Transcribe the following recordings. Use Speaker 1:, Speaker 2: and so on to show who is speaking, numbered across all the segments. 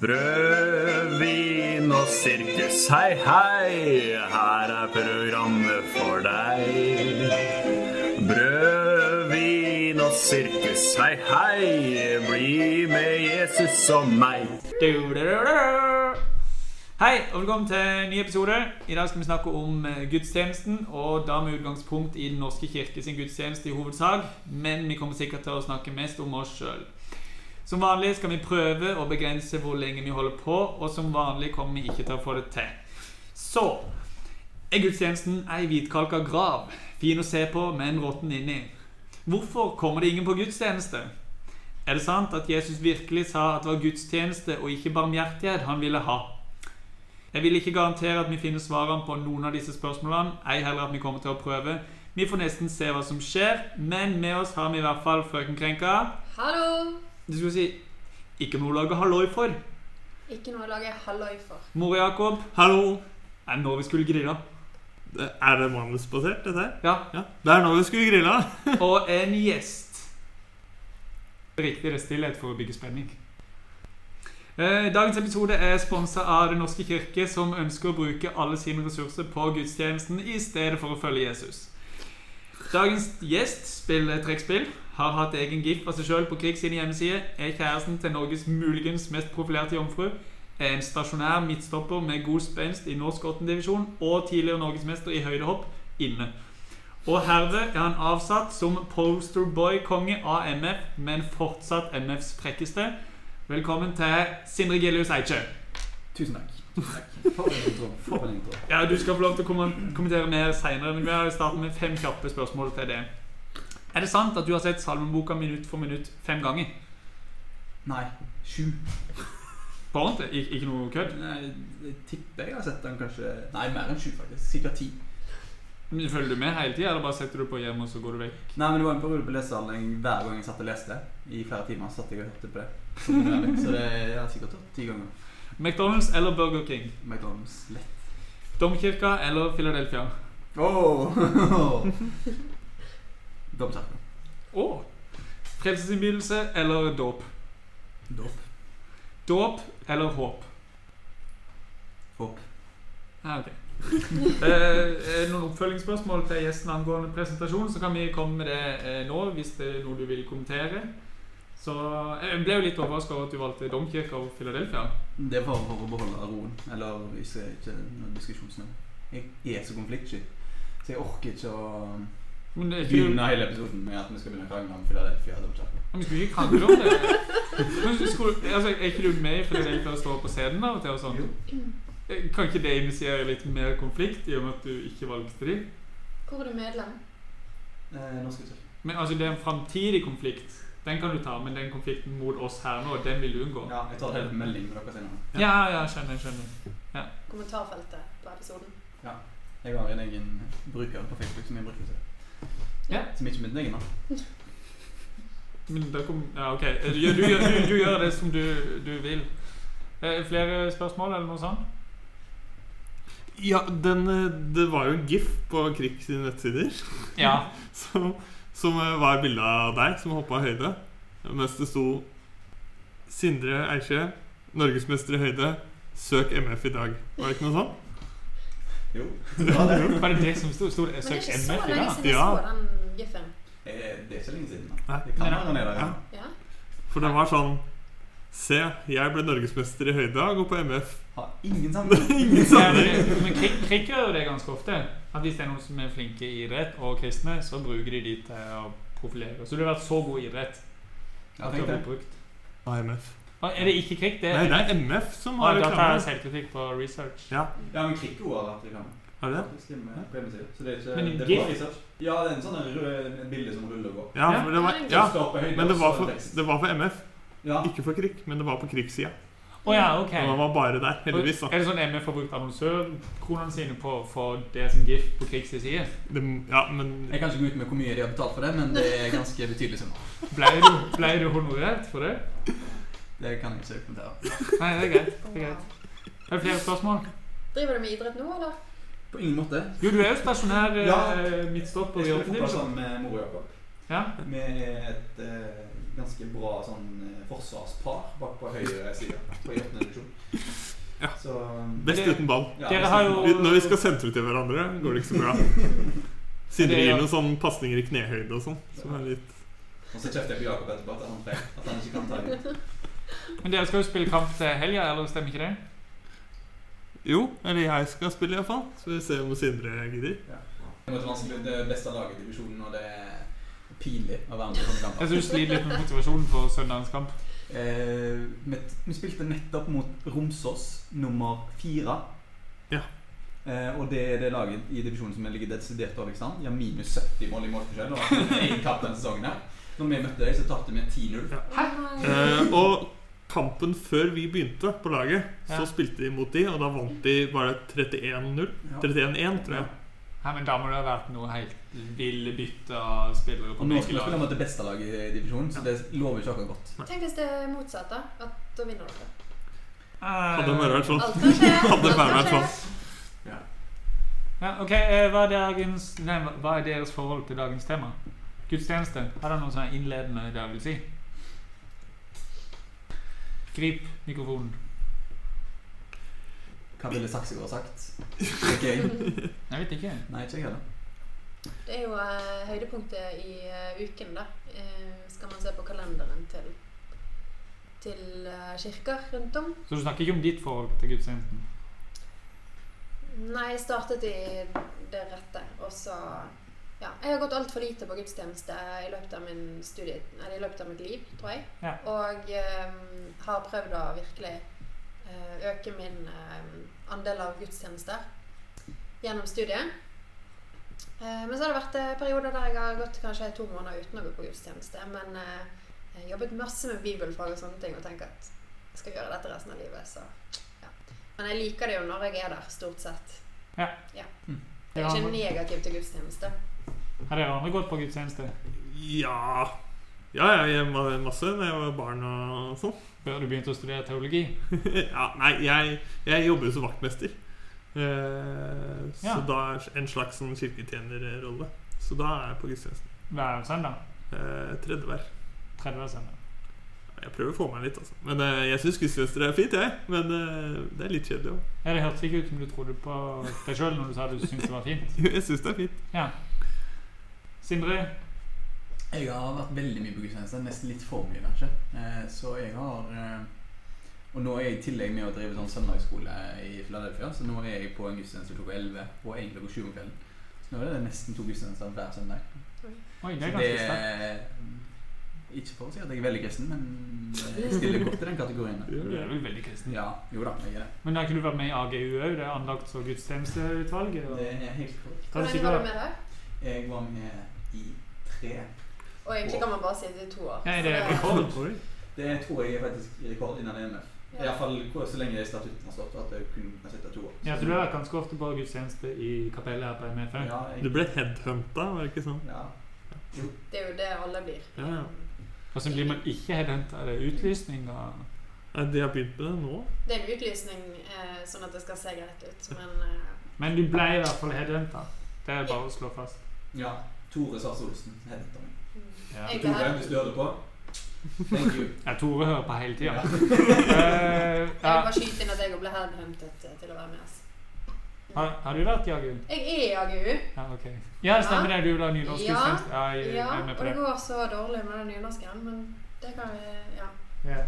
Speaker 1: Brød, vin og sirkus, hei, hei. Her er programmet for deg. Brød, vin og sirkus, hei, hei. Bli med Jesus og meg.
Speaker 2: Du-du-du-du. Hei, og velkommen til en ny episode. I dag skal vi snakke om eh, gudstjenesten, og da med utgangspunkt i Den norske kirke sin gudstjeneste i hovedsak. Men vi kommer sikkert til å snakke mest om oss sjøl. Som vanlig skal vi prøve å begrense hvor lenge vi holder på, og som vanlig kommer vi ikke til å få det til. Så er gudstjenesten ei hvitkalka grav. Fin å se på, men råtten inni. Hvorfor kommer det ingen på gudstjeneste? Er det sant at Jesus virkelig sa at det var gudstjeneste og ikke barmhjertighet han ville ha? Jeg vil ikke garantere at vi finner svarene på noen av disse spørsmålene, ei heller at vi kommer til å prøve. Vi får nesten se hva som skjer, men med oss har vi i hvert fall frøken Krenka.
Speaker 3: Hallo!
Speaker 2: Du skulle si ikke noe å lage halloi for.
Speaker 3: Ikke noe å lage halloi for.
Speaker 2: Mor Jakob,
Speaker 4: Hallo.
Speaker 2: er det når vi skulle grille?
Speaker 4: Er det manusbasert, dette her?
Speaker 2: Ja.
Speaker 4: Ja. Det er nå vi skulle grille.
Speaker 2: Og en gjest. Riktigere stillhet for å bygge spenning. Eh, Dagens episode er sponsa av Den norske kirke, som ønsker å bruke alle sine ressurser på gudstjenesten i stedet for å følge Jesus. Dagens gjest spiller trekkspill, har hatt egen gif av seg sjøl på Krig sine hjemmesider, er kjæresten til Norges muligens mest profilerte jomfru, er en stasjonær midtstopper med god spenst i norsk åttendivisjon og tidligere norgesmester i høydehopp inne. Og herved er han avsatt som posterboy-konge av MF, men fortsatt MFs frekkeste. Velkommen til Sindre Gillius Eikjø.
Speaker 5: Tusen takk. For en intro. For en intro.
Speaker 2: Ja, du skal få lov til å kommen- kommentere mer seinere, men vi har startet med fem kjappe spørsmål til det. Er det sant at du har sett Salmeboka minutt for minutt fem ganger?
Speaker 5: Nei, sju.
Speaker 2: På ordentlig? Ik ikke noe kødd?
Speaker 5: Nei, Jeg tipper jeg har sett den kanskje Nei, mer enn sju, faktisk. Sikkert ti.
Speaker 2: Men Følger du med hele tida, eller bare setter du på hjemme og så går du vekk?
Speaker 5: Nei, men Det var en periode på lesesalen jeg- hver gang jeg satt og leste. I flere timer satt jeg og hørte på det. kontinuerlig. Så det jeg har sikkert hørt ti ganger.
Speaker 2: McDonald's eller Burger King?
Speaker 5: McDonald's lett.
Speaker 2: Domkirka eller Philadelphia?
Speaker 5: Oh. Domkirke.
Speaker 2: Å! Frelsesinnbydelse eller dåp?
Speaker 5: Dåp.
Speaker 2: Dåp eller håp?
Speaker 5: Håp.
Speaker 2: Ja, ok. Eh, er det noen oppfølgingsspørsmål til gjesten angående presentasjon, så kan vi komme med det eh, nå, hvis det er noe du vil kommentere. Så eh, Jeg ble jo litt overraska over at du valgte domkirka over Philadelphia.
Speaker 5: Det var for å beholde roen. Eller hvis jeg ikke noe diskusjonsnivå. Jeg er så konfliktsky, så jeg orker ikke å
Speaker 2: Men det er ikke,
Speaker 5: begynne hele episoden med at vi skal begynne å krangle om Philadelphia og domkirke.
Speaker 2: men vi skulle ikke krangle om det. Men skulle, altså, er ikke du med i Philadelphia og står på scenen av og til? og sånt? Eh, Kan ikke det initiere litt mer konflikt, i og med at du ikke valgte de?
Speaker 3: Hvor er du medlem?
Speaker 5: Eh, norske kirke.
Speaker 2: Men altså, det er en framtidig konflikt. Den kan du ta, men den konflikten mot oss her nå, den vil du unngå.
Speaker 5: Ja, jeg tar det hele på melding med dere senere.
Speaker 2: ja, ja skjønner, skjønner.
Speaker 3: Kommentarfeltet på episoden.
Speaker 5: Jeg har en egen bruker på Facebook som jeg bruker til.
Speaker 2: Ja.
Speaker 5: Som ikke er min egen, da.
Speaker 2: Men da kom, ja, ok. Eh, Du, gjør- du, gjør- du, du gjør det som du, du vil. Eh, flere spørsmål, eller noe sånt?
Speaker 4: Ja, den, eh, det var jo en gif på Krik sine nettsider
Speaker 2: Ja.
Speaker 4: som, som eh, var bilde av deg som hoppa i høyde. Mens det sto Sindre Eikjø, norgesmester i høyde, søk MF i dag. Var det ikke noe sånt?
Speaker 5: Jo.
Speaker 2: Var det det som sto? Stod det
Speaker 3: Men det er
Speaker 2: Søk
Speaker 3: ikke så
Speaker 2: MF i
Speaker 3: lenge
Speaker 2: dag?
Speaker 3: siden jeg
Speaker 4: Ja.
Speaker 3: så den giffen.
Speaker 5: Eh, Det er ikke lenge siden,
Speaker 4: Nei.
Speaker 5: da. Det kan
Speaker 2: Nei, nei.
Speaker 5: være nede, ja.
Speaker 4: Ja.
Speaker 3: Ja.
Speaker 4: For det var sånn Se, jeg ble norgesmester i høyde og går på MF.
Speaker 5: Har ingen sammenheng.
Speaker 4: Ingen
Speaker 2: Ja,
Speaker 4: sammenheng.
Speaker 2: men men krig, krig gjør jo det ganske ofte. At Hvis det er noen som er flinke i idrett og kristne, så bruker de de til å profilere. Så du har vært så god i idrett
Speaker 5: Ja,
Speaker 2: at du
Speaker 5: tenk
Speaker 2: har
Speaker 5: det.
Speaker 2: blitt brukt.
Speaker 4: Ah, MF.
Speaker 2: Ah, Er det ikke krig? Det
Speaker 4: Nei,
Speaker 2: er
Speaker 4: det er MF som
Speaker 2: Ah,
Speaker 4: har
Speaker 2: Da tar jeg
Speaker 4: reklame.
Speaker 2: selvkritikk på research.
Speaker 4: Ja,
Speaker 5: Ja, men Krikko har vært reklame.
Speaker 4: har du det?
Speaker 5: Faktisk, hjemme på hjemmesiden. Så det er ikke
Speaker 2: Men en
Speaker 5: det er
Speaker 2: gif?
Speaker 5: bare research. Ja, det er en sånn rød et bilde som ruller og går.
Speaker 4: Ja,
Speaker 2: Ja.
Speaker 4: for det var,
Speaker 3: Ja, det er
Speaker 4: ja.
Speaker 5: Som skaper høyde,
Speaker 4: Men det
Speaker 5: og
Speaker 4: var
Speaker 5: så
Speaker 4: for,
Speaker 5: tekst.
Speaker 4: det var for MF.
Speaker 5: Ja.
Speaker 4: Ikke for Krik, men det var på Krik-sida.
Speaker 2: Å ja, ok.
Speaker 4: Og han var bare der, heldigvis. da
Speaker 2: Er det sånn MF har brukt annonsørkronene sine på å få det som gif på krigs side?
Speaker 4: det, Ja, men
Speaker 5: Jeg kan ikke gå ut med hvor mye de har betalt for det, men det er ganske betydelig sum.
Speaker 2: Ble du, ble du honorert for det?
Speaker 5: Det kan jeg ikke kommentere.
Speaker 2: Nei, det er greit.
Speaker 3: Wow.
Speaker 2: Det er greit. Er det flere spørsmål?
Speaker 3: Driver du med idrett nå, eller?
Speaker 5: På ingen måte.
Speaker 2: Jo, du er jo stasjonær eh,
Speaker 5: Ja.
Speaker 2: midtstopper
Speaker 5: Jeg
Speaker 2: i
Speaker 5: spiller fotball eh,
Speaker 2: offentlig.
Speaker 5: sammen med mor og Jakob.
Speaker 2: Ja.
Speaker 5: Med et eh, ganske bra sånn eh, forsvarspar bak på høyre side på i åttende divisjon.
Speaker 4: Ja.
Speaker 5: Så um,
Speaker 4: Best
Speaker 2: Dere-
Speaker 4: uten ball.
Speaker 5: ja,
Speaker 2: Dere
Speaker 5: hvis-
Speaker 2: har jo-
Speaker 4: Når vi skal sentre til hverandre, går det ikke så bra. Sindre gir noen sånne pasninger i knehøyde og sånn. Som er litt
Speaker 5: Og så kjefter jeg på Jakob etterpå at han feil. At han ikke kan ta det.
Speaker 2: Men dere skal jo spille kamp til helga, eller stemmer ikke det?
Speaker 4: Jo, eller jeg skal spille iallfall. Så vi ser om Sindre gidder.
Speaker 5: Det måtte vanskelig det beste laget i divisjonen, og det er pinlig å være med på sånne kamper.
Speaker 2: Jeg syns du sliter litt med motivasjonen for søndagens kamp.
Speaker 5: Eh, vi, vi spilte nettopp mot Romsås nummer fire.
Speaker 4: Ja.
Speaker 5: Eh, og det er det laget i divisjonen som ligger desidert dårligst an. De har minus 70 mål i målforskjell og har vunnet én kamp denne sesongen. her Når vi møtte dem, så tapte vi 10-0.
Speaker 4: Eh, og kampen før vi begynte på laget, så
Speaker 2: Ja.
Speaker 4: spilte de mot de, og da vant de bare 31-0. 31-1, tror jeg.
Speaker 2: Nei, men da må det ha vært noe helt ville bytte av spillere
Speaker 5: Og
Speaker 2: på
Speaker 5: nå
Speaker 2: begge
Speaker 5: skal vi spille
Speaker 2: lag.
Speaker 5: mot det beste laget i divisjonen, så det lover ikke akkurat godt.
Speaker 3: Tenk hvis det er motsatt, da. At da vinner dere.
Speaker 4: Hadde bare vært sånn.
Speaker 3: Alt kan skje.
Speaker 4: Hadde bare
Speaker 3: alt
Speaker 4: vært
Speaker 3: kan
Speaker 4: sånn.
Speaker 3: skje.
Speaker 2: Ja, ok, eh, hva er, dagens, nei, hva er deres forhold til dagens tema? Gudstjeneste. Har dere noe sånn innledende dere vil si? Grip mikrofonen.
Speaker 5: Hva ville Saksegård sagt? Ikke jeg.
Speaker 2: Jeg vet ikke.
Speaker 5: Nei, ikke jeg heller.
Speaker 3: Det er jo eh, høydepunktet i eh, uken, da. Eh, skal man se på kalenderen til, til eh, kirker rundt om.
Speaker 2: Så du snakker ikke om ditt forhold til gudstjenesten?
Speaker 3: Nei, jeg startet i det rette, og så ja, Jeg har gått altfor lite på gudstjeneste i løpet av min studie, eller i løpet av mitt liv, tror jeg.
Speaker 2: Ja.
Speaker 3: Og eh, har prøvd å virkelig eh, øke min eh, andel av gudstjenester gjennom studiet. Eh, men så har det vært eh, perioder der jeg har gått kanskje to måneder uten å gå på gudstjeneste. Men eh, jeg har jobbet masse med bibelfag og sånne ting og tenker at jeg skal gjøre dette resten av livet. så... Men jeg liker det jo når jeg er der, stort sett.
Speaker 2: Ja.
Speaker 5: Mm.
Speaker 3: Det
Speaker 2: Ja,
Speaker 3: er ikke
Speaker 2: men-
Speaker 3: negativt til gudstjeneste.
Speaker 2: Har dere andre gått på gudstjeneste?
Speaker 4: Ja Ja, jeg var masse da jeg var barn og sånn.
Speaker 2: Før du begynte å studere teologi?
Speaker 4: ja, nei, jeg, jeg jobber jo som vaktmester. Eh,
Speaker 2: Ja.
Speaker 4: Så da er det en slags sånn kirketjenerrolle. Så da er jeg på gudstjenesten.
Speaker 2: Hver søndag?
Speaker 4: Eh, tredje hver.
Speaker 2: 30. søndag.
Speaker 4: Jeg prøver å få meg litt, altså. Men eh, jeg syns gudstjenester er fint, jeg. Men eh, det er litt kjedelig òg.
Speaker 2: Ja, det hørtes ikke ut som du trodde på deg sjøl når du sa du syntes det var fint.
Speaker 4: Jeg syns det er fint.
Speaker 2: Sindre,
Speaker 5: Jeg har vært veldig mye på gudstjeneste, nesten litt for mye kanskje. Eh, Så jeg har eh, Og nå er jeg i tillegg med å drive sånn søndagsskole i Philadelphia, så nå er jeg på en gudstjeneste klokka 11 og en klokka 7 om kvelden. Så nå er det nesten to gudstjenester hver søndag.
Speaker 2: Oi, det
Speaker 5: Så
Speaker 2: er
Speaker 5: det
Speaker 2: ganske sterkt.
Speaker 5: er ikke for å si at jeg er veldig kristen, men jeg stiller godt i den kategorien. der.
Speaker 2: Du er vel veldig kristen.
Speaker 5: Ja, jo da, jeg er det.
Speaker 2: Men har ikke du vært med i AGU òg? Det er andakts- og gudstjenesteutvalget. Og...
Speaker 5: Det er helt korrekt.
Speaker 2: Kan
Speaker 3: Hvor
Speaker 2: du
Speaker 3: lenge
Speaker 2: sikkert-
Speaker 3: var du med der?
Speaker 5: Jeg var med i tre.
Speaker 3: Og egentlig kan man bare si det er to år.
Speaker 2: Ja, er det
Speaker 3: Så
Speaker 2: rekord, tror du?
Speaker 5: Det tror jeg er faktisk rekord innen E EMF.
Speaker 3: Ja.
Speaker 5: Iallfall så lenge statuten har stått at jeg kun kan sitte to år.
Speaker 2: Ja, så du har vært ganske ofte på gudstjeneste i kapellet her på MFM.
Speaker 5: Ja, jeg-
Speaker 4: Du ble headhunta, var det ikke sånn?
Speaker 5: Ja.
Speaker 3: Det er jo det alle blir.
Speaker 4: Ja, ja.
Speaker 2: Og så blir man ikke headhunta. Er det utlysning og
Speaker 4: Nei, de har begynt med det nå.
Speaker 3: Det er en utlysning eh, sånn at det skal se greit ut, men eh,
Speaker 2: Men du ble i hvert fall headhunta. Det er bare å slå fast.
Speaker 5: ja. Tore Sars Olsen heter han.
Speaker 3: mm.
Speaker 2: Ja.
Speaker 3: Jeg
Speaker 5: Tore,
Speaker 3: er
Speaker 5: hvis du hører på. Thank you.
Speaker 2: Ja, Tore hører på hele tida.
Speaker 5: Ja.
Speaker 3: Jeg vil
Speaker 2: ja.
Speaker 3: bare skyte inn at jeg ble headhuntet eh, til å være med. Altså.
Speaker 2: har, har du vært i AGU?
Speaker 3: Jeg er i AGU,
Speaker 2: Ja, ok. Ja, det stemmer det. Du vil ha nynorsk
Speaker 3: Ja.
Speaker 2: gudstjeneste? Ja, jeg
Speaker 3: ja,
Speaker 2: er med
Speaker 3: og
Speaker 2: på
Speaker 3: det
Speaker 2: det.
Speaker 3: går så dårlig med den nynorsken, men det kan vi Ja.
Speaker 2: Ja.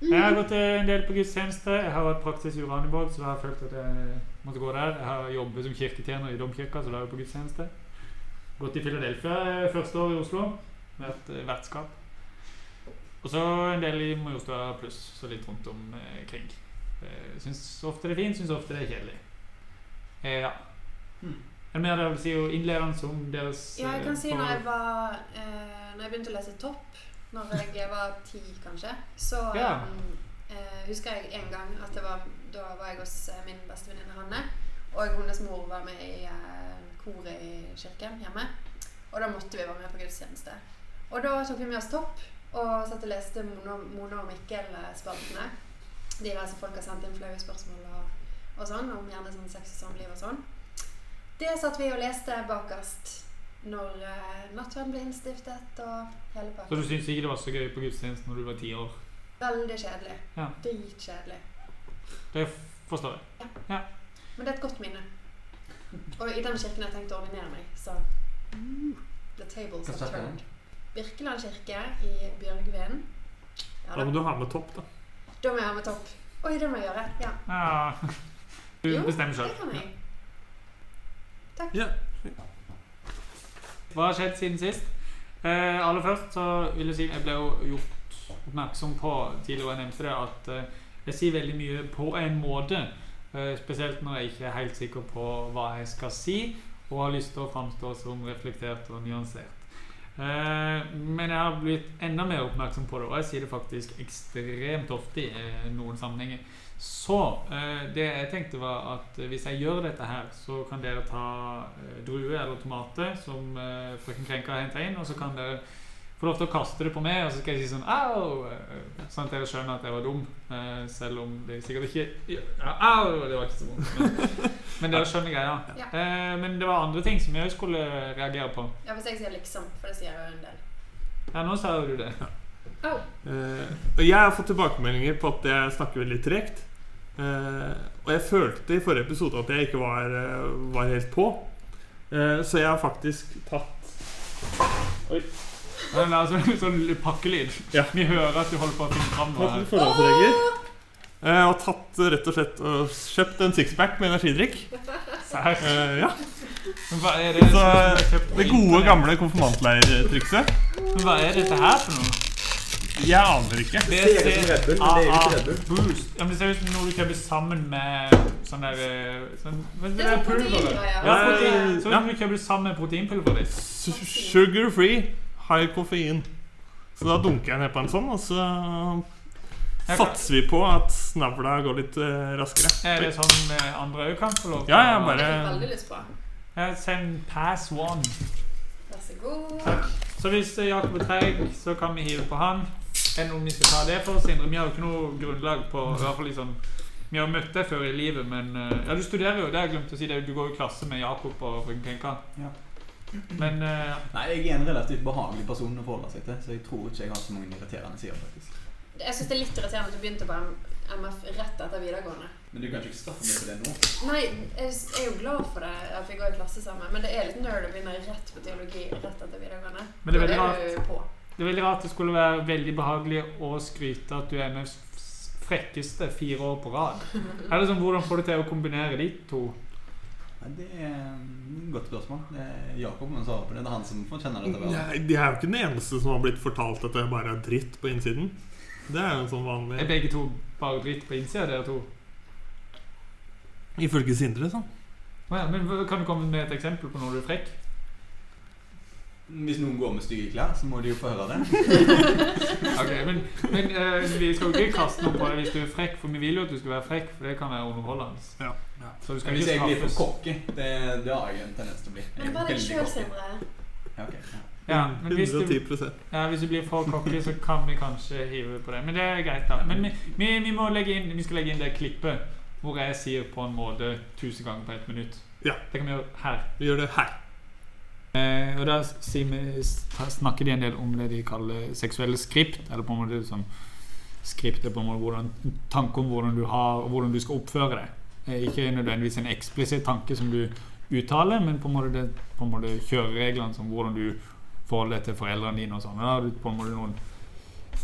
Speaker 3: Mm.
Speaker 2: Jeg har gått eh, en del på gudstjeneste. Jeg har vært praksis i Uraniborg, så da har jeg følt at jeg måtte gå der. Jeg har jobbet som kirketjener i domkirka, så da er jeg på gudstjeneste. Gått i Philadelphia eh, første år i Oslo. Vært eh, vertskap. Og så en del i Majorstua pluss, så litt rundt om eh, kring. Eh, syns ofte det er fint, syns ofte det er kjedelig. Eh, ja.
Speaker 5: Hmm.
Speaker 2: Er det mer dere vil si og innledende om deres
Speaker 3: Mm. Ja, jeg
Speaker 2: eh,
Speaker 3: kan si når
Speaker 2: forhold?
Speaker 3: jeg var eh, Når jeg begynte å lese topp, når jeg var ti kanskje, så
Speaker 2: Ja.
Speaker 3: eh, eh, husker jeg en gang at det var, da var jeg hos eh, min bestevenninne Hanne, og hennes mor var med i eh, koret i kirken hjemme. Og da måtte vi være med på gudstjeneste. Og da tok vi med oss topp og satt og leste Mona, Mona og Mikkel-spaltene. De der som folk har sendt inn flaue spørsmål og, og sånn, om gjerne sånn sex og samliv og sånn. Det satt vi og leste bakerst når eh, nattverden ble innstiftet og
Speaker 2: Så
Speaker 3: hele
Speaker 2: du
Speaker 3: pakken.
Speaker 2: syns ikke det var så gøy på gudstjenesten når du var ti år?
Speaker 3: Veldig kjedelig.
Speaker 2: Ja.
Speaker 3: Dritkjedelig.
Speaker 2: Det forstår jeg.
Speaker 3: Men det er et godt minne. Og i den kirken har jeg tenkt å ordinere meg, så The tables
Speaker 5: Hva
Speaker 3: have
Speaker 5: snakker du om?
Speaker 3: turned. Birkeland kirke i Bjørgvin. Ja,
Speaker 4: Da
Speaker 3: da.
Speaker 4: må du ha med topp, da.
Speaker 3: da må jeg ha med topp. Oi, det må jeg gjøre. Ja,
Speaker 2: Ja. Du
Speaker 3: Jo,
Speaker 2: bestemmer
Speaker 3: det
Speaker 2: sjøl.
Speaker 3: kan jeg.
Speaker 2: Hva har skjedd siden sist? Eh, aller først så vil jeg si jeg ble jo gjort oppmerksom på tidligere jeg nevnte det, at eh, jeg sier veldig mye på en måte. Eh, spesielt når jeg ikke er helt sikker på hva jeg skal si, og har lyst til å framstå som reflektert og nyansert. Eh, men jeg har blitt enda mer oppmerksom på det, og jeg sier det faktisk ekstremt ofte i eh, noen sammenhenger. Så eh, det jeg tenkte var at eh, hvis jeg gjør dette her, så kan dere ta eh, druer eller tomater som eh, frøken Krenka har henta inn, og så kan dere få lov til å kaste det på meg, og så skal jeg si sånn au! eh, Sånn at dere skjønner at jeg var dum, eh, selv om det sikkert ikke ja, Au! Det var ikke så vondt. Men, men dere skjønner greia.
Speaker 3: Ja.
Speaker 2: Eh, men det var andre ting som jeg skulle reagere på.
Speaker 3: Ja, hvis jeg sier liksom, for det sier jeg jo en del.
Speaker 2: Ja, nå sa jo du det.
Speaker 3: Au!
Speaker 4: Eh, og jeg har fått tilbakemeldinger på at jeg snakker veldig tregt. Eh, og jeg følte i forrige episode at jeg ikke var, eh, var helt på. Eh, så jeg har faktisk tatt
Speaker 2: Ja, Det er altså en sånn pakkelyd.
Speaker 4: Ja.
Speaker 2: Vi hører at du holder på å finne fram noe
Speaker 4: tatt
Speaker 2: her.
Speaker 4: litt forholdsregler. Eh, og tatt eh, rett og slett og kjøpt en sixpack med energidrikk.
Speaker 2: Serr.
Speaker 4: Eh, ja.
Speaker 2: Men Hva er det,
Speaker 4: Så, eh,
Speaker 2: som du kjøpte på
Speaker 4: Det gode,
Speaker 2: internett?
Speaker 4: gamle konfirmantleirtrikset.
Speaker 2: Men Hva er dette her for noe?
Speaker 4: Jeg aner ikke.
Speaker 2: Det
Speaker 6: ser ut som Red Bull, men det er jo ikke Red Bull.
Speaker 2: Boost. Ja, men det ser ut som noe du kjøper sammen med sånn der eh, sånn, men
Speaker 3: Det
Speaker 2: Det der
Speaker 3: er sånn
Speaker 2: pulveret.
Speaker 3: proteingreier.
Speaker 2: Ja,
Speaker 4: Eh,
Speaker 2: protein. Sånn
Speaker 4: ja.
Speaker 2: som du kjøper sammen med proteinpulveret ditt.
Speaker 4: Su- Sugar free, high koffein. Så da dunker jeg ned på en sånn, og så satser vi på at snavla går litt eh, raskere.
Speaker 2: Er det sånn eh, andre òg kan få lov? til
Speaker 4: Ja, ja,
Speaker 2: å-
Speaker 3: Jeg
Speaker 4: bare-
Speaker 3: fikk veldig lyst på.
Speaker 2: Ja, Send pass one.
Speaker 3: Vær så god.
Speaker 2: Så hvis eh, Jakob er treig, så kan vi hive på han. Er det noen vi skal ta det for, Sindre? Vi har jo ikke noe grunnlag på i hvert fall liksom, Vi har møtt deg før i livet, men eh, Ja, du studerer jo, det har jeg glemt å si. det, Du går i klasse med Jakob og frøken Kenka.
Speaker 5: Ja.
Speaker 2: Men eh,
Speaker 5: Nei, jeg er en relativt behagelig person å forholde seg til, så jeg tror ikke jeg har så mange irriterende sider, faktisk.
Speaker 3: Jeg syns det er litt irriterende at du begynte på M- MF rett etter videregående.
Speaker 5: Men du kan ikke straffe meg for det nå.
Speaker 3: Nei, jeg s- jeg er jo glad for det at vi går i klasse sammen, men det er litt nerd å begynne rett på teologi rett etter videregående.
Speaker 2: Men det er veldig
Speaker 3: Da du på.
Speaker 2: Det er veldig rart det skulle være veldig behagelig å skryte at du er MFs frekkeste fire år på rad. Er det sånn, Hvordan får du til å kombinere de to?
Speaker 5: Nei, det er et godt spørsmål. Det er Jakob som svarer på det. Det er han som får kjenne dette. vel.
Speaker 4: Nei, de er jo ikke den eneste som har blitt fortalt at det bare er dritt på innsiden. Det er jo en sånn
Speaker 2: Er
Speaker 4: vanlig
Speaker 2: begge to bare dritt på innsida, dere to?
Speaker 4: Ifølge Sindre, sånn.
Speaker 2: Å Ja, men hva- Kan du komme med et eksempel på når du er frekk?
Speaker 5: Hvis noen går med stygge klær, så må de jo få høre det.
Speaker 2: Ok, Men, men eh, vi skal jo ikke kaste noe på deg hvis du er frekk, for vi vil jo at du skal være frekk, for det kan være underholdende.
Speaker 4: Ja.
Speaker 2: Så du skal
Speaker 5: Hvis
Speaker 2: ikke
Speaker 5: jeg blir for
Speaker 2: straffes.
Speaker 5: cocky, det, det har jeg en tendens til å bli.
Speaker 3: Men
Speaker 5: Jeg er
Speaker 3: hva er det
Speaker 5: veldig
Speaker 3: sjøl,
Speaker 5: cocky.
Speaker 3: Sindre?
Speaker 5: Ja, ok, ja.
Speaker 2: Ja,
Speaker 4: Mm.
Speaker 2: men hvis du,
Speaker 4: 110
Speaker 2: ja, hvis du blir for cocky, så kan vi kanskje hive på det. Men det er greit, da. Men vi, vi, vi, må legge inn, vi skal legge inn det klippet hvor jeg sier på en måte 1000 ganger på ett minutt.
Speaker 4: Ja.
Speaker 2: Det kan vi gjøre her.
Speaker 4: Vi gjør det her.
Speaker 2: Eh, og da sier vi, da snakker de en del om det de kaller seksuelle skript. Eller på en måte sånn skript er på en måte hvordan, en tanke om hvordan du har og hvordan du skal oppføre deg. Eh, ikke nødvendigvis en eksplisitt tanke som du uttaler, men på en måte, det, på en måte kjørereglene som hvordan du forholder deg til foreldrene dine og sånn. Og Da har du på en måte noen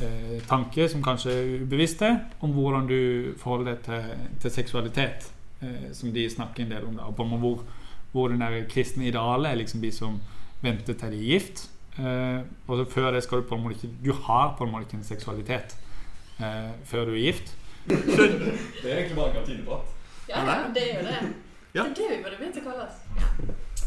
Speaker 2: eh, tanker som kanskje er ubevisste, om hvordan du forholder deg til, til seksualitet. Eh, som de snakker en del om. Da, og på en måte hvor hvor den der kristne idealet er liksom de som venter til de er gift. Eh, og så før det skal du på en måte ikke Du har på en måte ikke en seksualitet eh, før du er gift.
Speaker 5: Det er egentlig bare kantineprat.
Speaker 3: Ja, ja, det er jo det.
Speaker 4: Ja.
Speaker 3: Det er det vi burde begynt å kalle oss.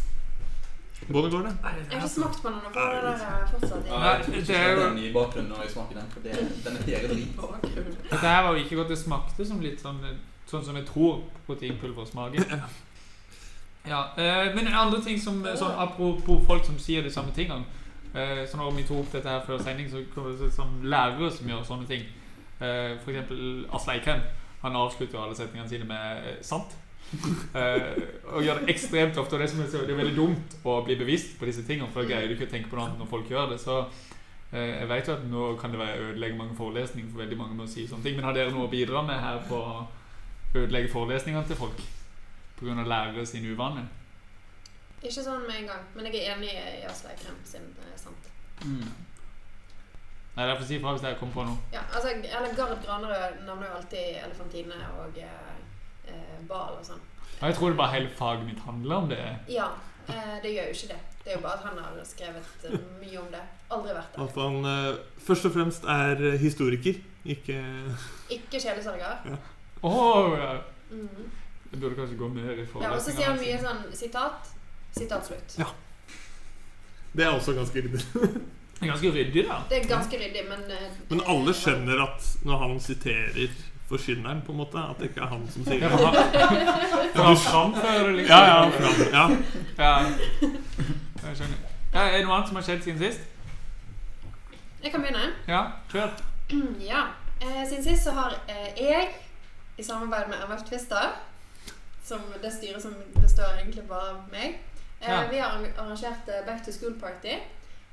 Speaker 4: Hvordan går det?
Speaker 3: Jeg har ikke smakt på den, og får det der eh, fortsatt i.
Speaker 2: Nei, det er jo-
Speaker 5: den i bakgrunnen når jeg smaker den, for det, den er hele dritbra.
Speaker 2: Dette her var jo ikke godt. Det smakte som litt sånn Sånn som jeg tror proteinpulver smaker. Ja, eh, men andre ting som eh, sånn, Apropos folk som sier de samme tingene. Eh, så når vi tok opp dette her før sending, så kom det sånn lærere som gjør sånne ting. Eh, for eksempel Asle Eikrem. Han avslutter jo alle setningene sine med eh, 'sant'. Eh, og gjør det ekstremt ofte. Og det, som er så, det er veldig dumt å bli bevisst på disse tingene, for da greier du ikke å tenke på noe annet når folk gjør det. Så eh, jeg vet jo at nå kan det være ødelegge mange forelesninger for veldig mange med å si sånne ting. Men har dere noe å bidra med her på å ødelegge forelesningene til folk? Pga. lærere sine uvaner?
Speaker 3: Ikke sånn med en gang, men jeg er enig i Aslak Krem sin eh, sant.
Speaker 5: Mm.
Speaker 2: Nei, derfor si ifra hvis dere kommer på noe.
Speaker 3: Ja, altså, eller Gard Granerød navner jo alltid Elefantine og eh, eh, Bal og sånn.
Speaker 2: Og jeg tror det bare hele faget mitt handler om det.
Speaker 3: Ja, eh, det gjør jo ikke det. Det er jo bare at han har skrevet eh, mye om det. Aldri vært der.
Speaker 4: At han eh, først og fremst er eh, historiker, ikke
Speaker 3: Ikke kjælesalger.
Speaker 2: Åh, ja.
Speaker 3: Mm.
Speaker 2: jeg burde kanskje gå mer i altså.
Speaker 3: Ja, og så sier han
Speaker 2: forelesningene.
Speaker 3: mye sånn sitat. Sitat slutt.
Speaker 4: Det er også ganske ryddig.
Speaker 2: Det er ganske ryddig, da.
Speaker 3: Det er ganske ryddig, men eh,
Speaker 4: Men alle skjønner at når han siterer forkynneren, på en måte, at det ikke er han som sier
Speaker 2: Ja,
Speaker 4: det.
Speaker 2: for han, for han framfører det liksom.
Speaker 4: Ja, ja, fram, ja.
Speaker 2: Ja. Jeg skjønner. Ja, er det noe annet som har skjedd siden sist?
Speaker 3: Jeg kan begynne.
Speaker 2: Ja, kjør.
Speaker 3: Ja. Eh, siden sist så har eh, jeg, i samarbeid med MF Twister, som det styret som består egentlig bare av meg, eh,
Speaker 2: Ja.
Speaker 3: vi har arrangert eh, Back to School Party.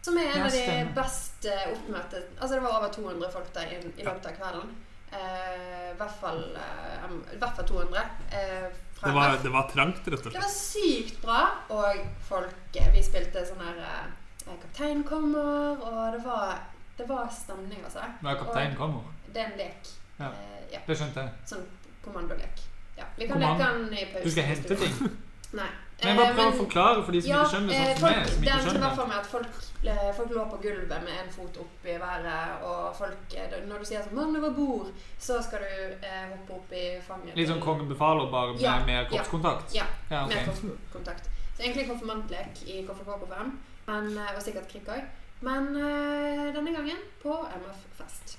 Speaker 3: Som er en
Speaker 2: Ja,
Speaker 3: av de
Speaker 2: stemmer.
Speaker 3: best eh, oppmøtte Altså det var over 200 folk der i, i løpet av kvelden. Eh, I hvert fall eh, em, i hvert fall 200. Eh, fra
Speaker 4: Det var, det var trangt, rett og
Speaker 3: det
Speaker 4: slett.
Speaker 3: var sykt bra, og folk eh, Vi spilte sånn her eh, Kaptein kommer, og det var, det var stemning, altså.
Speaker 2: Nå er kapteinen kommer.
Speaker 3: Det er en lek.
Speaker 2: Ja.
Speaker 3: Eh, ja.
Speaker 2: Det skjønte jeg.
Speaker 3: Sånn kommandolek. Ja. Vi kan
Speaker 2: Kommand-
Speaker 3: leke den i pausen.
Speaker 2: Du skal
Speaker 3: hvis
Speaker 2: hente
Speaker 3: vil.
Speaker 2: ting.
Speaker 3: Nei.
Speaker 2: Men bare
Speaker 3: Eh,
Speaker 2: prøv å
Speaker 3: men-
Speaker 2: forklare for de som
Speaker 3: ja,
Speaker 2: ikke skjønner det,
Speaker 3: eh,
Speaker 2: sånn som
Speaker 3: folk,
Speaker 2: meg. Som
Speaker 3: det er
Speaker 2: ikke
Speaker 3: en
Speaker 2: skjønner
Speaker 3: hvert
Speaker 2: det.
Speaker 3: fall med at folk, eh, folk lå på gulvet med en fot opp i været, og folk eh, da- Når du sier sånn 'mann over bord', så skal du eh, hoppe opp i fanget.
Speaker 2: Litt sånn
Speaker 3: til-
Speaker 2: Kongen befaler, bare
Speaker 3: Ja,
Speaker 2: med mer
Speaker 3: ja,
Speaker 2: kroppskontakt.
Speaker 3: ja,
Speaker 2: ja
Speaker 3: med
Speaker 2: ok.
Speaker 3: kontakt. Så egentlig konfirmantlek i KFK på 5, men, eh, og sikkert krikk òg. Men eh, denne gangen på MF-fest.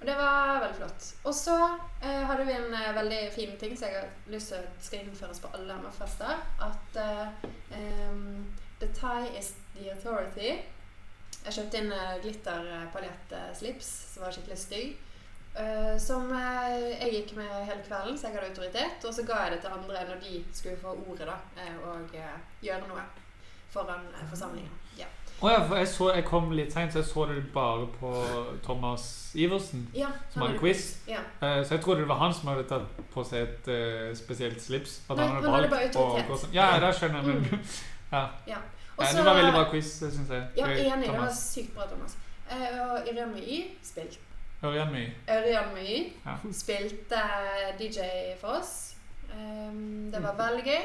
Speaker 3: Og det var veldig flott. Og så eh, hadde vi en eh, veldig fin ting som jeg har lyst til at skal innføres på alle MF-fester. At eh, em, the tie is the authority. Jeg kjøpte inn eh, glitterpaljettslips som var skikkelig stygg. Eh, som eh, jeg gikk med hele kvelden, så jeg hadde autoritet. Og så ga jeg det til andre når de skulle få ordet da, eh, og eh, gjøre noe foran eh, forsamlingen. Ja.
Speaker 2: Å ja, for jeg, så, jeg kom litt seint, så jeg så det bare på Thomas Iversen,
Speaker 3: Ja,
Speaker 2: som
Speaker 3: han
Speaker 2: hadde
Speaker 3: hadde-
Speaker 2: quiz.
Speaker 3: Ja.
Speaker 2: Eh, Så jeg trodde det var han som hadde tatt på seg et eh, spesielt slips. At
Speaker 3: Nei,
Speaker 2: han hadde
Speaker 3: han hadde
Speaker 2: valgt
Speaker 3: bare
Speaker 2: å
Speaker 3: autoritet. Mm.
Speaker 2: gå sånn. Ja, det skjønner jeg, men ja.
Speaker 3: Og
Speaker 2: Nei,
Speaker 3: så-
Speaker 2: Det var veldig bra quiz, syns jeg.
Speaker 3: Ja, enig. Det var
Speaker 2: Thomas.
Speaker 3: sykt bra, Thomas. Eh, og Irian Mui spilte
Speaker 2: Ørjan Mye.
Speaker 3: Ørjan Mui
Speaker 2: Ja.
Speaker 3: spilte DJ for oss. Ehm, det var veldig gøy.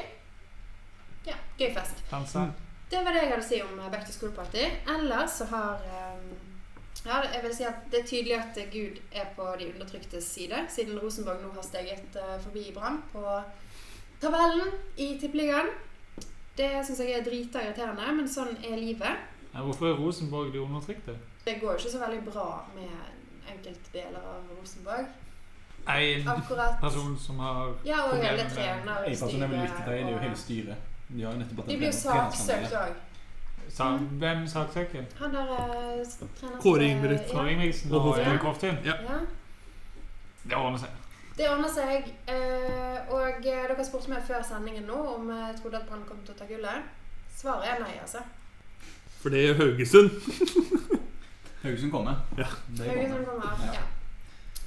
Speaker 3: Ja, gøy fest.
Speaker 2: Dansa.
Speaker 3: Mm. Det var det jeg hadde å si om eh, Back to School Party. Ellers så har eh, ja, jeg vil si at Det er tydelig at eh, Gud er på de undertryktes side, siden Rosenborg nå har steget eh, forbi Brann på tabellen i Tippeligaen. Det syns jeg er drita irriterende, men sånn er livet.
Speaker 2: Ja, hvorfor er Rosenborg de undertrykte?
Speaker 3: Det går jo ikke så veldig bra med enkeltdeler av Rosenborg.
Speaker 2: En
Speaker 3: Akkurat.
Speaker 5: Altså,
Speaker 2: person som har
Speaker 3: Ja, og
Speaker 2: Problemet
Speaker 3: hele
Speaker 2: med-
Speaker 3: trener
Speaker 5: En person jeg vil lytte til, det er jo hele
Speaker 3: og
Speaker 5: styret. De har jo nettopp hatt
Speaker 3: De
Speaker 5: en sånn
Speaker 3: blir jo
Speaker 5: trener- trenersamtale.
Speaker 3: saksøkt òg.
Speaker 2: sa,
Speaker 3: Mm.
Speaker 2: Hvem saksøker?
Speaker 3: Han der eh, s- treneren
Speaker 4: Kåre
Speaker 3: som, eh,
Speaker 4: Ingebrigt.
Speaker 3: ja.
Speaker 2: Kåre Ingebrigtsen
Speaker 4: Og
Speaker 2: og
Speaker 4: Hoften.
Speaker 2: Jan Koftin?
Speaker 3: Ja.
Speaker 2: Det ordner seg.
Speaker 3: Det ordner seg. eh, Og eh, dere spurte meg før sendingen nå om eh, jeg trodde at Brann kom til å ta gullet. Svaret er nei, altså.
Speaker 4: For det gjør Haugesund.
Speaker 5: Haugesund kommer.
Speaker 4: Ja.
Speaker 5: Det
Speaker 3: Haugesund kommer.
Speaker 5: Ja.
Speaker 3: Ja.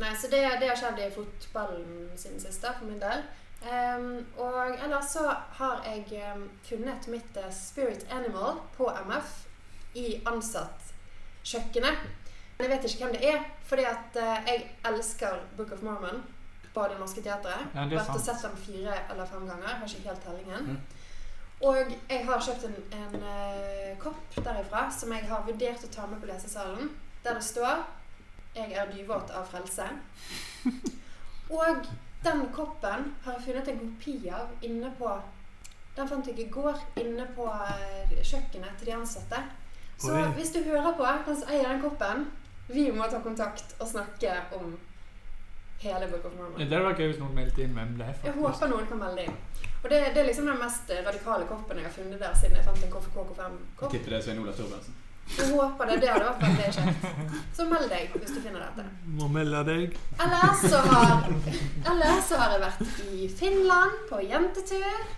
Speaker 3: Nei, så det, det har skjedd i fotballen siden sist, da, for min del. Ehm, og ellers så har jeg ehm, funnet mitt eh, spirit animal på MF i ansattkjøkkenet. Men jeg vet ikke hvem det er, fordi at eh, jeg elsker Book of Mormon på Det Norske Teatret.
Speaker 2: Ja, det er
Speaker 3: Vært og
Speaker 2: sant.
Speaker 3: sett den fire eller fem ganger. Jeg Har ikke helt tellingen.
Speaker 5: Mm.
Speaker 3: Og jeg har kjøpt en, en eh, kopp derifra som jeg har vurdert å ta med på lesesalen. Der det står 'Jeg er dyvåt av frelse'. Og den koppen har jeg funnet en kopi av inne på Den fant jeg i går inne på eh, kjøkkenet til de ansatte. Så
Speaker 4: Oi.
Speaker 3: hvis du hører på den som eier den koppen, vi må ta kontakt og snakke om hele Book of Mormon.
Speaker 2: Det hadde vært gøy hvis noen meldte inn hvem det er.
Speaker 3: Jeg
Speaker 2: faktisk.
Speaker 3: håper noen kan melde inn. Og det, det er liksom den mest radikale koppen jeg har funnet der siden jeg fant en KFK
Speaker 5: Jeg
Speaker 3: KK5-kopp.
Speaker 5: tipper det er Svein Olav Thorbjørnsen.
Speaker 3: Jeg håper det. Det hadde vært veldig kjekt. Så meld deg hvis du finner dette.
Speaker 4: Må melde deg.
Speaker 3: Ellers så har, ellers så har jeg vært i Finland på jentetur.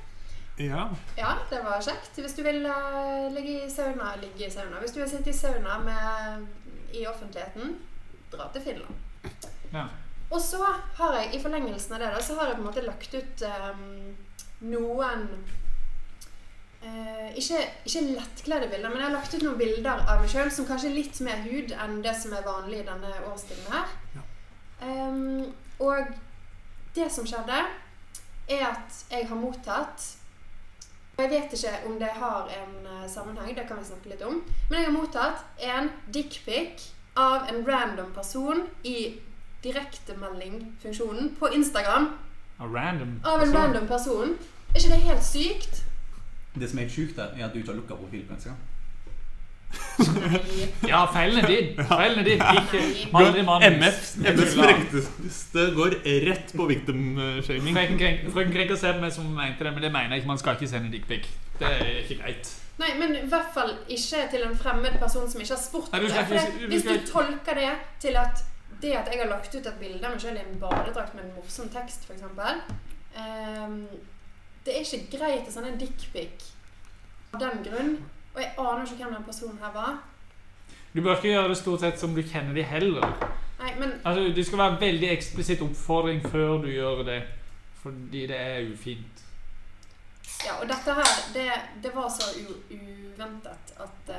Speaker 4: Ja.
Speaker 3: Ja, det var kjekt. Hvis du vil eh, ligge i sauna, ligge i sauna. Hvis du vil sitte i sauna med, i offentligheten, dra til Finland.
Speaker 2: Ja.
Speaker 3: Og så har jeg, i forlengelsen av det, da, så har jeg på en måte lagt ut eh, noen eh, ikke, ikke lettkledde bilder, men jeg har lagt ut noen bilder av meg sjøl som kanskje er litt mer hud enn det som er vanlig i denne årstiden her.
Speaker 4: Ja.
Speaker 3: Em, og det som skjedde, er at jeg har mottatt jeg vet ikke om det har en eh, sammenheng, det kan vi snakke litt om. Men jeg har mottatt en dickpic av en random person i direktemeldingfunksjonen på Instagram.
Speaker 2: Og Random.
Speaker 3: Av en
Speaker 2: person.
Speaker 3: random person. Er ikke det helt sykt?
Speaker 5: Det som er helt sjukt, der, er at du ikke har lukka profil på Instagram.
Speaker 3: Nei.
Speaker 2: Ja, feilen er din. Feilen er din. Ikke aldri mannens.
Speaker 4: MFs MFs frekteste går rett på victim-shaming.
Speaker 2: Frøken Krenk- Frøken Krenker ser på meg som om hun mente det, men det mener jeg ikke. Man skal ikke sende dickpic. Det er ikke greit.
Speaker 3: Nei, men i hvert fall ikke til en fremmed person som ikke har spurt
Speaker 2: Nei, du
Speaker 3: om det.
Speaker 2: skal
Speaker 3: For
Speaker 2: ikke-
Speaker 3: det-
Speaker 2: du
Speaker 3: hvis
Speaker 2: skal
Speaker 3: du
Speaker 2: ikke-
Speaker 3: tolker det til at det at jeg har lagt ut et bilde av meg sjøl i en badedrakt med en morsom tekst, f.eks. Um, det er ikke greit å sende en dickpic av den grunn. Og jeg aner ikke hvem den personen her var.
Speaker 2: Du bør ikke gjøre det stort sett som du kjenner de heller.
Speaker 3: Nei, men
Speaker 2: Altså, Det skal være veldig eksplisitt oppfordring før du gjør det, fordi det er ufint.
Speaker 3: Ja, og dette her, det, det var så u uventet at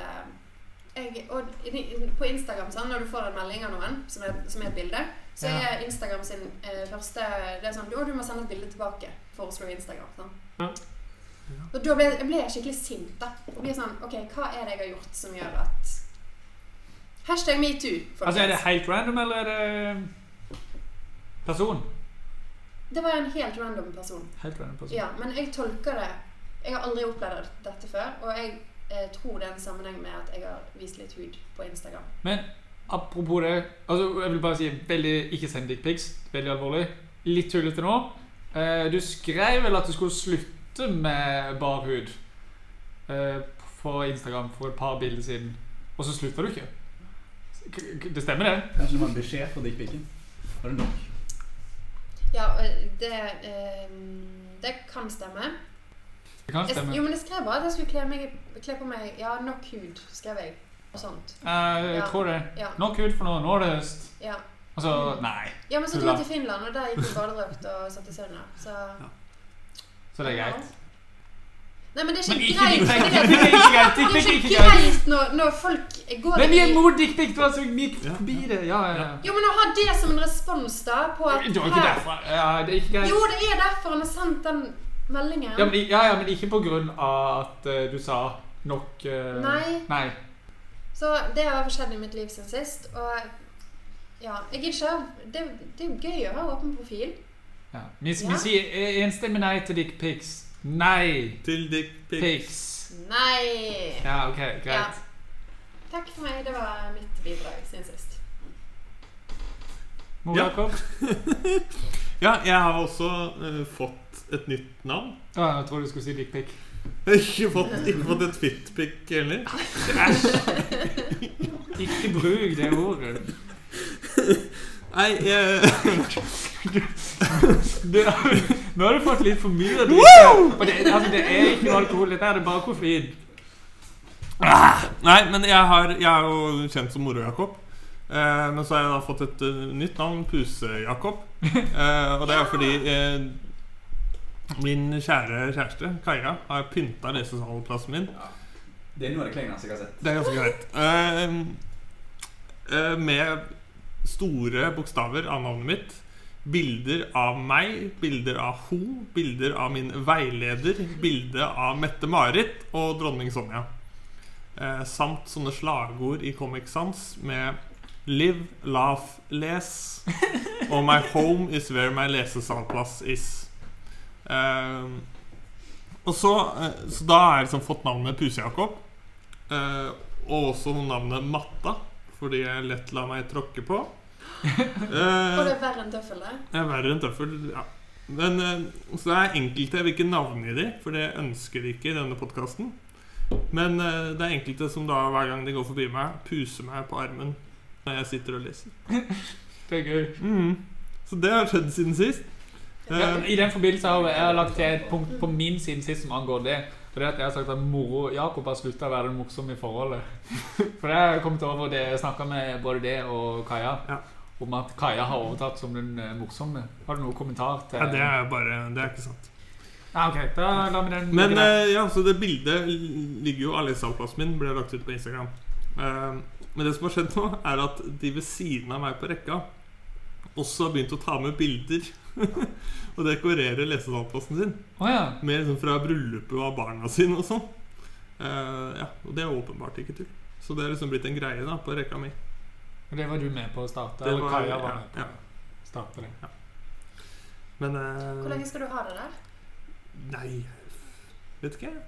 Speaker 3: eh, jeg, og i- På Instagram, sånn, når du får en melding av noen, som er, som er et bilde, så
Speaker 2: Ja.
Speaker 3: er Instagram sin eh, første Det er sånn Å, du må sende et bilde tilbake, foreslår Instagram. Sånn.
Speaker 2: Ja.
Speaker 3: Og da ble jeg ble jeg skikkelig sint. da Og ble sånn OK, hva er det jeg har gjort som gjør at Hashtag metoo.
Speaker 2: Altså, Er det
Speaker 3: folkens.
Speaker 2: helt random, eller er det person?
Speaker 3: Det var en helt random person.
Speaker 2: Helt random person.
Speaker 3: Ja, men jeg tolker det Jeg har aldri opplevd dette før, og jeg eh, tror det er en sammenheng med at jeg har vist litt hud på Instagram.
Speaker 2: Men apropos det altså, Jeg vil bare si veldig, ikke send dickpics. Veldig alvorlig. Litt tullete nå. Eh, du skrev vel at du skulle slutte med bar hud eh, på Instagram for et par bilder siden, og så slutta du ikke. K- k- Det stemmer, det?
Speaker 5: Kanskje det var en beskjed fra dickpicen. Var det nok?
Speaker 3: Ja, og det eh, Det kan stemme.
Speaker 2: Det kan
Speaker 3: Jeg,
Speaker 2: stemme.
Speaker 3: jo, men jeg skrev bare at jeg skulle kle, meg, kle på meg Ja, nok hud, skrev jeg. Og sånt.
Speaker 2: Eh, jeg
Speaker 3: Ja.
Speaker 2: tror det.
Speaker 3: Ja.
Speaker 2: Nok hud for nå. Nå er det høst.
Speaker 3: Ja,
Speaker 2: Altså,
Speaker 3: Mm.
Speaker 2: nei.
Speaker 3: ja men så dro jeg til Finland, og der gikk jeg i badedrakt og satt i sauna. Så
Speaker 2: Så det er greit.
Speaker 3: Nei, men det er
Speaker 2: Men
Speaker 3: ikke
Speaker 2: ikke
Speaker 3: greit.
Speaker 2: dickpic.
Speaker 3: fordi
Speaker 2: Det
Speaker 3: at-
Speaker 2: er ikke greit.
Speaker 3: Det
Speaker 2: Dickpic
Speaker 3: er
Speaker 2: er
Speaker 3: ikke
Speaker 2: ikke greit.
Speaker 3: greit når, når folk går
Speaker 2: Men vi er
Speaker 3: i-
Speaker 2: mot dickpic. Du har så gikk
Speaker 4: Ja, ja.
Speaker 2: forbi det. Ja, ja, ja.
Speaker 3: Jo, men å ha det som en respons da på at
Speaker 2: Det var ikke
Speaker 3: her-
Speaker 2: derfra. Ja, det er ikke
Speaker 4: Eh,
Speaker 2: greit.
Speaker 3: Jo, det er derfor han har sendt den meldingen.
Speaker 2: Ja, men, i- ja, ja, men ikke på grunn av at eh, du sa nok eh,
Speaker 3: Nei.
Speaker 2: nei.
Speaker 3: Så det har skjedd i mitt liv siden sist. Og ja, jeg gidder ikke ha- det, det er jo gøy å ha åpen profil.
Speaker 2: Ja. Vi,
Speaker 3: Ja.
Speaker 2: vi sier eh, enstemmig nei til dickpics. Nei
Speaker 4: Til dickpic.
Speaker 2: pics.
Speaker 3: Nei!
Speaker 2: Ja, OK, greit.
Speaker 3: Ja. Takk for meg. Det var mitt bidrag siden sist.
Speaker 2: Mor
Speaker 4: Ja.
Speaker 2: Jakob?
Speaker 4: Ja, jeg har også eh, fått et nytt navn.
Speaker 2: Å, jeg trodde du skulle si dickpic.
Speaker 4: Ikke fått, ikke fått et fitpic heller.
Speaker 2: Ikke bruk det ordet.
Speaker 4: Nei, jeg
Speaker 2: Du, nå har du fått litt for mye å drikke. Og det, altså, det er ikke noe alkohol, dette er det bare koffein.
Speaker 4: Nei, men jeg, har, jeg er jo kjent som Moro-Jakob. Eh, men så har jeg da fått et eh, nytt navn, Puse-Jakob. Eh, og det er fordi eh, min kjære kjæreste, Kaja, har pynta lesesalplassen min.
Speaker 5: Det er noe av det kleineste jeg har sett.
Speaker 4: Det er ganske greit. Eh, eh, med store bokstaver av navnet mitt. Bilder av meg, bilder av ho, bilder av min veileder, bilde av Mette-Marit og dronning Sonja. Eh, samt sånne slagord i Comic Sans med Live, laugh, les. Og my home is where my lesesalplass is. Eh, og så, eh, så da har jeg liksom fått navnet Puse-Jakob. Eh, og også navnet Matta, fordi jeg lett lar meg tråkke på.
Speaker 3: Og
Speaker 4: Eh,
Speaker 3: det er verre enn tøffel, det.
Speaker 4: jeg er verre enn tøffel, ja. Men, eh, så det er enkelte jeg vil ikke navngi de, for det ønsker de ikke i denne podkasten. Men eh, det er enkelte som da hver gang de går forbi meg, puser meg på armen når jeg sitter og leser.
Speaker 2: Det er gøy.
Speaker 4: Mhm. Så det har skjedd siden sist.
Speaker 2: Ja,
Speaker 4: Eh,
Speaker 2: I den forbindelse har jeg lagt til et punkt på min side sist som angår det. For det at jeg har sagt at moro Jakob har slutta å være den morsomme i forholdet. For det har jeg kommet over det jeg snakka med både det og Kaja
Speaker 4: Ja.
Speaker 2: om at Kaja har overtatt som den eh, morsomme. Har du noen kommentar til
Speaker 4: ja, det er bare Det er ikke sant.
Speaker 2: Ja, ok, da lar vi den ligge
Speaker 4: Men
Speaker 2: der.
Speaker 4: eh, ja, så det bildet ligger jo av leseavplassen min, ble lagt ut på Instagram. Eh, men det som har skjedd nå, er at de ved siden av meg på rekka også har begynt å ta med bilder og dekorere lesesalplassen sin.
Speaker 2: Å ja.
Speaker 4: Med liksom fra bryllupet av barna sine og sånn. Eh, ja, og det er åpenbart ikke tull. Så det er liksom blitt en greie da på rekka mi.
Speaker 2: Og det var du med på å starte?
Speaker 4: Det
Speaker 2: eller
Speaker 4: var-
Speaker 2: Kaja var
Speaker 4: ja,
Speaker 2: med på
Speaker 4: ja.
Speaker 2: å starte det?
Speaker 4: Men
Speaker 3: Hvor
Speaker 4: eh,
Speaker 3: lenge skal du ha det der?
Speaker 4: Nei Vet ikke. jeg.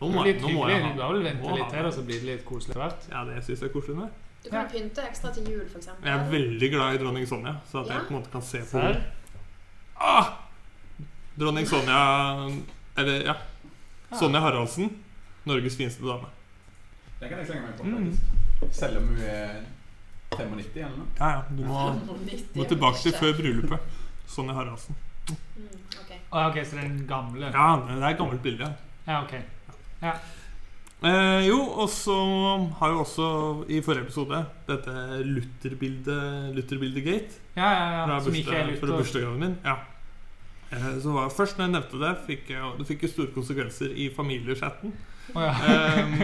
Speaker 4: Nå
Speaker 2: Det
Speaker 4: må,
Speaker 2: blir litt
Speaker 4: nå må jeg
Speaker 2: hyggelig. Du
Speaker 4: ha
Speaker 2: har vel vente
Speaker 4: må ha
Speaker 2: litt altså. til,
Speaker 4: det.
Speaker 2: og så blir det litt koselig etter hvert?
Speaker 4: Ja, det syns jeg er koselig. Med.
Speaker 3: Du kan
Speaker 2: Ja.
Speaker 3: jo pynte ekstra til jul, for eksempel.
Speaker 4: Jeg er veldig glad i dronning Sonja, så at
Speaker 3: Ja.
Speaker 4: jeg på en måte kan se på
Speaker 2: Serr?
Speaker 4: ah! Dronning Sonja Eller, ja. Sonja Haraldsen. Norges fineste dame.
Speaker 5: Det kan jeg slenge meg på,
Speaker 4: Mm.
Speaker 5: faktisk. Selv om hun er 95 eller noe.
Speaker 4: Ja, ja. Du må, må tilbake til før bryllupet. Sonja Haraldsen.
Speaker 3: Mm, ok.
Speaker 2: Å, ja, ok, så det er den gamle?
Speaker 4: Ja, det er et gammelt bilde. Ja.
Speaker 2: ja ok.
Speaker 4: Eh, jo, og så har jo også i forrige episode dette Luther-bildet Luther Gate.
Speaker 2: Ja, ja, ja.
Speaker 4: Fra,
Speaker 2: Som ikke er
Speaker 4: bursdag, fra
Speaker 2: lurt.
Speaker 4: bursdagsgraven min. Ja. Eh, så var, først når jeg nevnte det, fikk jeg, det fikk jo store konsekvenser i familiechatten.
Speaker 2: Å ja.
Speaker 4: Ehm,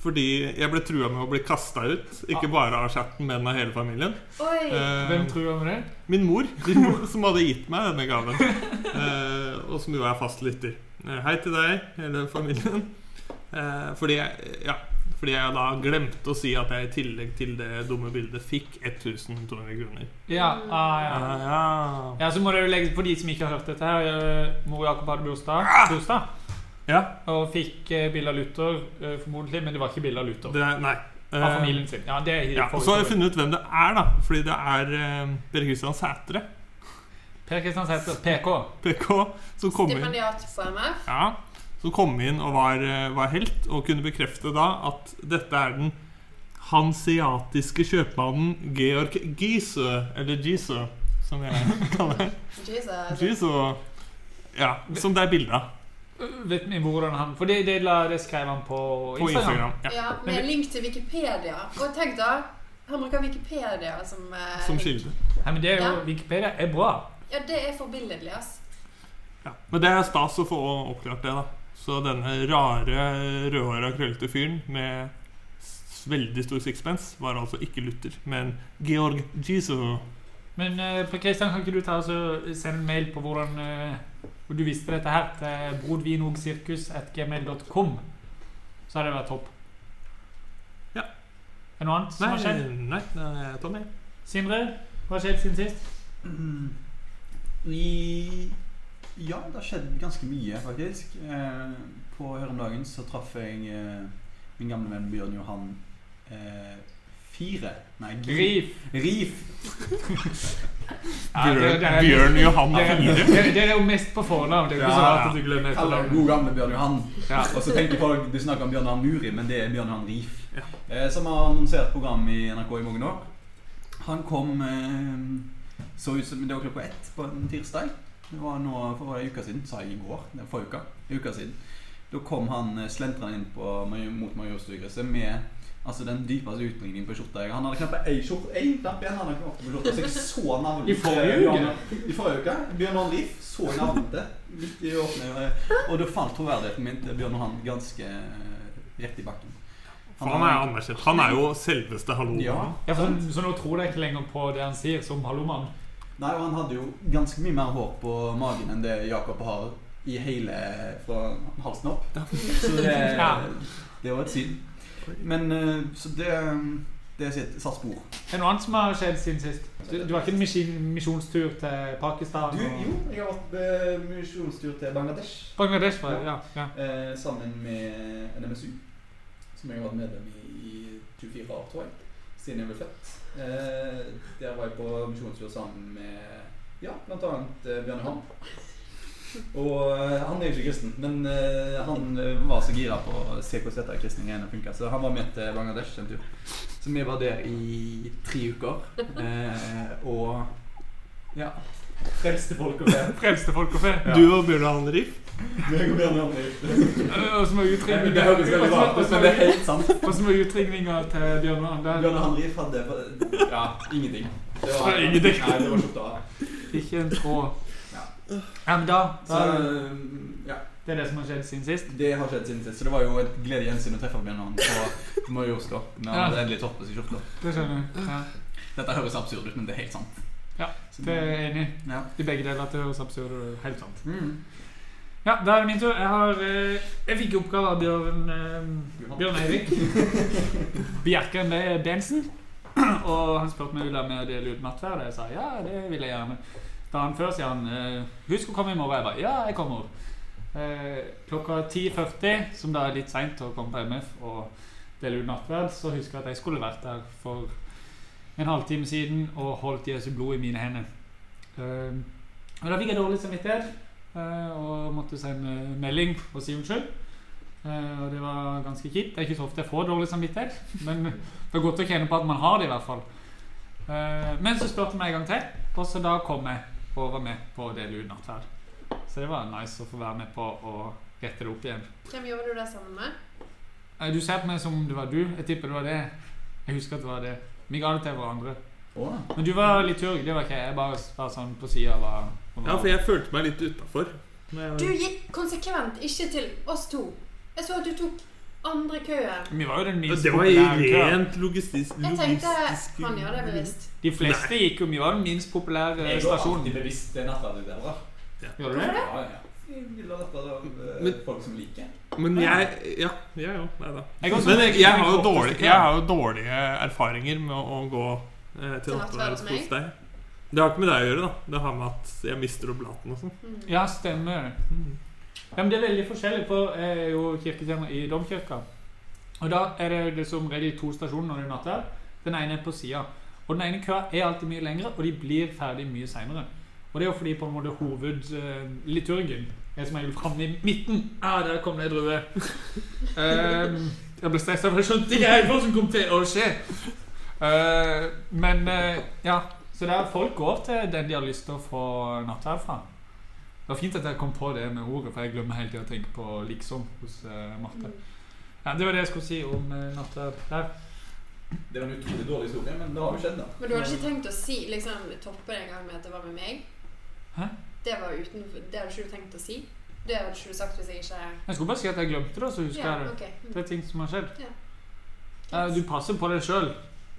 Speaker 4: fordi jeg ble trua med å bli kasta ut. Ikke bare av chatten, men av hele familien.
Speaker 3: Oi!
Speaker 4: Ehm,
Speaker 2: Hvem tror om det?
Speaker 4: min mor, din mor, som hadde gitt meg denne gaven. Eh, og som jo er fast lytter. Eh, hei til deg, hele familien. Eh, fordi, jeg, ja, fordi jeg da glemte å si at jeg i tillegg til det dumme bildet fikk 1200 kroner.
Speaker 2: Ja, ah, ja.
Speaker 4: Ah, ja.
Speaker 2: Ja, så må det jo legges for de som ikke har hørt dette her. eh, Mor Jakob hadde bursdag, bursdag
Speaker 4: Ah! ja,
Speaker 2: og fikk eh, bilde av Luther, eh, formodentlig, men det var ikke bilde av Luther.
Speaker 4: det er Nei. Eh,
Speaker 2: Av familien sin. Ja, det er
Speaker 4: ja, og så har jeg funnet ut hvem det er, da. Fordi det er eh, Per Kristian Sætre,
Speaker 2: Per Kristian Sæther, PK.
Speaker 4: PK, som kom inn
Speaker 3: Stipendiat på MF.
Speaker 4: Ja, som kom inn og var, eh, var helt, og kunne bekrefte da at dette er den hanseatiske kjøpmannen Georg Giese, eller Giese, som jeg kaller
Speaker 3: Jesus.
Speaker 4: Giese. Ja, som det er bilde av
Speaker 2: Øh, Vet vi hvordan han For det, det, la, det skrev han på
Speaker 4: på
Speaker 2: Instagram.
Speaker 4: Instagram. Ja,
Speaker 3: Ja, med link til Wikipedia. Og tenk da, han bruker Wikipedia som eh,
Speaker 4: som
Speaker 3: link.
Speaker 4: kilde.
Speaker 2: Nei, men det er jo,
Speaker 3: Ja.
Speaker 2: Wikipedia er bra.
Speaker 3: Ja, det er forbilledlig, ass.
Speaker 4: Ja. Men det er stas å få oppklart det, da. Så denne rare, rødhåra, krøllete fyren med s- veldig stor sixpence var altså ikke Luther, men Georg Giese.
Speaker 2: Men eh, Per Kristian, kan ikke du ta og så sende en mail på hvordan eh, hvor du visste dette her, til brodvinogsirkus.gmail.com? Så hadde det vært topp.
Speaker 4: Ja.
Speaker 2: Er det noe annet som
Speaker 4: Nei,
Speaker 2: har skjedd?
Speaker 4: nei, nei, Tommy.
Speaker 2: Sindre, hva har skjedd siden sist?
Speaker 5: Mm. I Ja, det har skjedd ganske mye, faktisk. Eh, på her om dagen så traff jeg eh, min gamle venn Bjørn Johan eh, Fire. Nei, Gri-
Speaker 2: Grif.
Speaker 5: Rif.
Speaker 2: Ja, det- det er-
Speaker 4: Bjørn Johan
Speaker 2: Det, det,
Speaker 4: Fire.
Speaker 2: det er jo mest på fornavn. Det er jo ikke
Speaker 5: Ja,
Speaker 2: så rart
Speaker 4: ja.
Speaker 2: at du glemmer
Speaker 5: Kall ham
Speaker 2: etternavn.
Speaker 5: god gamle Bjørn Johan.
Speaker 2: Ja.
Speaker 5: Og så tenker folk du snakker om Bjørn Johan Muri, men det er Bjørn Johan Rif.
Speaker 4: Ja.
Speaker 5: Eh, som har annonsert program i NRK i mange år. Han kom eh, så ut som det var klokka ett på en tirsdag. Det var nå for en uke siden, sa jeg i går. Det var forrige uke. En uke siden. Da kom han slentra inn på, mot Majorstugresset med altså den dypeste utligningen på skjorta. jeg har. Han hadde knapt ei skjorte ei knapp igjen. han hadde knapt på skjorta, Så jeg så navnet
Speaker 2: I forrige uke?
Speaker 5: I forrige uke. Bjørn Johan Rif så navnet midt i åpningen. Og da falt troverdigheten min til Bjørn Johan ganske eh, rett i bakken.
Speaker 4: For han er anerkjent. Han er jo selveste hallo.
Speaker 5: Ja.
Speaker 2: Ja, for, sånn- så, så nå tror jeg ikke lenger på det han sier som hallomann.
Speaker 5: Nei, og han hadde jo ganske mye mer hår på magen enn det Jakob har i hele fra halsen opp. Så det,
Speaker 2: Ja.
Speaker 5: det var et syn. Men eh, Så det, det sitt- satt spor.
Speaker 2: Det er noe annet som har skjedd siden sist. Du, du har ikke en misjon- misjonstur til Pakistan?
Speaker 5: Du,
Speaker 2: og-
Speaker 5: jo, jeg har vært på misjonstur til Bangladesh
Speaker 2: Bangladesh, var det, ja. ja.
Speaker 5: eh, sammen med NMSU, som jeg har vært medlem i i 24 år, tror jeg, siden jeg ble født. Eh, der var jeg på misjonstur sammen med ja, bl.a. Eh, Bjørn Johan. Og eh, han er jo ikke kristen, men eh, han eh, var så gira på å se hvordan dette kristningen funka, så han var med til Bangladesh en tur. Så vi var der i tre uker, eh, og ja Frelste folk og ber.
Speaker 2: Frelste folk og fe.
Speaker 5: Ja.
Speaker 4: Du og Bjørn Arne Riff.
Speaker 5: Meg og Bjørn Arne.
Speaker 2: Og så må
Speaker 5: Det høres veldig rart ut, men det er
Speaker 2: utringninger
Speaker 5: helt sant.
Speaker 2: Og så må utringninger til Bjørn Arne.
Speaker 5: Bjørn Arne Riff hadde ja, ingenting. Det
Speaker 2: Det var ingenting.
Speaker 5: Nei, det var slutt av.
Speaker 2: Ikke en tråd.
Speaker 5: Ja.
Speaker 2: Ja, men da,
Speaker 5: Så
Speaker 2: da
Speaker 5: eh, ja.
Speaker 2: Det er det som har skjedd siden sist.
Speaker 5: Det har skjedd siden sist, så det var jo et glede gjensyn å treffe Bjørn Arne på Majorstad. Når han
Speaker 2: Ja.
Speaker 5: hadde endelig tatt på seg skjorta.
Speaker 2: Det skjønner du. Ja.
Speaker 5: Dette høres absurd ut, men det er helt sant.
Speaker 2: Ja,
Speaker 5: Så
Speaker 2: Det er jeg enig i.
Speaker 5: ja.
Speaker 2: I begge deler at det høres absurd og helt sant.
Speaker 5: Mm.
Speaker 2: Ja, da er det min tur. Jeg har eh, Jeg fikk i oppgave av Bjørn eh, Bjørn Eivik. Bjerke med Bensen. Og han spurte meg om jeg ville være med og dele ut nattverd, og jeg sa ja, det vil jeg gjerne. Dagen før sier han eh, husk å komme i morgen. Jeg bare ja, jeg kommer. Eh, klokka 10.40, som da er litt seint å komme på MF og dele ut nattverd, så husker jeg at jeg skulle vært der for en halvtime siden og holdt Jesu blod i mine hender. Eh, og da fikk jeg dårlig samvittighet eh, og måtte sende melding og si unnskyld. Eh, og det var ganske kjipt. Det er ikke så ofte jeg får dårlig samvittighet, men det er godt å kjenne på at man har det, i hvert fall. Eh, men så spurte jeg meg en gang til, og så da kom jeg og var med på å dele ut nattverd. Så det var nice å få være med på å rette det opp igjen.
Speaker 3: Hvem gjorde du det sammen med?
Speaker 2: Eh, du ser på meg som om det var du. Jeg tipper det var det. Jeg husker at det var det. Vi ga det til hverandre.
Speaker 5: Å,
Speaker 2: Men du var liturg, det var ikke jeg. Jeg bare var sånn på sida og var
Speaker 4: Ja, for jeg følte meg litt utafor.
Speaker 3: Du gikk konsekvent ikke til oss to. Jeg så at du tok andre køen.
Speaker 2: Vi var jo den minst
Speaker 4: Det var
Speaker 2: populære
Speaker 4: i
Speaker 2: køen.
Speaker 4: rent logistisk
Speaker 3: Jeg tenkte
Speaker 4: logistisk-
Speaker 3: han gjør det bevisst.
Speaker 2: De fleste gikk jo mye av den minst populære
Speaker 5: Jeg går alltid
Speaker 2: stasjonen.
Speaker 5: bevisst til nattverdsutøvere.
Speaker 2: Gjør du det?
Speaker 5: Ja, ja, ja. Jeg vil ha nattverder av eh,
Speaker 4: Men-
Speaker 5: folk som liker.
Speaker 4: Men jeg Ja, jeg òg. Nei da.
Speaker 2: Jeg går som-
Speaker 4: Men jeg, jeg, har jo
Speaker 2: som
Speaker 4: dårlig,
Speaker 2: oftest-
Speaker 4: jeg har jo dårlige erfaringer med å, å gå eh, til
Speaker 3: Til
Speaker 4: nattverd
Speaker 3: nattverd med
Speaker 4: hos deg. Det har ikke med deg å gjøre, da. Det har med at jeg mister oblaten og sånn.
Speaker 3: Mm.
Speaker 2: Ja, stemmer.
Speaker 4: Mm.
Speaker 2: Ja, men det er veldig forskjellig, for jeg er jo kirketjener i domkirka. Og da er det, det som regel to stasjoner når det er nattverd. Den ene er på sida. Og den ene køa er alltid mye lengre, og de blir ferdig mye seinere. Og det er jo fordi på en måte hovedliturgen er som regel framme i midten. Ah, der kom det ei drue. Ehm, jeg ble stressa, for jeg skjønte ikke helt hva som kom til å skje. Eh, men eh, ja. Så der folk går til den de har lyst til å få nattverd fra. Det var fint at jeg kom på det med ordet, for jeg glemmer hele tiden å tenke på 'liksom' hos eh, Marte.
Speaker 3: Mm.
Speaker 2: Ja, det var det jeg skulle si om uh, nattverd der.
Speaker 5: Det var en utrolig dårlig historie, men det har jo skjedd, da.
Speaker 3: Men du hadde ikke tenkt å si liksom, toppe det en gang med at det var med meg?
Speaker 2: Hæ?
Speaker 3: Det, var uten, det hadde ikke du tenkt å si? Det hadde ikke du sagt hvis jeg ikke
Speaker 2: Jeg skulle bare si at jeg glemte det, og så husker
Speaker 3: Ja,
Speaker 2: jeg det.
Speaker 3: ok. Mm.
Speaker 2: Det er ting som har skjedd.
Speaker 3: Ja.
Speaker 2: Eh, du passer på deg sjøl.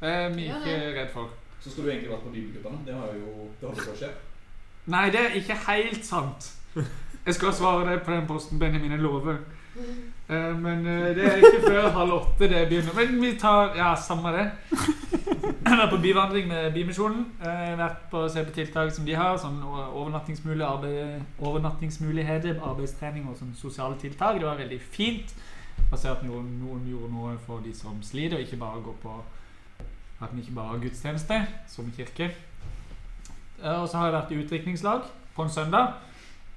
Speaker 2: Det er vi
Speaker 3: Ja,
Speaker 2: ikke redd for.
Speaker 5: Så skulle du egentlig vært på Bibelguttene. Det har jo det holder på å skje.
Speaker 2: Nei, det er ikke helt sant. Jeg skal svare deg på den posten, Benjamin. Jeg lover.
Speaker 3: Mm.
Speaker 2: Eh, men eh, det er ikke før halv åtte det begynner. Men vi tar Ja, samme det. Jeg har vært på byvandring med Bymisjonen. eh, Jeg har vært på å se på tiltak som de har. Sånn o- overnattingsmuli- arbeid, overnattingsmuligheter, arbeidstrening og sånne sosiale tiltak. Det var veldig fint. Og se at noen, noen gjorde noe for de som sliter, og ikke bare går på at vi ikke bare har gudstjeneste som kirke. Eh, Og så har jeg vært i utdrikningslag på en søndag.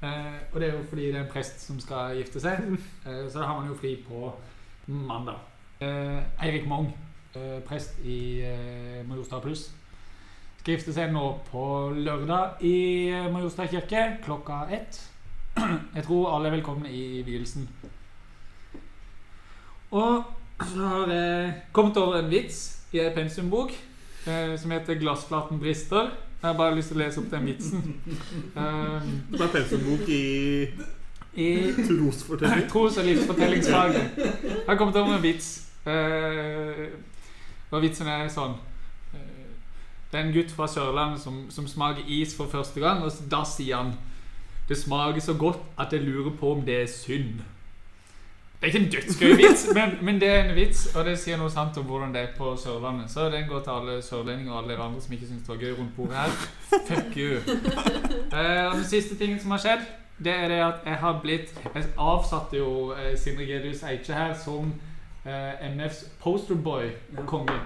Speaker 2: Eh, og det er jo fordi det er en prest som skal gifte seg. Eh, Så da har man jo fri på mandag. Eh, Eirik Mong, eh, prest i eh, Majorstad Pluss, skal gifte seg nå på lørdag i eh, Majorstad kirke klokka ett. Jeg tror alle er velkomne i vielsen. Og så har jeg kommet over en vits i ei pensumbok eh, som heter 'Glassflaten brister'. Jeg har bare lyst til å lese opp den vitsen. Eh,
Speaker 4: Det var pensumbok i
Speaker 2: I
Speaker 4: trosfortelling.
Speaker 2: Tros- og livsfortellingsfaget. Jeg har kommet over en vits. Eh, og vitsen er sånn eh, Det er en gutt fra Sørlandet som, som smaker is for første gang, og da sier han Det smaker så godt at jeg lurer på om det er synd. Det er ikke en dødsgøy vits, men, men det er en vits, og det sier noe sant om hvordan det er på Sørlandet. Så den går til alle sørlendinger og alle dere andre som ikke syns det var gøy rundt bordet her. Fuck you. Eh, og den siste tingen som har skjedd, det er det at jeg har blitt Jeg avsatte jo eh, Sindre Gedius Eikje her som eh, MFs posterboy-konge.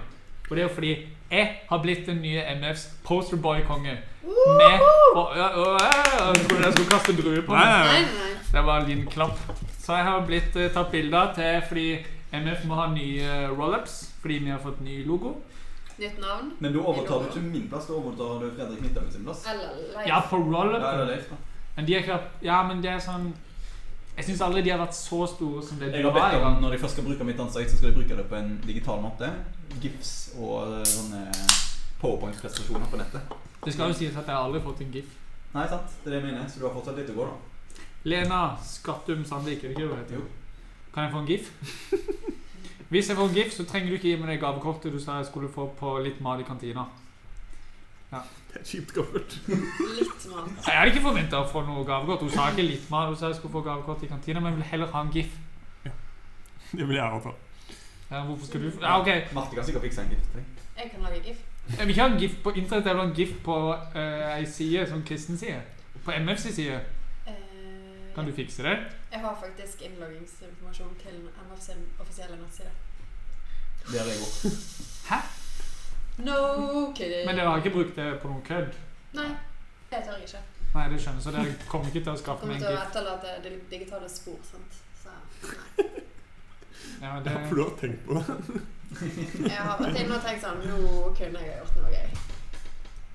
Speaker 2: Og det er jo fordi jeg har blitt den nye MFs posterboy-konge. Med
Speaker 3: Woohoo!
Speaker 2: og, ja, og, ja, ja, Jeg trodde jeg skulle kaste druer på
Speaker 4: Nei,
Speaker 2: meg.
Speaker 4: nei,
Speaker 3: Nei,
Speaker 4: nei.
Speaker 3: nei.
Speaker 2: Det var en liten klapp. Så jeg har blitt eh, tatt bilder av til fordi MF må ha nye eh, rollups. Fordi vi har fått ny logo.
Speaker 3: Nytt navn.
Speaker 5: Men da overtar du ikke min plass, da overtar du Fredrik Midthaug sin plass.
Speaker 3: Eller Leif.
Speaker 2: Ja, på
Speaker 5: Ja, det
Speaker 2: rollupen.
Speaker 5: er Leif, da.
Speaker 2: Men de er ikke Ja, men det er sånn Jeg syns aldri de har vært så store som det
Speaker 5: Jeg
Speaker 2: de
Speaker 5: har
Speaker 2: var
Speaker 5: bedt
Speaker 2: i
Speaker 5: om
Speaker 2: gang.
Speaker 5: Når de først skal bruke mitt ansikt, så skal de bruke det på en digital måte. Gifs og eh, sånne powerpoint-prestasjoner på nettet.
Speaker 2: Det skal jo sies at jeg har aldri fått en gif.
Speaker 5: Nei, sant? Det er det jeg mener. Så du har fortsatt litt å gå, da.
Speaker 2: Lena Skattum Sandvik, er det ikke det hun heter?
Speaker 5: Jo.
Speaker 2: Kan jeg få en gif? Hvis jeg får en gif, så trenger du ikke gi meg det gavekortet du sa jeg skulle få på litt mat i kantina.
Speaker 4: Det er kjipt gammelt.
Speaker 3: Litt mat.
Speaker 2: Jeg hadde ikke forventa å få noe gavekort. Hun sa ikke litt mat, hun sa jeg skulle få gavekort i kantina, men jeg vil heller ha en gif.
Speaker 4: Det vil jeg ha tatt.
Speaker 2: Ja, hvorfor skal du få Ja, OK.
Speaker 5: Marte kan sikkert fikse en gift til deg.
Speaker 3: Jeg kan lage gif.
Speaker 2: Jeg vil ikke ha en gif på internett, jeg vil ha en gif på eh, ei side, som kristen side. På MFs side.
Speaker 3: Eh,
Speaker 2: Kan du fikse det?
Speaker 3: Jeg har faktisk innloggingsinformasjon til MF sin offisielle nettside.
Speaker 5: Det har jeg òg.
Speaker 3: No kidding.
Speaker 2: Men dere har ikke brukt det på noen kødd?
Speaker 3: Nei, det tør jeg ikke.
Speaker 2: Nei, det skjønner jeg, så dere kommer ikke til å skaffe
Speaker 3: Kommer
Speaker 2: meg
Speaker 3: til
Speaker 2: en
Speaker 3: å
Speaker 2: gif.
Speaker 3: etterlate det digitale spor, sant. Så
Speaker 2: Ja,
Speaker 4: Ja,
Speaker 2: det,
Speaker 4: for du har tenkt på det.
Speaker 3: jeg har vært inne og tenkt sånn Nå kunne jeg ha gjort noe gøy.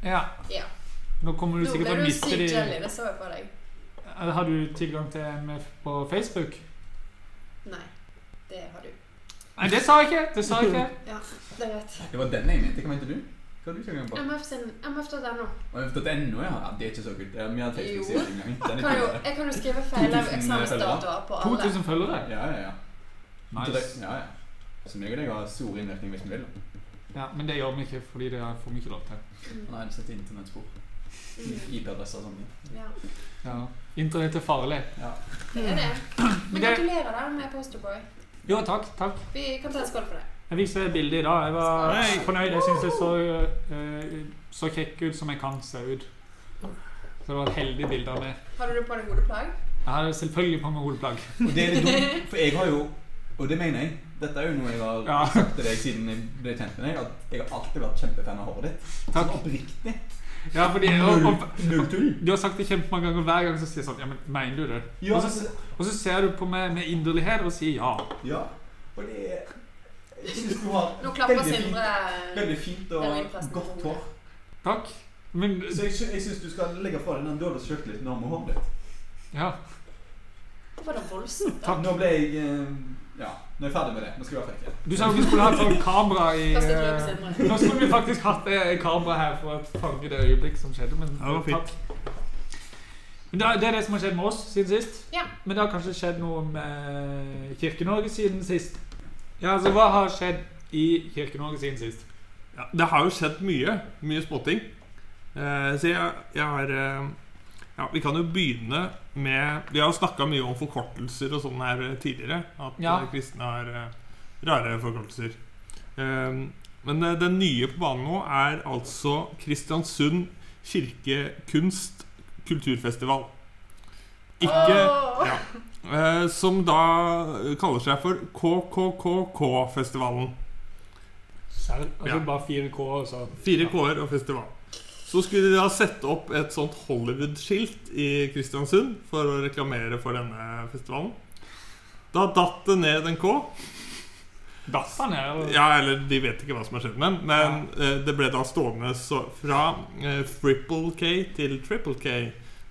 Speaker 2: ja.
Speaker 3: Ja.
Speaker 2: Nå kommer du
Speaker 3: Nå
Speaker 2: sikkert sånn til å
Speaker 3: ble du
Speaker 2: miste
Speaker 3: sykt
Speaker 2: de
Speaker 3: jelly, det så jeg på deg.
Speaker 2: Eller Har du tilgang til MF på Facebook?
Speaker 3: Nei, det har du.
Speaker 2: Nei, det sa jeg ikke! Det sa jeg ikke.
Speaker 3: Ja, det vet jeg.
Speaker 5: Det var den jeg mente. Hva mente du? Hva har du tilgang på?
Speaker 3: MF sin MF.no.
Speaker 5: MF.no, ja. ja. Det er ikke så kult. Eh, Vi har Facebook-siden en gang. Den er
Speaker 3: Kan jo,
Speaker 5: kulere.
Speaker 3: jeg kan jo skrive feil
Speaker 5: 2000
Speaker 3: eksamensdatoer på alle.
Speaker 2: 2000 følgere.
Speaker 5: Ja, ja, ja.
Speaker 2: Nice.
Speaker 5: Ja, ja. Så meg og deg har stor innvirkning hvis vi vil. da.
Speaker 2: Ja, men det gjør vi ikke, fordi det får vi ikke lov til.
Speaker 5: Nei, det setter internettspor.
Speaker 3: Mm,
Speaker 5: IP-adresser og sånne ting.
Speaker 3: Ja,
Speaker 2: Ja. Internett er farlig.
Speaker 5: Ja.
Speaker 3: det er det.
Speaker 2: Men
Speaker 3: Men
Speaker 2: det-
Speaker 3: gratulerer da med Posterboy.
Speaker 2: Jo, takk. takk.
Speaker 3: Vi kan ta en skål for det.
Speaker 2: Jeg fikk se bildet i dag. Jeg var
Speaker 4: Hei.
Speaker 2: fornøyd. Jeg syns det så, eh, så kjekk ut som jeg kan se ut. Så det var et heldig bilde av meg.
Speaker 3: Hadde du på deg hodeplagg?
Speaker 2: Jeg hadde selvfølgelig på meg hodeplagg.
Speaker 5: Og det er litt dumt, for jeg har jo Og det mener jeg. Dette er jo noe jeg har
Speaker 2: Ja.
Speaker 5: sagt til deg siden jeg ble kjent med deg, at jeg har alltid vært kjempefan av håret ditt.
Speaker 2: Takk.
Speaker 5: Sånn oppriktig.
Speaker 2: Ja, fordi og, og,
Speaker 5: Null tull.
Speaker 2: Du har sagt det kjempemange ganger, og hver gang så sier jeg sånn Ja, men mener du det?
Speaker 5: Ja,
Speaker 2: Og, så, og så ser du på meg med inderlighet og sier ja.
Speaker 5: ja. Og det er Jeg syns du har
Speaker 3: Nå klapper
Speaker 5: veldig fint-
Speaker 3: Sindre
Speaker 5: Veldig fint
Speaker 3: Veldig
Speaker 5: og
Speaker 3: impressivt.
Speaker 5: godt hår.
Speaker 2: Takk. Men
Speaker 5: Så jeg, sy- jeg syns du skal legge fra deg den dårlige sjøltilliten du har med håret ditt.
Speaker 2: Ja.
Speaker 3: Var det voldsomt? da?
Speaker 5: Nå ble jeg eh, Ja, nå er jeg ferdig med det. Nå skal vi være frekke.
Speaker 2: Du sa jo vi skulle hatt sånn kamera i
Speaker 3: Kastet du opp,
Speaker 2: eh,
Speaker 3: Sindre?
Speaker 2: Nå skulle vi faktisk hatt eh, kamera her for å fange det øyeblikk som skjedde, men
Speaker 4: Ja, det var fint.
Speaker 2: takk. Men det er- det er det som har skjedd med oss siden sist.
Speaker 3: Ja.
Speaker 2: Men det har kanskje skjedd noe med Kirke-Norge siden sist. Ja, altså hva har skjedd i Kirke-Norge siden sist?
Speaker 4: Ja, det har jo skjedd mye. Mye spotting. Eh, så jeg, jeg har eh, Ja, vi kan jo begynne med Vi har jo snakka mye om forkortelser og sånn her eh, tidligere. At
Speaker 2: Ja.
Speaker 4: eh, kristne har eh, rare forkortelser. Eh, men eh, den nye på banen nå er altså Kristiansund kirke kunst kulturfestival. Ikke
Speaker 3: Åh!
Speaker 4: ja. Eh, Som da kaller seg for KKKK-festivalen.
Speaker 2: Serr? Altså
Speaker 4: Ja.
Speaker 2: bare 4K og så
Speaker 4: Fire K-er og festival. Så skulle de da sette opp et sånt Hollywood-skilt i Kristiansund for å reklamere for denne festivalen. Da datt det ned en K.
Speaker 2: Datt han ned? eller?
Speaker 4: Ja, eller de vet ikke hva som har skjedd med den, men eh, det ble da stående så, fra eh, triple K til triple K.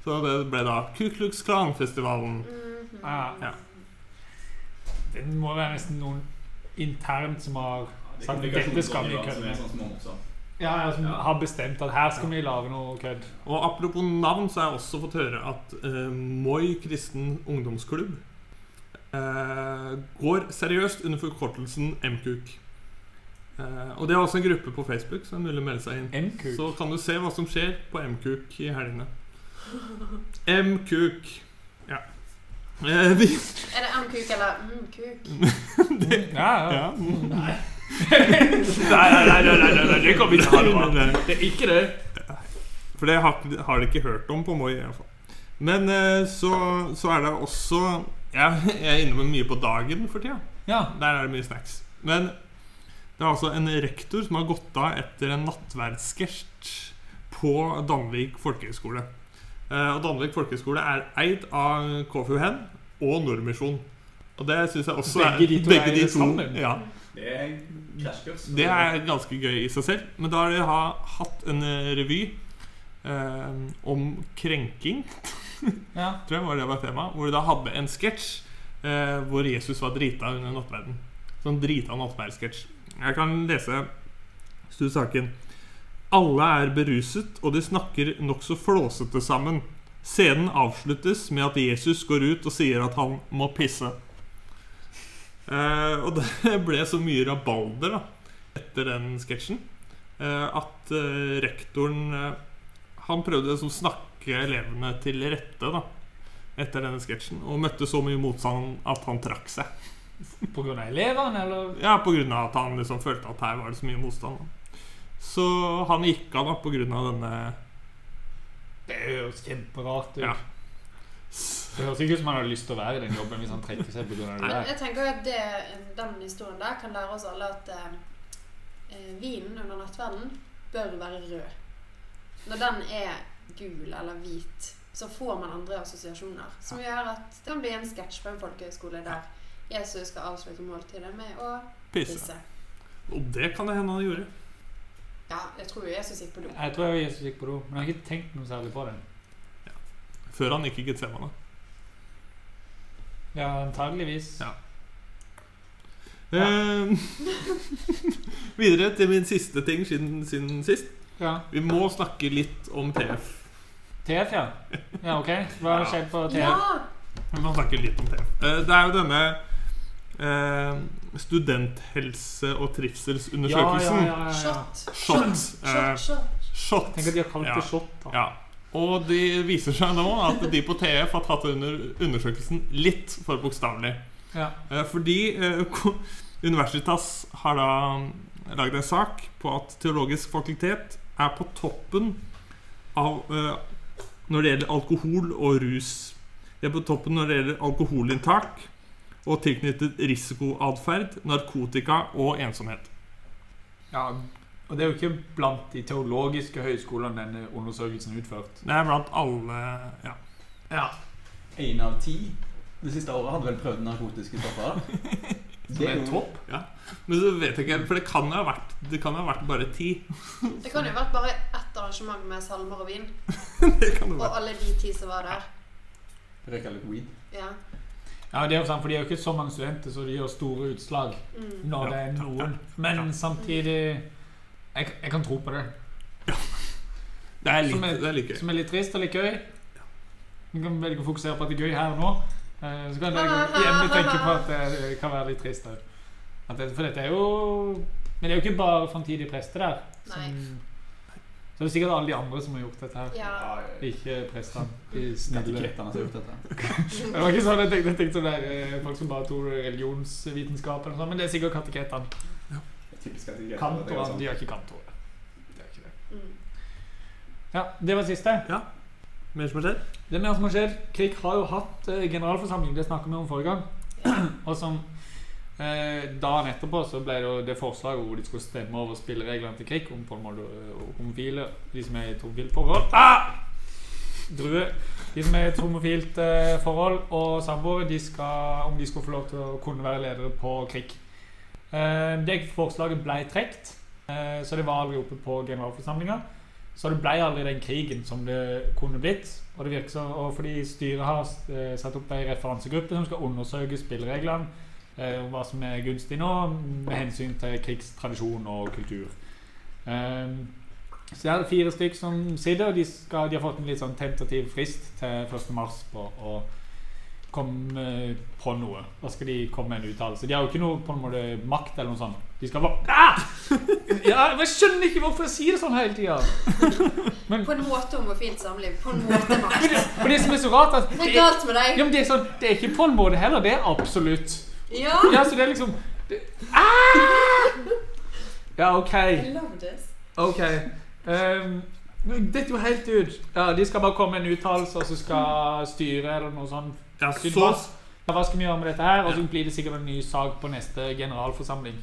Speaker 4: Så det ble da Ku Klux Klan-festivalen.
Speaker 3: Mhm.
Speaker 2: Ja,
Speaker 4: Ah, ja.
Speaker 2: Det må være nesten noen internt som har Sånn, dette skal vi kødde med.
Speaker 5: Sånn små mopser.
Speaker 2: Ja, ja, som
Speaker 5: Ja.
Speaker 2: har bestemt at her skal vi lage noe kødd.
Speaker 4: Og apropos navn, så har jeg også fått høre at eh, Moi kristen ungdomsklubb eh, går seriøst under forkortelsen MKUK. Eh, og det er også en gruppe på Facebook, så det er mulig å melde seg inn.
Speaker 2: MQ.
Speaker 4: Så kan du se hva som skjer på MKUK i helgene.
Speaker 3: Mm-hmm.
Speaker 4: MKUK. Ja. Eh, vi,
Speaker 3: Er det M-kuk eller M-kuk?
Speaker 2: Mm, Ja, ja.
Speaker 4: ja. Nei,
Speaker 2: Nei, nei, nei, nei, nei, nei, det kommer ikke til å ha noe av.
Speaker 4: nei.
Speaker 2: Det er ikke det.
Speaker 4: For det har, har de ikke hørt om på Moi. i hvert fall. Men eh, så, så er det også Jeg, jeg er innom mye på dagen for tida.
Speaker 2: Ja.
Speaker 4: Der er det mye snacks. Men Det er altså en rektor som har gått av etter en nattverdskert på Danvik folkehøgskole. Eh, Og Danvik folkehøgskole er eid av KFUN og Nordmisjon. Og det syns jeg også
Speaker 2: Begge de to
Speaker 4: begge
Speaker 2: er
Speaker 4: de
Speaker 2: det sammen?
Speaker 4: Ja,
Speaker 5: Det er krasjkurs.
Speaker 4: det er ganske gøy i seg selv. Men da har de ha, hatt en eh, revy eh, om krenking,
Speaker 2: Ja.
Speaker 4: tror jeg var det var tema, hvor de da hadde en sketsj eh, hvor Jesus var drita under nattverden. Sånn drita nattverdsketsj. Jeg kan lese studiesaken. Alle er beruset, og de snakker nokså flåsete sammen. Scenen avsluttes med at Jesus går ut og sier at han må pisse. Eh, og det ble så mye rabalder da, etter den sketsjen eh, at eh, rektoren eh, Han prøvde liksom å snakke elevene til rette da, etter denne sketsjen, og møtte så mye motstand at han trakk seg.
Speaker 2: På grunn av elevene, eller?
Speaker 4: Ja, på grunn av at han liksom følte at her var det så mye motstand. Da. Så han gikk av da på grunn av denne
Speaker 2: Det høres kjemperart ut.
Speaker 4: Ja.
Speaker 2: Det høres ikke ut som han hadde lyst til å være i den jobben hvis han trekker seg pga. det
Speaker 3: Men
Speaker 2: der.
Speaker 3: jeg tenker jo at det, den historien der kan lære oss alle at eh, eh, vinen under nattverden bør være rød. Når den er gul eller hvit, så får man andre assosiasjoner. Som gjør at det kan bli en sketsj på en folkehøyskole der Jesus skal avslutte måltidet med å
Speaker 4: pisse.
Speaker 3: pisse.
Speaker 4: Og det kan det hende han gjorde.
Speaker 3: Ja, jeg tror jo Jesus gikk på do.
Speaker 2: Jeg tror jeg Jesus gikk på do, men jeg har ikke tenkt noe særlig på det.
Speaker 4: Før han gikk i Getsemane.
Speaker 2: Ja, antageligvis.
Speaker 4: Ja. Eh, videre til min siste ting siden, siden sist.
Speaker 2: Ja.
Speaker 4: Vi må snakke litt om TF.
Speaker 2: TF, ja. Ja, ok. Hva har skjedd på TF?
Speaker 3: Ja!
Speaker 4: Vi må snakke litt om TF. Eh, det er jo denne eh, studenthelse- og trivselsundersøkelsen.
Speaker 2: ja, ja, ja.
Speaker 3: Shot.
Speaker 4: Shot. eh,
Speaker 3: Shot, shot.
Speaker 4: shot.
Speaker 2: Tenk at de har kalt
Speaker 4: Ja.
Speaker 2: det shot. da.
Speaker 4: Ja. Og det viser seg nå at de på TF har tatt under undersøkelsen litt for bokstavelig.
Speaker 2: Ja.
Speaker 4: Eh, Fordi eh, ko- Universitas har da um, lagd en sak på at Teologisk fakultet er på toppen av eh, når det gjelder alkohol og rus. De er på toppen når det gjelder alkoholinntak og tilknyttet risikoatferd, narkotika og ensomhet.
Speaker 2: Ja, og det er jo ikke blant de teologiske høyskolene denne undersøkelsen er utført.
Speaker 4: Det er blant alle Ja.
Speaker 2: Ja.
Speaker 5: Én av ti det siste året hadde vel prøvd narkotiske stoffer. da.
Speaker 2: Som er
Speaker 5: jo-
Speaker 2: topp.
Speaker 4: Men så vet jeg ikke, for det kan jo ha vært, det kan jo ha vært bare ti.
Speaker 3: Det kan jo vært bare ett arrangement med salmer og vin,
Speaker 4: Det kan det
Speaker 3: og
Speaker 4: være.
Speaker 3: alle de ti som var der.
Speaker 5: Røyka litt weed.
Speaker 3: Ja.
Speaker 2: Ja, det er jo sant, for de er jo ikke så mange studenter, så de gjør store utslag
Speaker 3: Mm.
Speaker 2: når det er
Speaker 4: Ja, ja,
Speaker 2: noen.
Speaker 4: ja.
Speaker 2: Men samtidig jeg, jeg kan tro på det.
Speaker 4: Det er litt,
Speaker 2: Som er-
Speaker 4: det er litt gøy.
Speaker 2: Som er litt trist og litt gøy. Du kan velge å fokusere på at det er gøy her og nå. Eh, Så kan du hjemme tenke på at det kan være litt trist òg. For dette er jo Men det er jo ikke bare framtidige prester der.
Speaker 3: Nei.
Speaker 2: Som, så det er sikkert alle de andre som har gjort dette her.
Speaker 3: Ja.
Speaker 2: Ikke prestene. De snille.
Speaker 5: Etikettene som har gjort dette.
Speaker 2: Det var ikke sånn jeg tenkte, jeg tenkte sånn der, eh, folk som bare tok religionsvitenskap, eller noe sånt, men det er sikkert kateketene.
Speaker 5: Typisk etiketter, det er jo
Speaker 2: Kantorene,
Speaker 5: sånn.
Speaker 2: de har ikke kantorer. Det er ikke det.
Speaker 3: Mm.
Speaker 2: Ja, det var siste.
Speaker 4: Mer som har skjedd?
Speaker 2: Det er mer som har skjedd. Krig har jo hatt eh, generalforsamling, det snakket vi om forrige gang. Og som eh, dagen etterpå så ble det, jo det forslaget hvor de skulle stemme over spillereglene til krig om på en måte eh, homofile, de som er i et homofilt forhold. Ah! Drue. De som er i et homofilt eh, forhold og samboere, de skal, om de skulle få lov til å kunne være ledere på krig. Eh, det forslaget ble trekt, eh, så det var aldri oppe på generalforsamlinga. Så det ble aldri den krigen som det kunne blitt. Og det virker så, og fordi styret har eh, satt opp ei referansegruppe som skal undersøke spillereglene, eh, og hva som er gunstig nå, med hensyn til krigstradisjon og kultur. Ehm, så det er fire stykk som sitter, og de, skal, de har fått en litt sånn tentativ frist til 1. mars på å komme eh, på noe. Da skal de komme med en uttalelse. De har jo ikke noe på en måte makt eller noe sånt. De skal bare ah! ja, Jeg skjønner ikke hvorfor jeg sier det sånn hele tida.
Speaker 3: På en måte homofilt samliv. På en måte makt.
Speaker 2: Men det, men det som er så rart at
Speaker 3: Det er
Speaker 2: det er,
Speaker 3: galt med deg.
Speaker 2: ja, men det, er sånn, det er ikke på en måte heller, det er absolutt.
Speaker 3: Ja!
Speaker 2: Ja, så det er liksom det, ah! Ja, OK.
Speaker 3: I love this.
Speaker 2: OK. Um, Detter jo helt ut. Ja, De skal bare komme med en uttalelse, og så skal styret eller noe sånt
Speaker 4: Ja,
Speaker 2: Siden
Speaker 4: så
Speaker 2: mars. Ja, Hva skal vi gjøre med dette her? Og så blir det sikkert en ny sak på neste generalforsamling.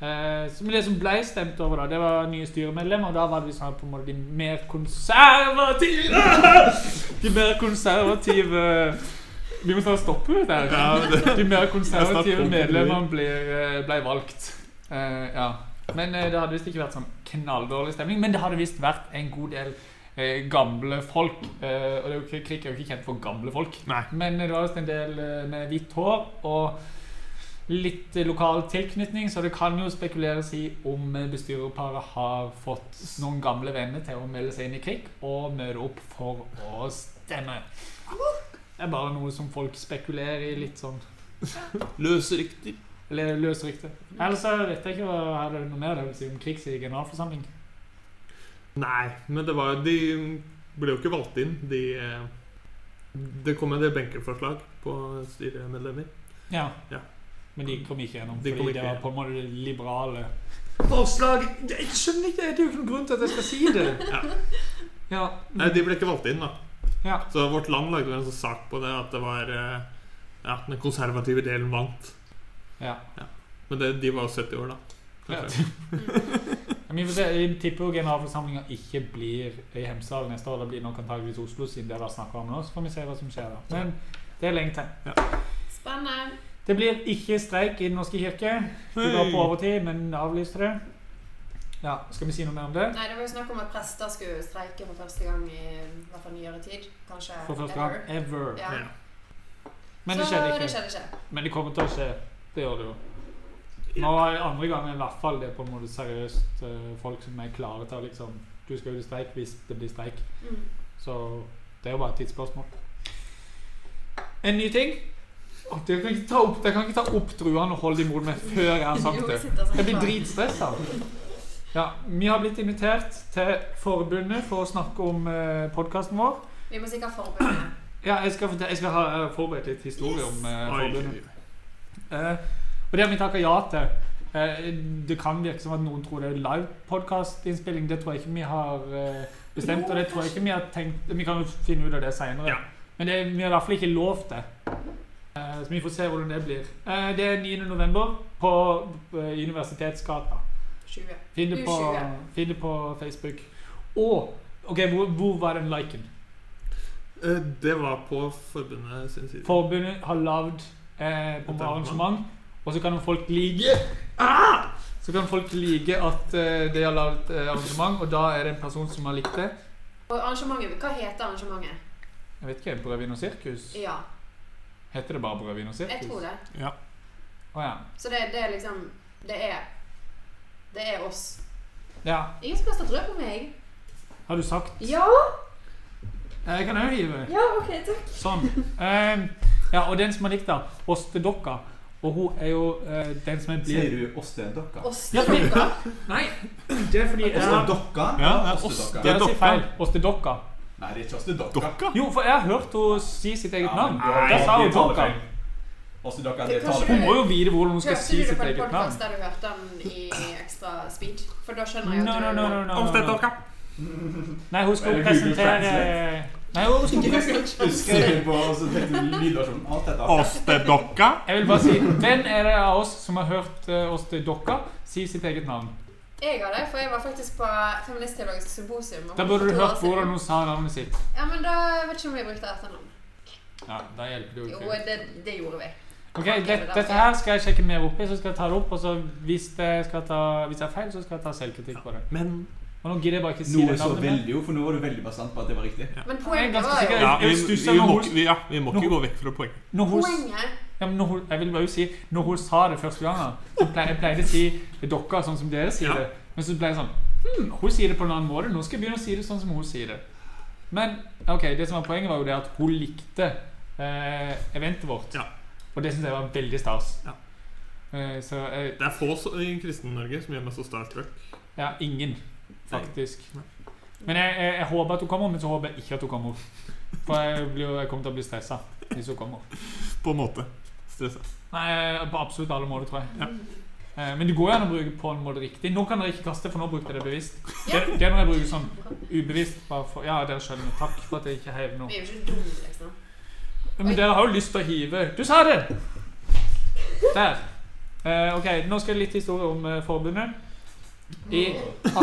Speaker 2: Eh, så- men det som ble stemt over, da, det var nye styremedlemmer, og da var det liksom på en måte de mer konservative De mer konservative Vi må snart stoppe dette her.
Speaker 4: Ja, men det-
Speaker 2: De mer
Speaker 4: Jeg snakker
Speaker 2: konservative
Speaker 4: om
Speaker 2: medlemmene ble, ble valgt. Eh, ja. Men eh, det hadde visst ikke vært sånn knalldårlig stemning. Men det hadde visst vært en god del eh, gamle folk. Eh, og det er jo ikke, krig er jo ikke kjent for gamle folk.
Speaker 4: Nei.
Speaker 2: Men det var visst en del eh, med hvitt hår og litt eh, lokal tilknytning, så det kan jo spekuleres i om eh, bestyrerparet har fått noen gamle venner til å melde seg inn i krig og møte opp for å stemme. Det er bare noe som folk spekulerer i litt sånn
Speaker 4: Løsriktig.
Speaker 2: eller løs rykte. Ellers så vet jeg ikke hva er det noe mer det vil si om krigs i generalforsamling.
Speaker 4: Nei, men det var De ble jo ikke valgt inn, de eh, Det kom en del benkeforslag på styremedlemmer.
Speaker 2: Ja.
Speaker 4: Ja.
Speaker 2: Men de kom ikke gjennom,
Speaker 4: De kom
Speaker 2: fordi
Speaker 4: ikke
Speaker 2: det var
Speaker 4: gjennom.
Speaker 2: på en måte det liberale Forslag Jeg skjønner ikke, det er jo ikke noen grunn til at jeg skal si det.
Speaker 4: Ja.
Speaker 2: Ja.
Speaker 4: Nei, de ble ikke valgt inn, da.
Speaker 2: Ja.
Speaker 4: Så Vårt Land lagde en sånn sak på det, at det var eh, Ja, den konservative delen vant.
Speaker 2: Ja.
Speaker 4: Men det, de var jo 70 år, da.
Speaker 2: Ja.
Speaker 4: Kanskje.
Speaker 2: Men Vi får se, jeg tipper jo generalforsamlinga ikke blir i Hemsedal neste år. Det blir nok antageligvis Oslo, siden det har vært snakka om nå. Så får vi se hva som skjer da. Men det er lenge til.
Speaker 3: Spennende.
Speaker 2: Det blir ikke streik i Den norske kirke. Det var på overtid, men avlyste det. Ja, Skal vi si noe mer om det?
Speaker 3: Nei, det var jo snakk om at prester skulle streike for første gang i i hvert fall nyere tid. Kanskje
Speaker 2: For første gang ever.
Speaker 3: Ja.
Speaker 4: Ja.
Speaker 2: Men det
Speaker 3: Så
Speaker 2: skjedde
Speaker 3: Det
Speaker 2: ikke.
Speaker 3: skjedde ikke.
Speaker 2: Men det kommer til å skje. Det gjør det jo. Nå er det andre gangen i hvert fall det er på en måte seriøst eh, folk som er klare til å liksom Du skal ut i streik hvis det blir streik.
Speaker 3: Mm.
Speaker 2: Så det er jo bare et tidsspørsmål. En ny ting Å, Dere kan ikke ta opp, dere kan ikke ta opp druene og holde imot meg før jeg har sagt
Speaker 3: Jo,
Speaker 2: det.
Speaker 3: vi sitter sånn
Speaker 2: Jeg blir
Speaker 3: klar.
Speaker 2: dritstressa. Ja, vi har blitt invitert til forbundet for å snakke om eh, podkasten vår.
Speaker 3: Vi må sikkert forberede det.
Speaker 2: Ja, jeg skal, fortel- jeg skal ha jeg har forberedt litt historie om eh,
Speaker 4: Oi,
Speaker 2: forbundet. Eh, og det har vi takka ja til. Eh, det kan virke som at noen tror det er live podkastinnspilling. Det tror jeg ikke vi har eh, bestemt, og det tror jeg ikke vi har tenkt Vi kan jo finne ut av det seinere.
Speaker 4: Ja.
Speaker 2: Men det, vi har i hvert fall ikke lov til. Eh, så vi får se hvordan det blir. Eh, det er 9. november på eh, Universitetsgata.
Speaker 3: 20.
Speaker 2: Finn det, på,
Speaker 3: U20.
Speaker 2: finn det på Facebook. Og OK, hvor, hvor var den liken?
Speaker 4: Eh, Det var på forbundet sin side.
Speaker 2: Forbundet har lagd eh, på
Speaker 4: Et
Speaker 2: et
Speaker 4: arrangement.
Speaker 2: arrangement, og så kan jo folk like ah! Så kan folk like at eh, de har lagd et eh, arrangement, og da er det en person som har likt det.
Speaker 3: Og arrangementet, hva heter arrangementet?
Speaker 2: Jeg vet ikke, Brødvin og sirkus?
Speaker 3: Ja,
Speaker 2: Heter det bare Brødvin og sirkus?
Speaker 3: jeg tror det.
Speaker 2: Å, ja.
Speaker 3: Så det, det er liksom, det er, det er oss.
Speaker 2: ja.
Speaker 3: Ingen som kaster brød på meg.
Speaker 2: Har du sagt
Speaker 3: Ja,
Speaker 2: Eh, Jeg kan òg hive.
Speaker 3: ja, ok, takk.
Speaker 2: Sånn. Eh, ja, og den som har likt det, Ostedokka. Og hun er jo eh, den som er
Speaker 5: Sier
Speaker 2: blitt
Speaker 5: du ostedokka?
Speaker 3: Oss.
Speaker 2: Ja, men-
Speaker 3: Takk.
Speaker 2: Nei, det er fordi jeg har
Speaker 5: Ostedokka?
Speaker 4: Ja, det er
Speaker 5: ostedokka.
Speaker 4: Det er
Speaker 2: Dere sier
Speaker 4: dokka.
Speaker 2: feil. Ostedokka.
Speaker 5: Nei, det er ikke ostedokka.
Speaker 4: Dokka?
Speaker 2: Jo, for jeg har hørt henne si sitt eget
Speaker 5: Ja,
Speaker 2: navn.
Speaker 5: men det er-
Speaker 2: Da sa hun
Speaker 5: det er
Speaker 2: dokka.
Speaker 5: talefeil. Ostedokka, det er
Speaker 3: Kanskje
Speaker 2: Hun
Speaker 5: talefeil.
Speaker 2: må jo vite hvordan hun skal
Speaker 3: Hørte
Speaker 2: si
Speaker 3: du det
Speaker 2: sitt
Speaker 3: på en
Speaker 2: eget navn.
Speaker 3: podcast der du hørte den i Extra Speed? For da skjønner jeg
Speaker 2: No,
Speaker 3: at
Speaker 2: no,
Speaker 3: du...
Speaker 2: no, no, no, no, no.
Speaker 4: Omstedt-dokka.
Speaker 2: Nei, hun skulle
Speaker 5: Eller Google
Speaker 2: presentere Nei, hun skulle
Speaker 5: Husker jeg på og så tenkte du lydversjonen. Ostedokka.
Speaker 4: Ostedokka.
Speaker 2: Jeg vil bare si Hvem er det av oss som har hørt eh, oss til dokka si sitt eget navn?
Speaker 3: Jeg har det, for jeg var faktisk på Feministteologisk symposium. og
Speaker 2: Da
Speaker 3: hun
Speaker 2: burde du
Speaker 3: fortalte
Speaker 2: hørt
Speaker 3: sin-
Speaker 2: hvordan hun sa navnet sitt.
Speaker 3: Ja, men da jeg vet ikke om jeg brukte etternavn.
Speaker 2: Ja, da hjelper det jo
Speaker 3: Jo,
Speaker 2: ikke.
Speaker 3: det, det gjorde vi.
Speaker 2: Ok, det, Dette her skal jeg sjekke mer opp i, så skal jeg ta det opp. Og så hvis jeg, skal ta, hvis jeg har feil, så skal jeg ta selvkritikk på det.
Speaker 4: Men
Speaker 2: Og nå gidder jeg bare ikke si
Speaker 5: Noe
Speaker 2: det
Speaker 5: så
Speaker 2: navnet. mer.
Speaker 5: veldig jo, for nå var du veldig bastant på at det var riktig.
Speaker 3: Men
Speaker 2: Jeg er
Speaker 3: poenget
Speaker 2: ganske
Speaker 3: var jo
Speaker 2: sikker.
Speaker 4: ja, vi,
Speaker 2: Jeg stusser
Speaker 4: vi,
Speaker 2: når
Speaker 4: må,
Speaker 2: hun-
Speaker 4: ikke- vi, ja, vi må ikke
Speaker 2: Nå-
Speaker 4: gå vekk fra poenget.
Speaker 2: Når hun, s-
Speaker 3: Poenget
Speaker 2: ja, men når hun, jeg vil bare si Når hun sa det første gangen, så pleide jeg pleide å si det er dokka, sånn som dere sier
Speaker 4: Ja.
Speaker 2: det. Men så ble jeg sånn hm, Hun sier det på en annen måte. Nå skal jeg begynne å si det sånn som hun sier det. Men ok, det som var poenget, var jo det at hun likte eh, eventet vårt.
Speaker 4: Ja.
Speaker 2: Og det syns jeg var veldig stas.
Speaker 4: Ja.
Speaker 2: Eh, så eh,
Speaker 4: Det er få så, i kristen-Norge som gjør meg så starstruck.
Speaker 2: ja, ingen, faktisk.
Speaker 4: Nei.
Speaker 2: Men jeg, jeg, jeg håper at hun kommer, men så håper jeg ikke at hun kommer. For jeg, blir, jo- jeg kommer til å bli stressa hvis hun kommer.
Speaker 4: På en måte. Stressa.
Speaker 2: Nei, eh, på absolutt alle måter, tror jeg. Eh, Men det går jo an å bruke på en måte riktig. Nå kan dere ikke kaste, for nå brukte jeg det bevisst. Det, det er når jeg bruker sånn ubevisst. Bare for, ja, dere skjønner. Takk for at jeg ikke heiv nå.
Speaker 3: Vi er jo ikke dumme, liksom.
Speaker 2: Men dere har jo lyst til å hive. Du sa det! Der. Eh, ok, Nå skal det litt historie om eh, forbundet. I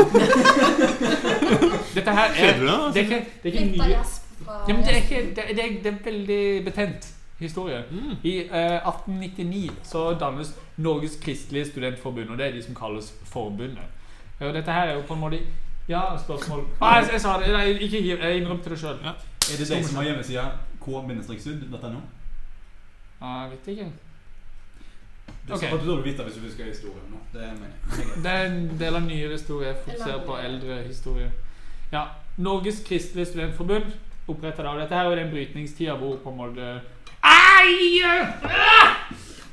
Speaker 2: Dette her er
Speaker 4: Kjeder du deg?
Speaker 2: Det er ikke, det er ikke
Speaker 3: Litt av
Speaker 2: nye
Speaker 3: gjesp fra
Speaker 2: ja, men det, er ikke, det, er- det, er, det er en veldig betent historie. I eh, 1899 så dannes Norges Kristelige Studentforbund, og det er de som kalles Forbundet. Og dette her er jo på en måte Ja, spørsmål ah, jeg, jeg sa det. Nei, ikke hiv. Jeg innrømte det sjøl.
Speaker 4: Ja.
Speaker 5: Er det de som har hjemmesida k-sud.no?
Speaker 2: Ah, jeg vet ikke.
Speaker 5: Det
Speaker 2: Ok.
Speaker 5: skal du dårlig vite hvis du husker historien. nå. Det mener jeg.
Speaker 2: Det er en del av nyere historie. Jeg fokuserer på eldre historie. Ja, Norges Kristelige Studentforbund oppretta da. og Dette her er jo den brytningstida hvor på en måte Ai! Ah!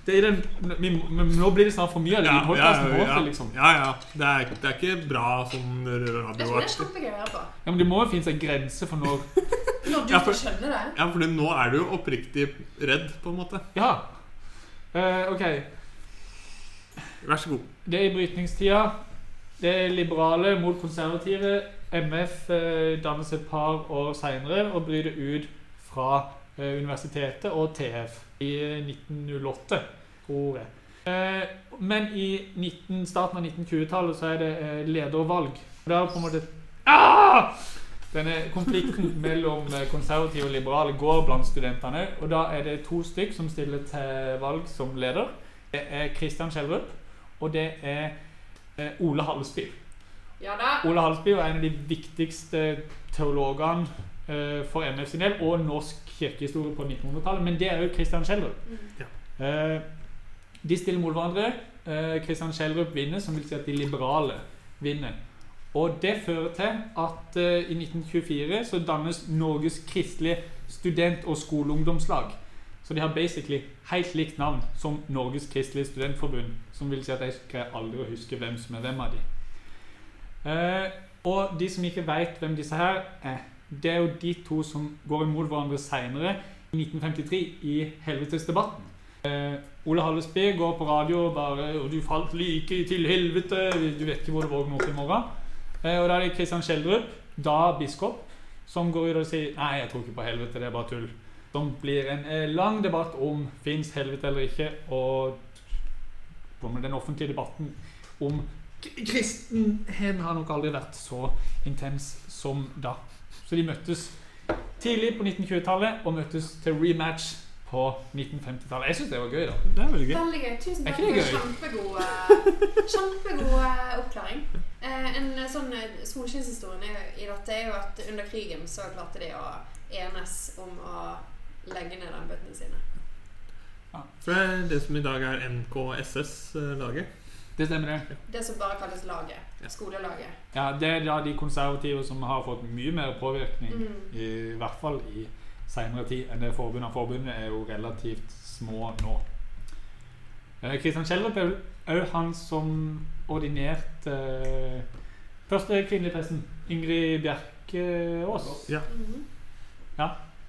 Speaker 2: Det er den, vi, må- men nå blir det snart for mye av det i podcasten vår.
Speaker 4: ja,
Speaker 2: Liksom.
Speaker 4: ja, ja. Det, er, det er ikke bra sånn
Speaker 3: Jeg tror det er
Speaker 4: radioaktig.
Speaker 3: kjempegøy å høre på.
Speaker 2: Ja, men det må jo finnes en grense for når
Speaker 3: Når du
Speaker 4: Ja, for-
Speaker 3: ikke skjønner det.
Speaker 4: Ja, for nå er du jo oppriktig redd, på en måte.
Speaker 2: Ja. Eh, OK.
Speaker 4: Vær så god.
Speaker 2: Det er i brytningstida. Det er liberale mot konservative. MF eh, dannes et par år seinere og bryter ut fra eh, universitetet og TF i eh, 1908, tror jeg. Eh, men i 19, starten av 1920-tallet så er det eh, ledervalg. Og da på en måte ah! Denne konflikten mellom eh, konservative og liberale går blant studentene. Og da er det to stykk som stiller til valg som leder. Det er Kristian Schjelderup og det er eh, Ole Hallesby.
Speaker 3: Ja da.
Speaker 2: Ole Hallesby var en av de viktigste teologene eh, for MF sin del, og norsk kirkehistorie på 1900-tallet, men det er jo Christian Schjelderup.
Speaker 3: Mm.
Speaker 2: Eh, de stiller mot hverandre. Eh, Christian Schjelderup vinner, som vil si at de liberale vinner. Og det fører til at eh, i 1924 så dannes Norges kristelige student- og skoleungdomslag. Så de har basically helt likt navn som Norges kristelige studentforbund. Som vil si at jeg skal aldri å huske hvem som er hvem av de. Eh, og de som ikke veit hvem disse her er, det er jo de to som går imot hverandre seinere, i 1953, i helvetesdebatten. Eh, Ole Hallesby går på radio og bare og 'Du falt like til helvete', du vet ikke hvor du våkner opp i morgen. Eh, og da er det Kristian Schjelderup, da biskop, som går ut og sier 'Nei, jeg tror ikke på helvete, det er bare tull'. Som blir en eh, lang debatt om fins helvete eller ikke, og om den offentlige debatten om k- kristenhet har nok aldri vært så intens som da. Så de møttes tidlig på 1920-tallet, og møttes til rematch på 1950-tallet. Jeg syns det var gøy, da.
Speaker 4: Det er veldig gøy.
Speaker 3: Veldig gøy. Tusen
Speaker 2: Er
Speaker 3: takk
Speaker 2: ikke
Speaker 3: for
Speaker 2: det
Speaker 3: kjempegod, eh, kjempegod eh, oppklaring. Eh, En eh, sånn eh, solskinnshistorien er- i dette er jo at under krigen så klarte de å enes om å legge ned armbøttene sine.
Speaker 4: For det er det som i dag er eh, NKSS-laget.
Speaker 2: Det stemmer, det.
Speaker 3: Det som bare kalles laget.
Speaker 4: Ja.
Speaker 3: Skolelaget.
Speaker 2: Ja, Det er da de konservative som har fått mye mer påvirkning,
Speaker 3: Mm.
Speaker 2: i hvert fall i seinere tid, enn det forbundet. Forbundet er jo relativt små nå. Eh, Kristian Schjelderup er vel òg han som ordinerte eh, første kvinnelige presten, Ingrid Bjerkeås.
Speaker 3: Mhm.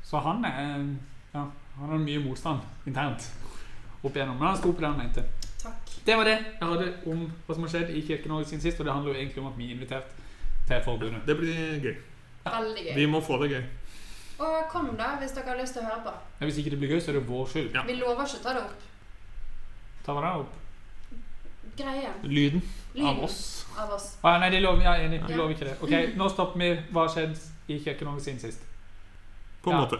Speaker 2: Så han er ja, han har mye motstand internt opp igjennom. Men han sto på det han mente.
Speaker 3: Takk.
Speaker 2: Det var det jeg hadde om hva som har skjedd i Kirke-Norge siden sist. Og det handler jo egentlig om at vi er invitert til forbundet.
Speaker 4: Det blir gøy.
Speaker 3: Veldig
Speaker 4: Vi
Speaker 3: gøy.
Speaker 4: må få det gøy.
Speaker 3: Og kom da, hvis dere har lyst til å høre på.
Speaker 2: Men hvis ikke det blir gøy, så er det vår skyld.
Speaker 4: Ja.
Speaker 3: Vi lover ikke å ta det opp.
Speaker 2: Ta hva da opp.
Speaker 3: Greien.
Speaker 4: Lyden
Speaker 3: Lyden
Speaker 4: av oss.
Speaker 3: Av oss.
Speaker 2: Å, ja, nei, de lover, ja, enig, de
Speaker 3: Ja.
Speaker 2: lover ikke det. Ok, Nå stopper vi. Hva har skjedd i Kirke-Norge siden sist?
Speaker 4: På en
Speaker 2: Ja.
Speaker 4: måte.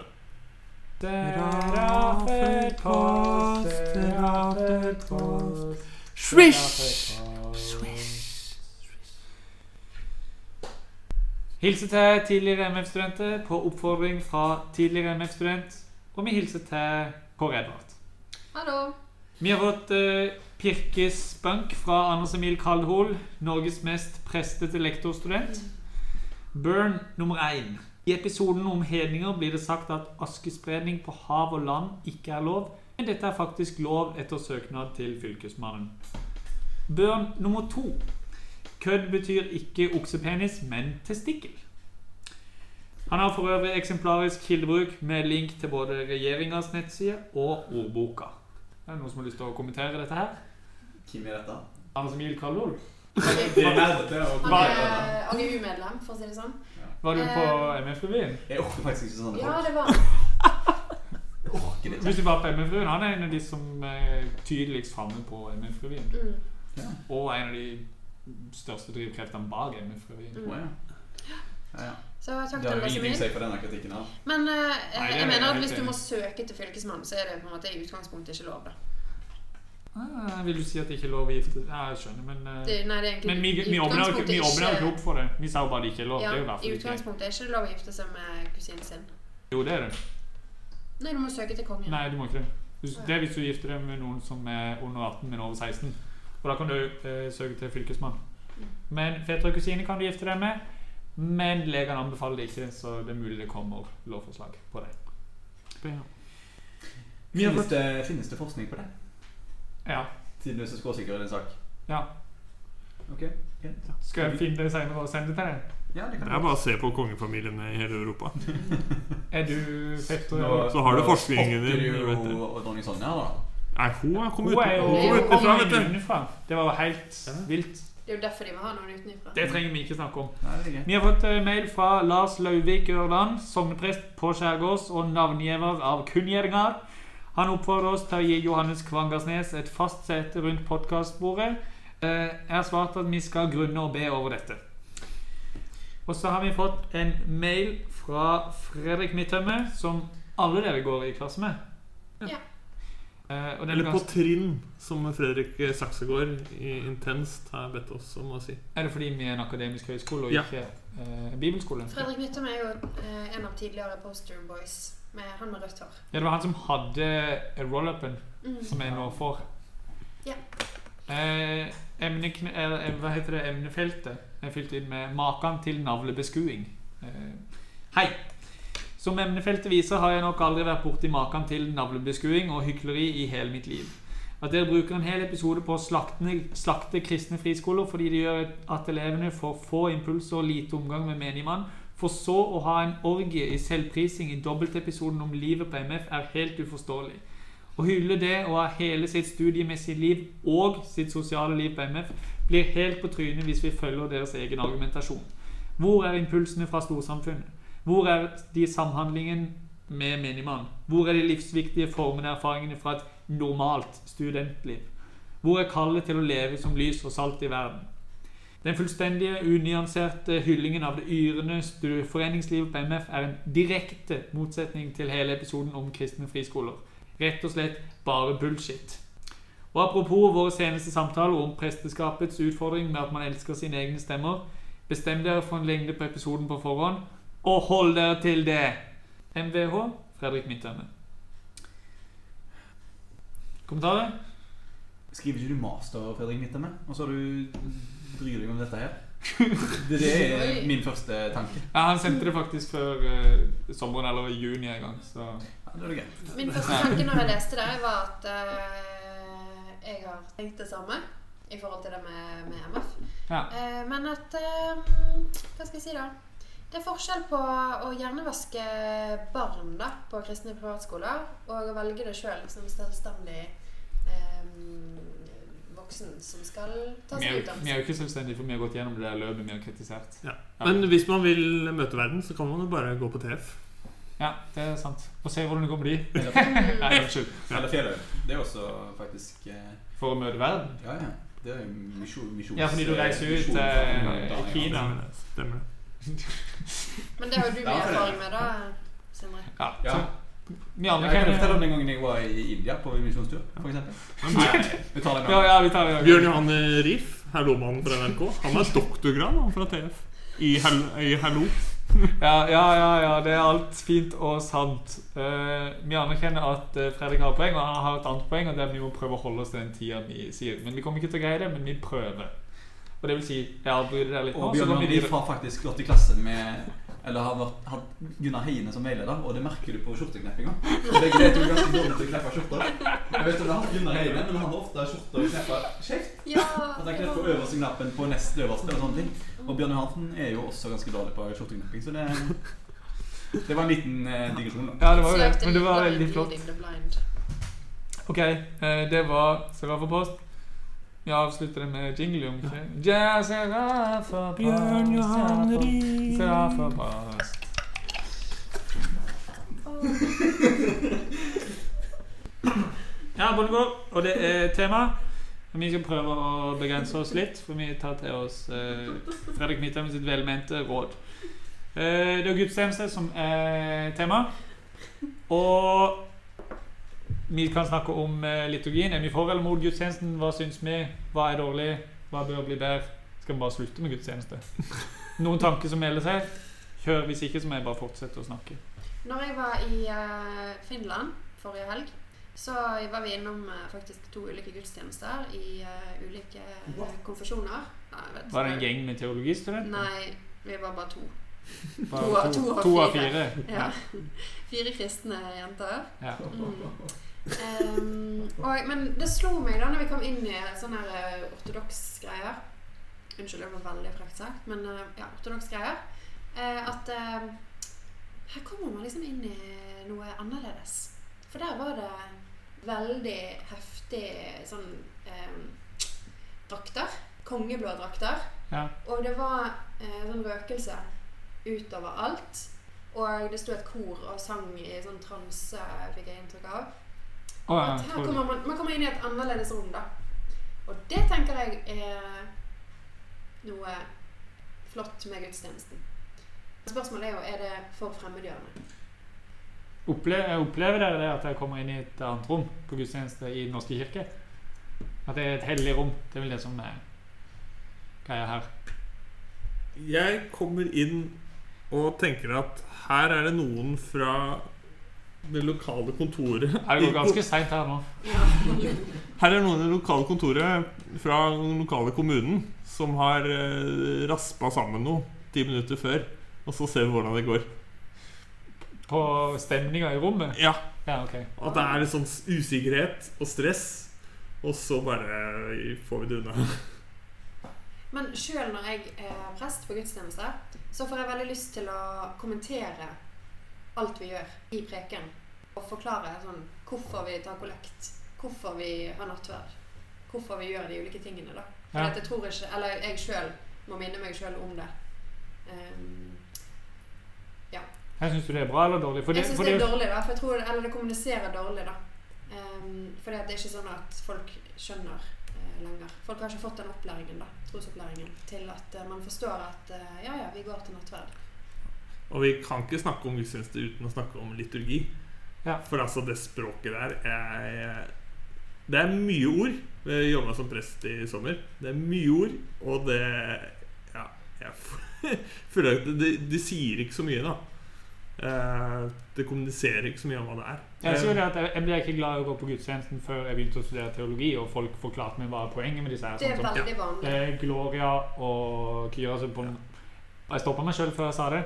Speaker 2: Hilse til tidligere MF-studenter på oppfordring fra tidligere MF-student. Og vi hilser til Kåre Edvard.
Speaker 3: Hallo.
Speaker 2: Vi har fått eh, Pirkes Bank fra Anders Emil Kaldhol, Norges mest prestete lektorstudent. Burn nummer én. I episoden om hedninger blir det sagt at askespredning på hav og land ikke er lov, men dette er faktisk lov etter søknad til fylkesmannen. Burn nummer to. Kødd betyr ikke oksepenis, men testikkel. Han har for øvrig eksemplarisk kildebruk med link til både regjeringas nettside og ordboka. Er det noen som har lyst til å kommentere dette her?
Speaker 5: Hvem er dette?
Speaker 2: Anders Emil Kallol,
Speaker 5: Det er nerdete å
Speaker 3: Han
Speaker 5: kommentere
Speaker 3: er AGU-medlem, for å si det sånn.
Speaker 2: var du på
Speaker 3: Eh,
Speaker 2: MF-revyen?
Speaker 5: Jeg orker faktisk ikke sånne
Speaker 3: Ja,
Speaker 5: folk.
Speaker 3: det var
Speaker 5: Jeg orker litt.
Speaker 2: Hvis du var på MF-revyen, han er en av de som er tydeligst framme på MF-revyen.
Speaker 3: Mm.
Speaker 5: Ja.
Speaker 2: Og en av de største drivkreftene bak MF-revyen.
Speaker 5: Å, ja. Ja, ja.
Speaker 3: Så takk til
Speaker 5: Det har jo
Speaker 3: dere som vil.
Speaker 5: ingenting å si for denne kritikken her.
Speaker 3: Men eh,
Speaker 2: Nei, det er
Speaker 3: jeg mener at
Speaker 2: helt
Speaker 3: hvis du
Speaker 2: enig.
Speaker 3: må søke til Fylkesmannen, så er det på en måte i utgangspunktet ikke lov. da.
Speaker 2: Ah, vil du si at det ikke er lov å gifte Ja, jeg skjønner, men eh,
Speaker 3: Det, nei, det er egentlig
Speaker 2: Men vi, vi
Speaker 3: i
Speaker 2: åpner jo ikke- vi
Speaker 3: utgangspunktet
Speaker 2: åpner jo ikke opp for det. Vi sa jo bare det ikke er lov.
Speaker 3: Ja,
Speaker 2: det er jo derfor
Speaker 3: I
Speaker 2: det ikke er.
Speaker 3: utgangspunktet er ikke det lov å gifte seg med kusinen sin.
Speaker 2: Jo, det er det.
Speaker 3: Nei, du må søke til kongen.
Speaker 2: Nei, du må ikke det. Hvis- Det er hvis du gifter deg med noen som er under 18, men over 16. Og da kan du eh, søke til fylkesmann. Men fetter og kusine kan du gifte deg med. Men legene anbefaler det ikke, så det er mulig det kommer lovforslag på det. Vi har
Speaker 5: Finnes det, finnes det forskning på det?
Speaker 2: Ja.
Speaker 5: Tidløse skråsikre i en sak?
Speaker 2: Ja.
Speaker 5: Ok, greit.
Speaker 2: Skal jeg finne det senere og sende det til deg?
Speaker 5: Ja, det
Speaker 4: Det
Speaker 5: kan
Speaker 4: er
Speaker 5: du.
Speaker 4: bare å se på kongefamiliene i hele Europa.
Speaker 2: Er du fetter?
Speaker 5: Nå-
Speaker 2: eller?
Speaker 4: Så har du
Speaker 5: nå
Speaker 4: forskningen
Speaker 5: spotter
Speaker 4: din,
Speaker 5: du
Speaker 4: vet du.
Speaker 5: jo og dronning Sonja, da.
Speaker 4: Nei, hun har kommet
Speaker 2: Hun er jo
Speaker 4: ut- hun er utenfra, vet du.
Speaker 2: utenfra. Det var jo helt vilt.
Speaker 3: Det er jo derfor de må ha noen utenfra.
Speaker 2: Det trenger vi ikke snakke om.
Speaker 5: Nei, det er greit.
Speaker 2: Vi har fått eh, mail fra Lars Lauvik Ørland, sogneprest på Skjærgårds og navngjever av kunngjøringer. Han oppfordrer oss til å gi Johannes Kvangersnes et fast sete rundt podkastbordet. Jeg har svart at vi skal grunne og be over dette. Og så har vi fått en mail fra Fredrik Midtømme, som alle dere går i klasse med.
Speaker 3: Ja.
Speaker 2: Eh, og den
Speaker 4: Eller
Speaker 2: er
Speaker 4: på
Speaker 2: ganske-
Speaker 4: trinn, som Fredrik Saksegård i Intenst har bedt oss om å si.
Speaker 2: er det fordi vi er en akademisk høyskole og
Speaker 4: Ja.
Speaker 2: ikke eh, en bibelskole?
Speaker 3: Fredrik Nyttom er jo eh, en av tidligere Poster Boys, med han med rødt hår.
Speaker 2: Ja, det var han som hadde roll-upen.
Speaker 3: Mm.
Speaker 2: som jeg nå får.
Speaker 3: Ja.
Speaker 2: Eh, emnekne, eh, hva heter det emnefeltet er fylt inn med 'Makan til navlebeskuing'. Eh, hei! Som emnefeltet viser, har jeg nok aldri vært borti makan til navlebeskuing og hykleri i hele mitt liv. At dere bruker en hel episode på å slakte, slakte kristne friskoler fordi det gjør at elevene får få impulser og lite omgang med menigmann, for så å ha en orgie i selvprising i dobbeltepisoden om livet på MF, er helt uforståelig. Å hylle det å ha hele sitt studiemessige liv og sitt sosiale liv på MF blir helt på trynet hvis vi følger deres egen argumentasjon. Hvor er impulsene fra storsamfunnet? Hvor er de samhandlingen med minimann? Hvor er de livsviktige formene og erfaringene fra et normalt studentliv? Hvor er kallet til å leve som lys og salt i verden? Den fullstendige, unyanserte hyllingen av det yrende stu- foreningslivet på MF er en direkte motsetning til hele episoden om kristne friskoler. Rett og slett bare bullshit. Og apropos våre seneste samtaler om presteskapets utfordring med at man elsker sine egne stemmer, bestem dere for en lengde på episoden på forhånd, og hold dere til det! MVH Fredrik Midtømme. Kommentarer?
Speaker 5: Skriver ikke du master, Fredrik Midtømme? Og så har du bryr deg om dette her? Det, det er
Speaker 3: Oi.
Speaker 5: min første tanke.
Speaker 2: Ja, han sendte det faktisk før eh, sommeren, eller i juni en gang, så
Speaker 5: Ja, da er det greit.
Speaker 3: Min første tanke når jeg leste det, var at eh, jeg har tenkt det samme i forhold til det med, med MF.
Speaker 2: Ja.
Speaker 3: Eh, men at eh, Hva skal jeg si, da? Det er forskjell på å hjernevaske barn da, på kristne privatskoler og å velge det sjøl som selvstendig eh, voksen som skal ta
Speaker 2: Vi er, jo- vi
Speaker 3: seg
Speaker 2: er
Speaker 3: utdannelse.
Speaker 2: jo ikke selvstendige, for vi har gått gjennom det der løpet vi har kritisert.
Speaker 4: Ja. Men hvis man vil møte verden, så kan man jo bare gå på TF.
Speaker 2: Ja, det er sant. Og se hvordan det går med de.
Speaker 5: Eller,
Speaker 2: Nei, unnskyld.
Speaker 5: eller Fjellhaug. Det er også faktisk eh,
Speaker 2: For å møte verden.
Speaker 5: Ja, ja. Det er jo misjon, misjons...
Speaker 2: Ja, fordi du reiser ut,
Speaker 5: misjons-
Speaker 2: eh,
Speaker 5: Ja, ja.
Speaker 2: Kina.
Speaker 4: Stemmer det. Stemmer det.
Speaker 3: Men det har jo du mye
Speaker 5: Ja, for det-
Speaker 3: erfaring med, da, Sindre.
Speaker 2: Ja.
Speaker 5: Ja.
Speaker 2: Så, vi
Speaker 5: Ja,
Speaker 2: andre
Speaker 5: Jeg kan
Speaker 2: kan
Speaker 5: fortelle om den gangen jeg var i India på misjonstur, f.eks. Vi tar
Speaker 2: Ja,
Speaker 5: den gangen.
Speaker 2: ja, vi tar det.
Speaker 4: Bjørn Johan Riff, herlomannen fra NRK, han har doktorgrad han, fra TF. I, hel I Hallo.
Speaker 2: Ja, ja, ja, ja, det er alt fint og sant. Eh, vi anerkjenner at eh, Fredrik har poeng, og han har et annet poeng, og det er at vi må prøve å holde oss til den tida vi sier. Men vi kommer ikke til å greie det, men vi prøver. Og det vil si, jeg avbryter deg litt nå,
Speaker 5: Og
Speaker 2: så
Speaker 5: Bjørn
Speaker 2: går vi
Speaker 5: Johan
Speaker 2: videre.
Speaker 5: har faktisk gått i klasse med Eller har vært, hatt Gunnar Heine som veileder, og det merker du på skjortekneppinga. Begge de to er ganske dårlige til å kneppe skjorter. Jeg vet ikke om det har Gunnar Heine, men han har ofte skjorter kneppa skjevt.
Speaker 3: Ja,
Speaker 5: At han knepper øverste knappen på nest øverste og sånne ting. Og Bjørn Johansen er jo også ganske dårlig på skjorteknepping, så det Det var en liten eh, digresjon, da.
Speaker 2: Ja, det var jo det, men det var veldig flott.
Speaker 3: flott.
Speaker 2: Ok, eh, det var Serafapost. Vi avslutter det med jingle, om ikke? Ja, Serafapost.
Speaker 4: Bjørn Johan Riff.
Speaker 2: Serafapost. Ja, bondegård. Og det er tema. Men Vi skal prøve å begrense oss litt, for vi tar til oss eh, Fredrik Midthaug sitt velmente råd. Eh, det er gudstjeneste som er tema. Og vi kan snakke om eh, liturgien. Er vi for eller mot gudstjenesten? Hva syns vi? Hva er dårlig? Hva bør bli bedre? Skal vi bare slutte med gudstjeneste? Noen tanker som melder seg? Kjør. Hvis ikke, så må jeg bare fortsette å snakke.
Speaker 3: Når jeg var i eh, Finland forrige helg, så var vi innom eh, faktisk to ulike gudstjenester i eh, ulike
Speaker 5: Wow.
Speaker 3: konfesjoner. Nei, jeg vet
Speaker 2: Var det en
Speaker 3: ikke.
Speaker 2: gjeng med teologistudenter?
Speaker 3: Nei, vi var bare to.
Speaker 2: Bare
Speaker 3: to- to av
Speaker 2: to av
Speaker 3: fire.
Speaker 2: fire.
Speaker 3: Ja. Fire kristne jenter.
Speaker 2: Ja.
Speaker 3: Mm. Ehm, og, men det slo meg da når vi kom inn i sånne her eh, ortodoks greier Unnskyld, det var veldig frekt sagt, men eh, ja, ortodoks greier. eh, at eh, her kommer man liksom inn i noe annerledes. For der var det veldig heftig sånn eh, drakter. Kongeblå drakter.
Speaker 2: Ja.
Speaker 3: Og det var eh, sånn røkelse utover alt. Og det sto et kor og sang i sånn transe, fikk jeg inntrykk av.
Speaker 2: Å, ja,
Speaker 3: At her
Speaker 2: tror du.
Speaker 3: kommer man, man kommer inn i et annerledes rom, da. Og det tenker jeg er noe flott med gudstjenesten. Spørsmålet er jo er det for fremmedgjørende.
Speaker 2: Opple opplever dere det at dere kommer inn i et annet rom på gudstjeneste i Den norske kirke? At det er et hellig rom? Det er vel det som er greia her.
Speaker 4: Jeg kommer inn og tenker at her er det noen fra det lokale kontoret
Speaker 2: Det går ganske seint her nå.
Speaker 4: Her er noen i det lokale kontoret fra den lokale kommunen som har eh, raspa sammen noe ti minutter før. Og så ser vi hvordan det går.
Speaker 2: På stemninga i rommet?
Speaker 4: Ja,
Speaker 2: Ja, OK.
Speaker 4: At det er litt sånn usikkerhet og stress. Og så bare eh, får vi det unna.
Speaker 3: Men sjøl når jeg er prest på gudstjeneste, så får jeg veldig lyst til å kommentere alt vi gjør i preken. Og forklare sånn, hvorfor vi tar kollekt, hvorfor vi har nattverd, hvorfor vi gjør de ulike tingene. da. For
Speaker 2: Ja.
Speaker 3: at jeg tror ikke, eller jeg sjøl må minne meg sjøl om det. Ehm,
Speaker 2: Her syns du det er bra eller dårlig? For
Speaker 3: jeg
Speaker 2: det,
Speaker 3: syns
Speaker 2: for
Speaker 3: det er
Speaker 2: det,
Speaker 3: dårlig, da. For jeg tror, eller det kommuniserer dårlig, da. Um, fordi at det er ikke sånn at folk skjønner eh, lenger. Folk har ikke fått den opplæringen, da, trosopplæringen, til at eh, man forstår at eh, ja, ja, vi går til nattverd.
Speaker 4: Og vi kan ikke snakke om gudstjeneste uten å snakke om liturgi.
Speaker 2: Ja.
Speaker 4: For altså, det språket der er Det er mye ord. Jeg jobba som prest i sommer. Det er mye ord, og det Ja, jeg f- føler at det, det sier ikke så mye, da. Eh, Det kommuniserer ikke så mye om hva det er.
Speaker 2: jeg sier jo det at jeg, jeg ble ikke glad i å gå på gudstjenesten før jeg begynte å studere teologi, og folk forklarte meg hva poenget med disse her.
Speaker 3: Det
Speaker 2: Sånn
Speaker 3: er
Speaker 2: som
Speaker 3: veldig vanlig.
Speaker 2: Eh, Gloria og Kyra som på Jeg stoppa meg sjøl før jeg sa det.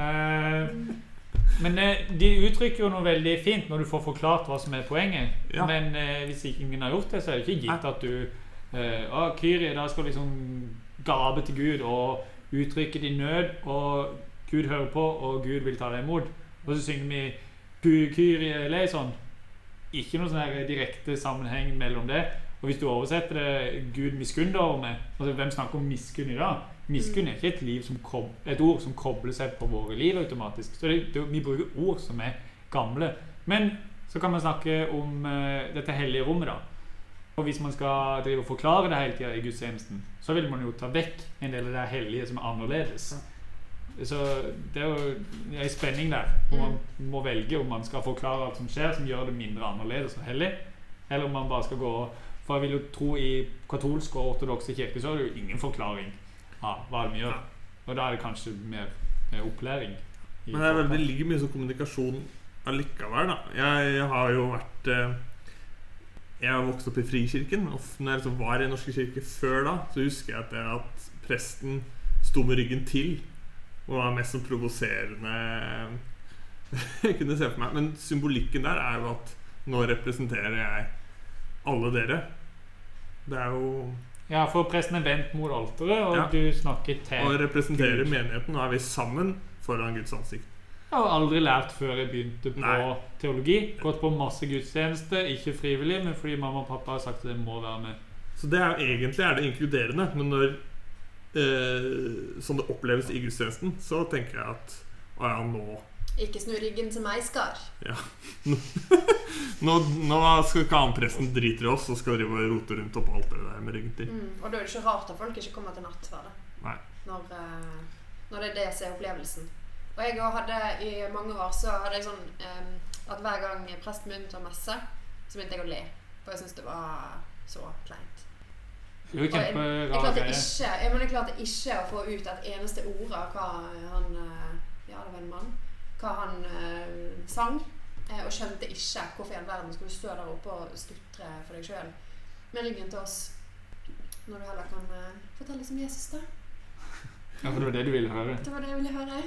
Speaker 2: Eh, men eh, de uttrykker jo noe veldig fint når du får forklart hva som er poenget.
Speaker 4: Ja.
Speaker 2: Men eh, hvis ikke ingen har gjort det, så er det ikke gitt at du eh, Å, Kyrie, da skal du liksom gape til Gud og uttrykke din nød, og Gud hører på, og Gud vil ta deg imot. Og så synger vi Bu Kyrie eleison. sånn. Ikke noen sånn her direkte sammenheng mellom det. Og hvis du oversetter det Gud miskunner over meg altså Hvem snakker om miskunn i dag? Miskunn er ikke et, liv som kob- et ord som kobler seg på våre liv automatisk. Så det, det, vi bruker ord som er gamle. Men så kan man snakke om eh, dette hellige rommet, da. Og hvis man skal drive og forklare det hele tida i gudstjenesten, så vil man jo ta vekk en del av det hellige som er annerledes. Så det er jo en spenning der. Hvor man må velge om man skal forklare alt som skjer, som gjør det mindre annerledes og hellig, eller om man bare skal gå for jeg vil jo tro i katolsk og ortodokse kirke så er det jo ingen forklaring av hva de gjør. Og da er det kanskje mer eh, opplæring. i
Speaker 4: Men det, er
Speaker 2: forkant.
Speaker 4: veldig, det ligger mye sånn kommunikasjon allikevel, da. Jeg, jeg har jo vært eh, Jeg har vokst opp i Frikirken. Og f- når jeg liksom var i Den norske kirke før da, så husker jeg at, det, at presten sto med ryggen til. Og var mest sånn provoserende jeg kunne se for meg. Men symbolikken der er jo at nå representerer jeg alle dere. Det er jo
Speaker 2: Ja, for presten er vendt mot alteret, og
Speaker 4: Ja.
Speaker 2: du snakker
Speaker 4: å
Speaker 2: til
Speaker 4: representere
Speaker 2: Eh, Gud.
Speaker 4: menigheten. Nå er vi sammen foran Guds ansikt.
Speaker 2: Jeg har aldri lært før jeg begynte på
Speaker 4: Nei.
Speaker 2: teologi. Gått på masse gudstjeneste, ikke frivillig, men fordi mamma og pappa har sagt at jeg må være med.
Speaker 4: Så det er jo egentlig er det inkluderende, men når eh, Som det oppleves i gudstjenesten, så tenker jeg at å ja, nå
Speaker 3: Ikke snu ryggen til meg, Skar.
Speaker 4: Nå, nå skal ikke anpresten drite i oss og skal drive og rote rundt oppå alteret der med ryggen til.
Speaker 3: Mm. Og da er det ikke rart at folk ikke kommer til nattverdet.
Speaker 4: Nei.
Speaker 3: Når, eh, når det er det som er opplevelsen. Og jeg også hadde i mange år så hadde jeg sånn eh, at hver gang presten begynte å messe, så begynte jeg å le. For jeg syntes det var så kleint.
Speaker 2: Det er jo
Speaker 3: Jeg
Speaker 2: kjemperar
Speaker 3: klarte
Speaker 2: greie.
Speaker 3: ikke, jeg, men jeg klarte ikke å få ut et eneste ord av hva han eh, Ja, det var en mann. Hva han eh, sang. eh, Og skjønte ikke hvorfor i all verden skulle du stå der oppe og stutre for deg sjøl med ryggen til oss. Når du heller kan eh, fortelle som Jesus, da.
Speaker 2: Ja, for det var det du ville høre.
Speaker 3: Det var det jeg ville høre.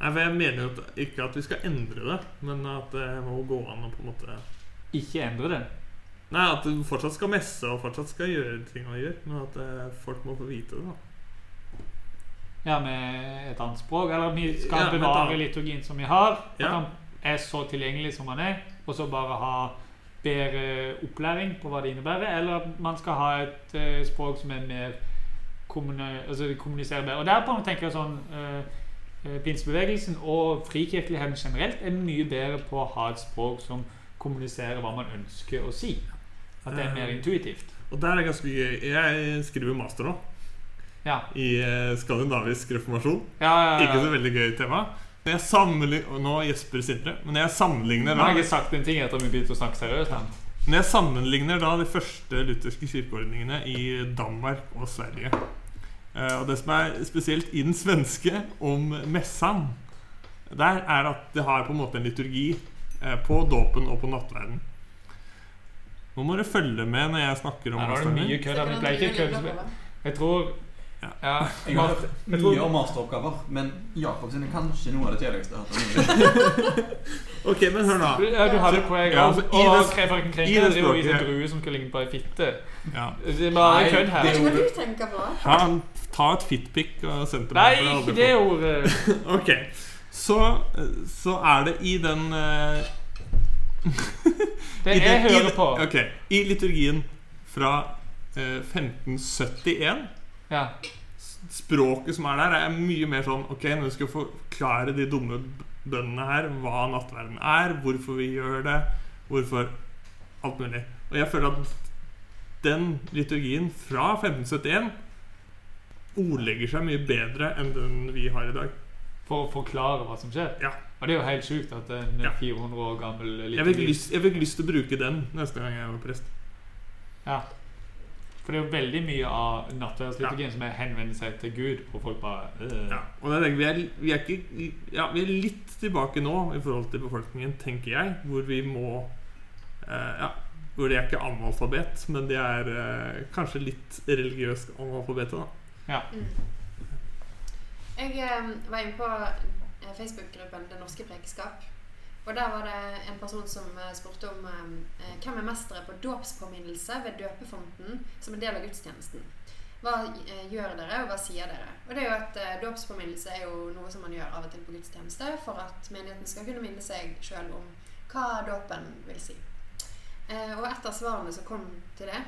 Speaker 4: Nei, for Jeg mener jo at, ikke at vi skal endre det, men at det må gå an å på en måte
Speaker 2: Ikke endre det.
Speaker 4: Nei, at du fortsatt skal messe og fortsatt skal gjøre ting man gjør, men at eh, folk må få vite det. da
Speaker 2: Ja, med et annet språk. Eller vi skal
Speaker 4: Ja, men
Speaker 2: bevare
Speaker 4: da-
Speaker 2: liturgien som vi har. At
Speaker 4: Ja.
Speaker 2: han er så tilgjengelig som han er, og så bare ha bedre opplæring på hva det innebærer. Eller at man skal ha et eh, språk som er mer kommuni altså kommuniserer bedre. Og derpå tenker jeg sånn eh, eh, Pinsebevegelsen og frikirkeligheten generelt er mye bedre på å ha et språk som kommuniserer hva man ønsker å si. At det er mer
Speaker 4: Eh.
Speaker 2: intuitivt.
Speaker 4: Og der er ganske gøy. Jeg skriver master nå
Speaker 2: Ja.
Speaker 4: i eh, skandinavisk reformasjon.
Speaker 2: ja, ja, ja.
Speaker 4: Ikke så veldig gøy tema. Men Jeg sammenlig- og nå gjesper Sindre. Men jeg
Speaker 2: Nå
Speaker 4: sammenligner
Speaker 2: har
Speaker 4: da
Speaker 2: jeg ikke sagt en ting etter at vi begynte å snakke seriøst. her.
Speaker 4: Men jeg sammenligner da de første lutherske kirkeordningene i Danmark og Sverige. Eh, Og det som er spesielt i den svenske om messan, der er at det har på en måte en liturgi eh, på dåpen og på nattverden. Nå må dere følge med når jeg snakker om
Speaker 2: Her var det
Speaker 4: nattverden.
Speaker 2: mye kødd. men Det ble ikke et kødd. Jeg tror
Speaker 4: Ja.
Speaker 2: ja.
Speaker 5: Jeg har hørt mye om masteroppgaver, men Jakob sine er kanskje noe av det kjedeligste jeg har hørt om.
Speaker 4: Ok, men hør nå.
Speaker 2: Ja, du hadde et poeng.
Speaker 4: Ja, altså, i
Speaker 2: og
Speaker 4: det-
Speaker 2: Krefaren
Speaker 4: i det
Speaker 2: Krenker driver og viser en
Speaker 4: språket-
Speaker 2: drue som skal ligge på ei fitte.
Speaker 4: Ja.
Speaker 2: Det er bare
Speaker 5: Nei,
Speaker 2: kødd her.
Speaker 5: det-
Speaker 3: Hva du tenker på?
Speaker 4: Ta, ta et fitpic og send til
Speaker 2: Nei,
Speaker 4: for jeg har aldri
Speaker 2: ikke
Speaker 4: fått
Speaker 2: det ordet.
Speaker 4: Ok, så, så er det i den eh,
Speaker 2: Det
Speaker 4: i
Speaker 2: jeg
Speaker 4: den- i
Speaker 2: hører
Speaker 4: den-
Speaker 2: på.
Speaker 4: Ok, i liturgien fra eh, 1571
Speaker 2: Ja.
Speaker 4: s- Språket som er der er mye mer sånn Ok, nå skal vi forklare de dumme b- bøndene her Hva nattverden er, hvorfor vi gjør det Hvorfor alt mulig Og jeg føler at den liturgien fra 1571 Ordlegger seg mye bedre enn den vi har i dag
Speaker 2: For å forklare hva som skjer.
Speaker 4: Ja.
Speaker 2: Og det er jo helt sjukt at en
Speaker 4: Ja.
Speaker 2: 400 år gammel
Speaker 4: Jeg fikk
Speaker 2: liturgi-
Speaker 4: lyst, jeg fikk lyst til å bruke den neste gang jeg var prest.
Speaker 2: For det er jo veldig mye av nattverdsliturgien som er henvender seg til Gud, og folk bare øh.
Speaker 4: Ja. Og da tenker jeg, vi, er, vi, er ikke, ja, vi er litt tilbake nå i forhold til befolkningen, tenker jeg, hvor vi må eh, ja, Hvor de er ikke analfabet, men de er eh, kanskje litt religiøst analfabete, da.
Speaker 3: Mm. Jeg eh, var inne på eh, Facebook-gruppen Det norske prekeskap. Og der var det en person som eh, spurte om eh, hvem er mestere på dåpspåminnelse ved døpefonten som en del av gudstjenesten. Hva eh, gjør dere, og hva sier dere? Og det er jo at eh, Dåpspåminnelse er jo noe som man gjør av og til på gudstjeneste for at menigheten skal kunne minne seg sjøl om hva dåpen vil si. Eh, og et av svarene som kom til det,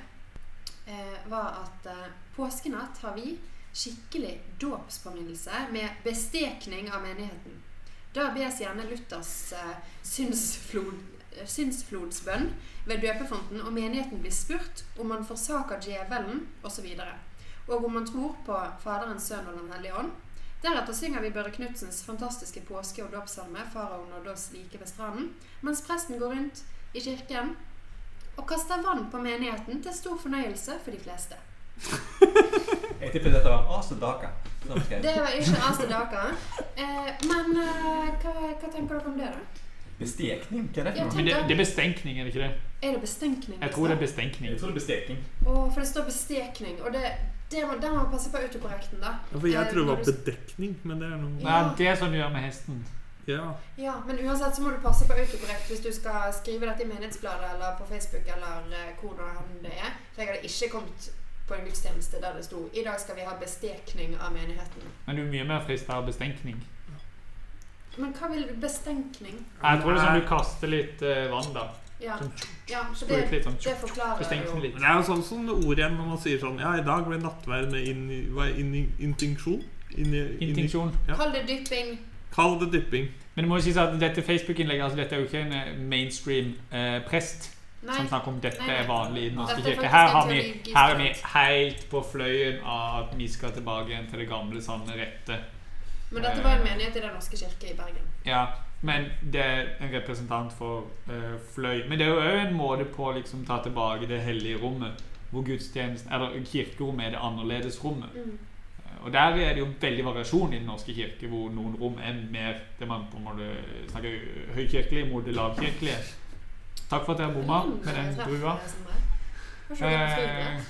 Speaker 3: eh, var at eh, påskenatt har vi skikkelig dåpspåminnelse med bestekning av menigheten. Da bes gjerne Luthers eh, synsflod, eh, synsflodsbønn ved døpefonten, og menigheten blir spurt om man forsaker djevelen osv. Og om man tror på Faderen, Sønnen og Den hellige ånd. Deretter synger vi Børre Knudsens fantastiske påske- og dåpssalme 'Faraon nådde oss like ved stranden', mens presten går rundt i kirken og kaster vann på menigheten til stor fornøyelse for de fleste.
Speaker 5: Jeg tipper dette var Asa Daka. som skrev.
Speaker 3: Det var ikke Asta Daka. Eh, men eh, hva, hva tenker dere om det, da?
Speaker 5: Bestekning? Hva er det
Speaker 3: Ja,
Speaker 5: for noe?
Speaker 2: Men det, det er bestenkning, er det ikke det?
Speaker 3: Er det bestenkning?
Speaker 2: Jeg tror det er
Speaker 3: liksom?
Speaker 2: bestenkning.
Speaker 5: Jeg tror det er bestekning.
Speaker 3: Å, for det står bestekning, og det, det må, der må man passe på autokorrekten, da.
Speaker 4: Ja, for jeg
Speaker 3: Eh,
Speaker 4: tror det
Speaker 3: når
Speaker 4: var
Speaker 3: du-
Speaker 4: bedekning, men det er noe
Speaker 2: Nei, det er sånn du gjør med hesten.
Speaker 4: Ja.
Speaker 3: Ja, men uansett så må du passe på autokorrekt hvis du skal skrive dette i menighetsbladet eller på Facebook eller eh, hvor det enn det er. For jeg hadde ikke kommet på en gudstjeneste der det sto 'I dag skal vi ha bestekning av menigheten'.
Speaker 2: Men du er mye mer frista av bestenkning.
Speaker 3: Men hva vil bestenkning?
Speaker 2: Jeg tror det er sånn du kaster litt eh, vann, da.
Speaker 3: Ja,
Speaker 2: Sånn,
Speaker 3: ja så
Speaker 2: Sprut
Speaker 3: det,
Speaker 2: litt sånn.
Speaker 3: det forklarer
Speaker 2: Bestenkning
Speaker 3: jo
Speaker 4: Men
Speaker 2: litt.
Speaker 4: Det er jo sånn som det ordet igjen når man sier sånn Ja, i dag ble nattverden med inn, hva er inn, intinksjon? Inn, inn,
Speaker 2: Intensjon.
Speaker 4: Ja.
Speaker 3: Kall det dypping.
Speaker 4: Kall det dypping.
Speaker 2: Men det må jo sies at dette Facebook-innlegget altså Dette er jo ikke en eh, mainstream eh, prest
Speaker 3: Nei.
Speaker 2: som snakker om dette
Speaker 3: Nei, nei.
Speaker 2: er vanlig i Den norske
Speaker 3: Dette er
Speaker 2: kirke.
Speaker 3: faktisk
Speaker 2: Her,
Speaker 3: en
Speaker 2: har vi,
Speaker 3: teologisk
Speaker 2: her er vi
Speaker 3: debatt.
Speaker 2: helt på fløyen av at vi skal tilbake igjen til det gamle, sanne, rette.
Speaker 3: Men dette var en menighet i Den norske kirke i Bergen.
Speaker 2: Ja, men det er en representant for eh, fløy. Men det er jo òg en måte på å liksom, ta tilbake det hellige rommet. Hvor gudstjenesten, eller kirkerommet er det annerledes rommet.
Speaker 3: Mm.
Speaker 2: Eh, Og der er det jo veldig variasjon i Den norske kirke, hvor noen rom er mer det man på en måte snakker høykirkelig mot det lavkirkelige. Takk for at dere bomma
Speaker 3: Mm,
Speaker 2: med den drua. Eh,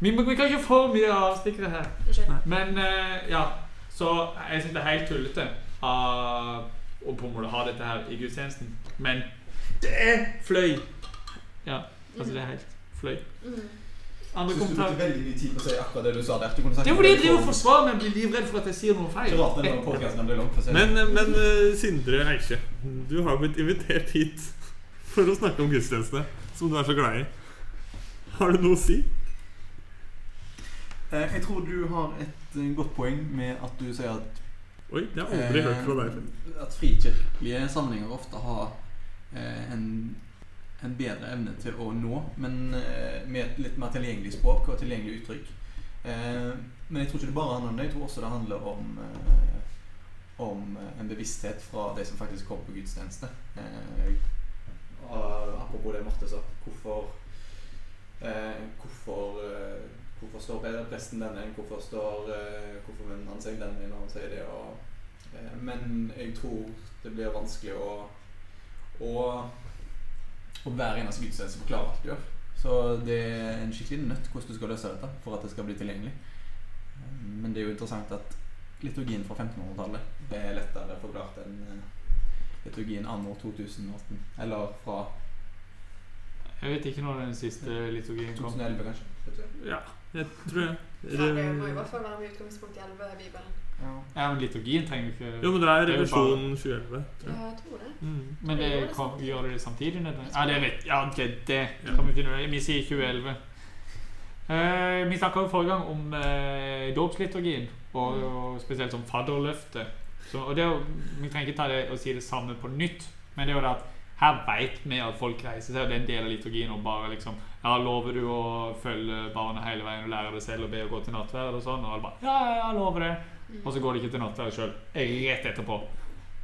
Speaker 2: vi, må- vi kan ikke få mye avstikkere her. Men eh, ja, så jeg synes det er helt tullete av å på en måte ha dette her i gudstjenesten. Men det er fløy! Ja,
Speaker 3: Mm.
Speaker 2: altså det er helt fløy. Andre
Speaker 5: Syns du brukte
Speaker 2: kommentarer?
Speaker 5: veldig mye tid på å si akkurat det du sa der. Du kunne sagt
Speaker 2: Det er fordi jeg driver og forsvarer meg og blir livredd for at jeg sier noe feil.
Speaker 5: Så rart den podkasten ble lang. for å si det.
Speaker 4: Men, men eh, Sindre Eikje, du har blitt invitert hit for å snakke om gudstjeneste, som du er så glad i. Har du noe å si?
Speaker 5: Eh, Jeg tror du har et eh, godt poeng med at du sier at
Speaker 4: Oi, det har jeg aldri
Speaker 5: eh,
Speaker 4: hørt fra deg før.
Speaker 5: At frikirkelige sammenhenger ofte har eh, en, en bedre evne til å nå, men eh, med et litt mer tilgjengelig språk og tilgjengelig uttrykk. Eh, men jeg tror ikke det bare handler om det. Jeg tror også det handler om eh, om eh, en bevissthet fra de som faktisk kommer på gudstjeneste. Eh, og eh, apropos det Marte sa. Hvorfor eh, hvorfor, eh, hvorfor står bedre presten denne veien? Hvorfor, står, eh, hvorfor vender han seg den veien når han sier det? Og, eh, men jeg tror det blir vanskelig å å, å hver eneste gudstjeneste forklare alt du gjør. Så det er en skikkelig nøtt hvordan du skal løse dette for at det skal bli tilgjengelig. Eh, Men det er jo interessant at liturgien fra 1500-tallet er lettere forklart enn eh, liturgien anno 2018. Eller fra
Speaker 2: Jeg vet ikke når den siste liturgien kom.
Speaker 5: 2011, kanskje.
Speaker 4: Ja, jeg tror jeg.
Speaker 3: Ja, det må i hvert fall være med utgangspunkt i 11 i Bibelen.
Speaker 5: Ja.
Speaker 2: Ja, men liturgien trenger jo ikke
Speaker 4: Jo, men det er
Speaker 2: Det er jo
Speaker 4: revisjon 2011. tror jeg.
Speaker 3: Ja, jeg tror det.
Speaker 4: Mm.
Speaker 2: Men det kom, gjør det samtidig? Nødvendig. Ja, det vet ja, det, det kan vi finne ut av. Vi sier 2011. Eh, vi snakka forrige gang om uh, dåpsliturgien, og, og spesielt som fadderløftet. Så, og det, er jo- vi trenger ikke ta det og si det samme på nytt, men det er jo det at her veit vi at folk reiser seg, og det er en del av liturgien. Og bare liksom Ja, lover du å følge barna hele veien og lære det selv og be og gå til nattverd og sånn? Og alle bare Ja, ja, jeg lover det. Og så går de ikke til nattverd sjøl rett etterpå.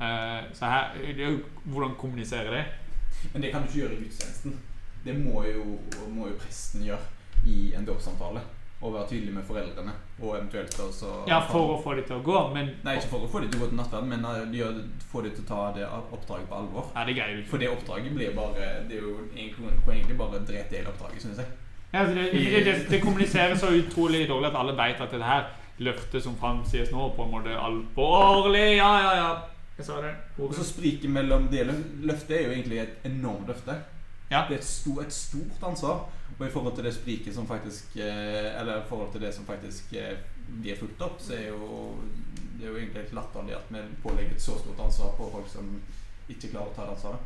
Speaker 2: Eh, så her, det er jo hvordan kommunisere det.
Speaker 5: Men det kan du ikke gjøre i gudstjenesten. Det må jo, må jo presten gjøre i en dåpssamtale. Og være tydelig med foreldrene. Og eventuelt også
Speaker 2: Ja, for å få det til å gå, men
Speaker 5: Nei, ikke for å få dem til å gå til nattverd, men eh, gjøre- få dem til å ta det oppdraget på alvor.
Speaker 2: Ja, det liksom? greier du ikke.
Speaker 5: For det oppdraget blir bare Det er jo egentlig, kan egentlig bare drete i hele oppdraget, synes jeg.
Speaker 2: Ja, altså, det, det, det, det kommuniseres så utrolig dårlig at alle vet at det her løftet som framsies nå, på en måte er alvorlig. Ja, ja, ja. Jeg sa det.
Speaker 5: Og så spriket mellom det lø- løftet er jo egentlig et enormt løfte.
Speaker 2: Ja.
Speaker 5: Det er et stort, et stort ansvar. Og i forhold til det spriket som faktisk eh, Eller i forhold til det som faktisk eh, blir fulgt opp, så er jo det er jo egentlig helt latterlig at vi pålegger et så stort ansvar på folk som ikke klarer å ta det ansvaret.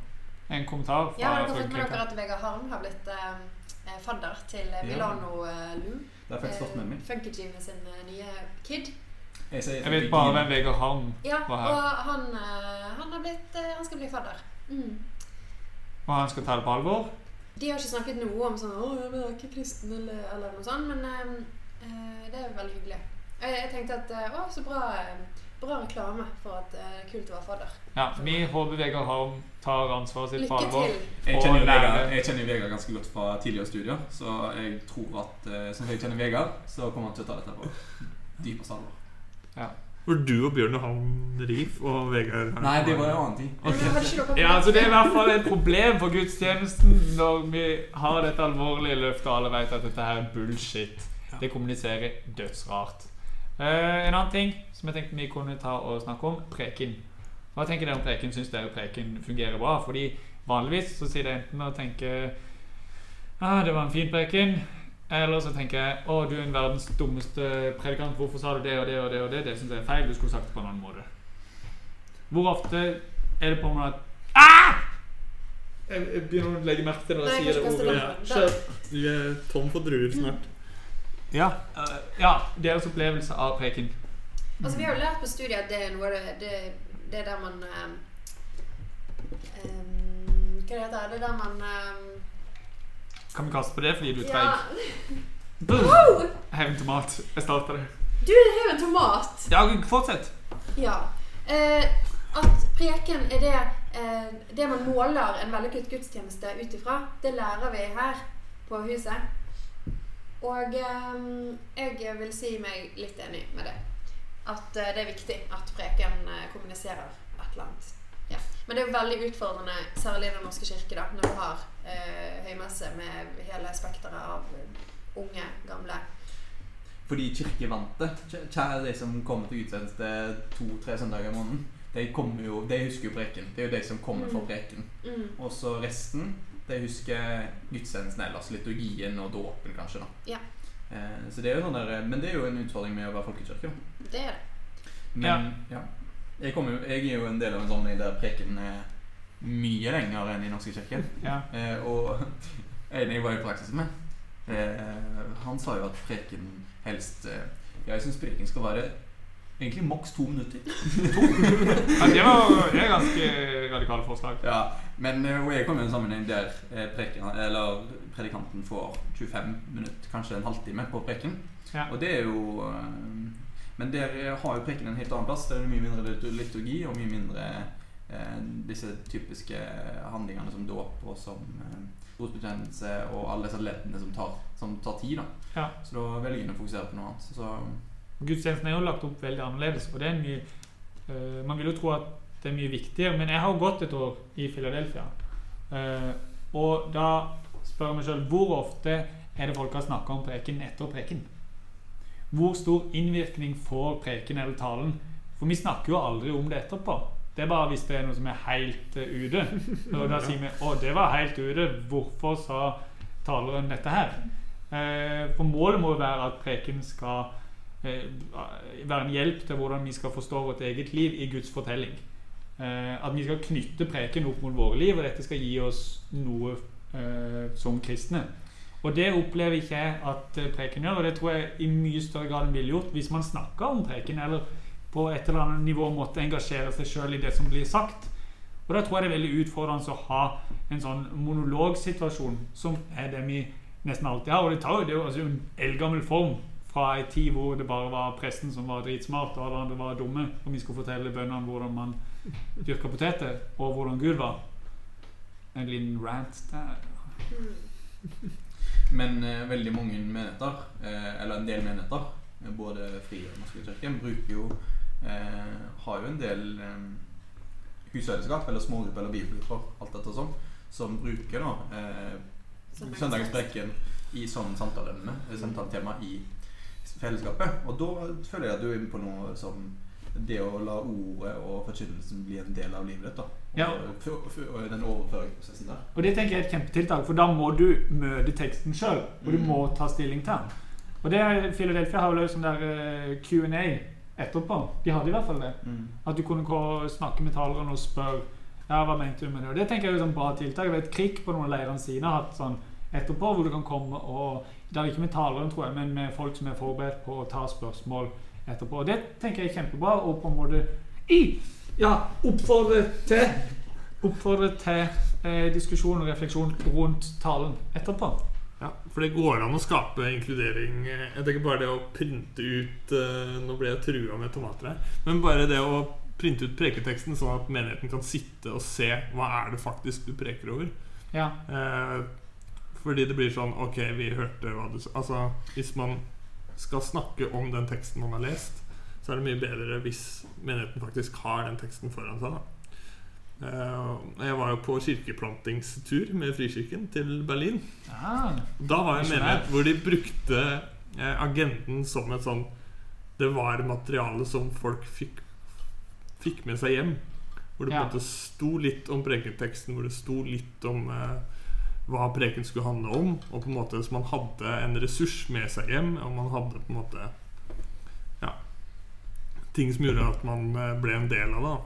Speaker 2: En kommentar fra
Speaker 3: Ja, har dere fått med dere
Speaker 2: Folkekirken.
Speaker 3: at Vegard Harm har blitt eh, fadder til eh,
Speaker 5: Ja.
Speaker 3: Milano eh, Lou?
Speaker 5: Det har faktisk stått med meg.
Speaker 3: Funky Gene sin eh, nye kid.
Speaker 5: Jeg, sier
Speaker 2: Jeg vet bare hvem Vegard Harm
Speaker 3: Ja,
Speaker 2: Hva her?
Speaker 3: og han, eh, han, har blitt, eh, han skal bli fadder. Mm.
Speaker 2: og han skal ta det på alvor.
Speaker 3: De har ikke snakket noe om sånn 'Å, jeg er ikke kristen', eller, eller noe sånt, men eh, eh, det er veldig hyggelig. Jeg, jeg tenkte at eh, Å, så bra, eh, bra reklame for at eh, det er kult å være fadder.
Speaker 2: Ja, Vi håper Vegard Harm tar ansvaret sitt på
Speaker 3: Lykke
Speaker 2: alvor.
Speaker 3: til.
Speaker 5: Jeg kjenner, jo
Speaker 2: Og lære-
Speaker 5: Vegard, jeg kjenner jo Vegard ganske godt fra tidligere studier, så jeg tror at eh, som jeg kjenner Vegard, så kommer han til å ta dette på dypeste alvor.
Speaker 4: Hvor du og Bjørn Johan Riif og Vegard her.
Speaker 5: Nei, det var en annen ting.
Speaker 3: Men hadde ikke dere
Speaker 2: Ja, altså Det er i hvert fall et problem for gudstjenesten når vi har dette alvorlige løftet, og alle vet at dette her er bullshit.
Speaker 4: Ja.
Speaker 2: Det kommuniserer dødsrart. Eh, en annen ting som jeg tenkte vi kunne ta og snakke om, preken. Hva tenker dere om preken? Syns dere preken fungerer bra? Fordi vanligvis så sier det enten å tenke ah, det var en fin preken. Eller så tenker jeg å, du er en verdens dummeste predikant. Hvorfor sa du det og det og det? og Det Det syns jeg er feil. Du skulle sagt det på en annen måte. Hvor ofte er det på en måte at Ah! jeg, jeg begynner å legge merke til når
Speaker 3: Nei,
Speaker 2: jeg sier
Speaker 3: kanskje
Speaker 2: det
Speaker 3: kaste
Speaker 2: ordet.
Speaker 3: den.
Speaker 4: Vi er tom for druer snart.
Speaker 2: Ja. Eh, ja, deres opplevelse av preken.
Speaker 3: Altså, vi har jo lært på studiet at det er noe av det, det, det er der man eh, em, ehm, Hva heter det? Det er der man em,
Speaker 2: Kan vi kaste på det fordi du er
Speaker 3: Ja,
Speaker 2: treig? Boom!
Speaker 3: Wow!
Speaker 2: Hev en tomat. Jeg starta det.
Speaker 3: Du, det er jo en tomat!
Speaker 2: Ja, fortsett.
Speaker 3: Ja. Eh, at preken er det, eh, det man måler en vellykket gudstjeneste ut ifra, det lærer vi her på huset. Og eh, jeg vil si meg litt enig med det. At eh, det er viktig at preken eh, kommuniserer et eller annet. Ja. Men det er jo veldig utfordrende, særlig i Den norske kirke, da, når du har eh, høymesse med hele spekteret av unge, gamle
Speaker 5: Fordi kirke vant det. Kjæ- Kjære de som kommer til gudstjeneste to-tre søndager i måneden. De, kommer jo, de husker jo preken. Det er jo de som kommer for preken.
Speaker 3: mm,
Speaker 5: Og så resten, de husker gudstjenesten ellers. Liturgien og dåpen, kanskje. da.
Speaker 3: Ja.
Speaker 5: Eh, så det er jo sånn der, Men det er jo en utfordring med å være folkekirke. da.
Speaker 3: Det er det.
Speaker 5: Men ja. Jeg, kommer, jo- jeg er jo en del av en sammenheng der preken er mye lenger enn i norske kirke.
Speaker 2: Ja.
Speaker 5: Eh, og en jeg var i praksis med, eh, han sa jo at preken helst eh, Jeg syns preken skal være egentlig maks to minutter.
Speaker 2: Ja, det var det er ganske radikale forslag.
Speaker 5: Ja, men eh, og jeg kom i en sammenheng der eh, preken, eller predikanten får 25 minutter, kanskje en halvtime, på preken.
Speaker 2: Ja.
Speaker 5: Og det er jo eh, Men der eh, har jo preken en helt annen plass. Der er det mye mindre litur- liturgi og mye mindre eh, disse typiske handlingene som dåp og som eh, trosbekjennelse og alle disse leddene som tar, som tar tid. da.
Speaker 2: Ja.
Speaker 5: Så da velger en å fokusere på noe annet. Så,
Speaker 2: Gudstjenesten er jo lagt opp veldig annerledes. og det er mye, eh, Man vil jo tro at det er mye viktigere, men jeg har jo gått et år i Philadelphia. Eh, og da spør jeg meg sjøl hvor ofte er det folk har snakka om preken etter preken? Hvor stor innvirkning får preken eller talen? For vi snakker jo aldri om det etterpå. Det er bare hvis det er noe som er helt eh, ute. Og da sier vi 'Å, det var helt ute. Hvorfor sa taleren dette her?' Eh, for målet må jo være at preken skal eh, være en hjelp til hvordan vi skal forstå vårt eget liv i Guds fortelling. Eh, at vi skal knytte preken opp mot våre liv, og dette skal gi oss noe eh, som kristne. Og det opplever ikke jeg at eh, preken gjør, og det tror jeg i mye større grad enn ville gjort hvis man snakka om preken, eller på et eller annet nivå måtte engasjere seg sjøl i det som blir sagt. Og da tror jeg det er veldig utfordrende å ha en sånn monologsituasjon, som er det vi nesten alltid har. Og det, tar jo, det er jo altså en eldgammel form fra ei tid hvor det bare var presten som var dritsmart, og alle andre var dumme, og vi skulle fortelle bøndene hvordan man dyrka poteter, og hvordan Gud var. En liten rant der.
Speaker 3: Mm.
Speaker 5: Men eh, veldig mange menigheter, eh, eller en del menigheter, eh, både fri og norske kirken, bruker jo eh, Har jo en del eh, husfellesskap, eller smågrupper eller bibelgrupper, alt etter sånn, som bruker da eh,
Speaker 3: Søndagens-
Speaker 5: søndagspreken i sånn samtaleemne, eh, samtaletema i fellesskapet. Og da føler jeg at du er inne på noe som det å la ordet og forkynnelsen bli en del av livet ditt. da. Og,
Speaker 2: Ja.
Speaker 5: f- f- og den overføringsprosessen der.
Speaker 2: Og det tenker jeg er et kjempetiltak, for da må du møte teksten sjøl, og du
Speaker 5: Mm.
Speaker 2: må ta stilling til den. Og det er- Philadelphia har jo løst sånn der eh, Q&A etterpå. De hadde i hvert fall det. At du kunne gå- snakke med taleren og spørre ja, hva mente du med det. Og det tenker jeg er et sånt bra tiltak. Jeg vet Krik på noen av leirene sine har hatt sånn etterpå, hvor du kan komme og Det er ikke med taleren, tror jeg, men med folk som er forberedt på å ta spørsmål etterpå. Og det tenker jeg er kjempebra. Og på en måte i, ja, oppfordre til Oppfordre til eh, diskusjon og refleksjon rundt talen etterpå.
Speaker 4: Ja, for det går an å skape inkludering. eh, Jeg tenker bare det å printe ut eh, Nå ble jeg trua med tomater her. Men bare det å printe ut preketeksten, sånn at menigheten kan sitte og se hva er det faktisk du preker over.
Speaker 2: Ja.
Speaker 4: Eh, fordi det blir sånn Ok, vi hørte hva du sa. Altså, hvis man skal snakke om den teksten man har lest, så er det mye bedre hvis menigheten faktisk har den teksten foran seg. da Eh, Jeg var jo på kirkeplantingstur med Frikirken til Berlin.
Speaker 2: Ah,
Speaker 4: Da var jeg en
Speaker 2: Misjonær.
Speaker 4: menighet hvor de brukte eh, agenten som et sånn Det var materiale som folk fikk, fikk med seg hjem. Hvor det på
Speaker 2: Ja.
Speaker 4: en måte sto litt om prekenteksten, hvor det sto litt om eh, hva preken skulle handle om. Og på en måte så man hadde en ressurs med seg hjem, og man hadde på en måte Ja. Ting som gjorde at man eh, ble en del av det. da.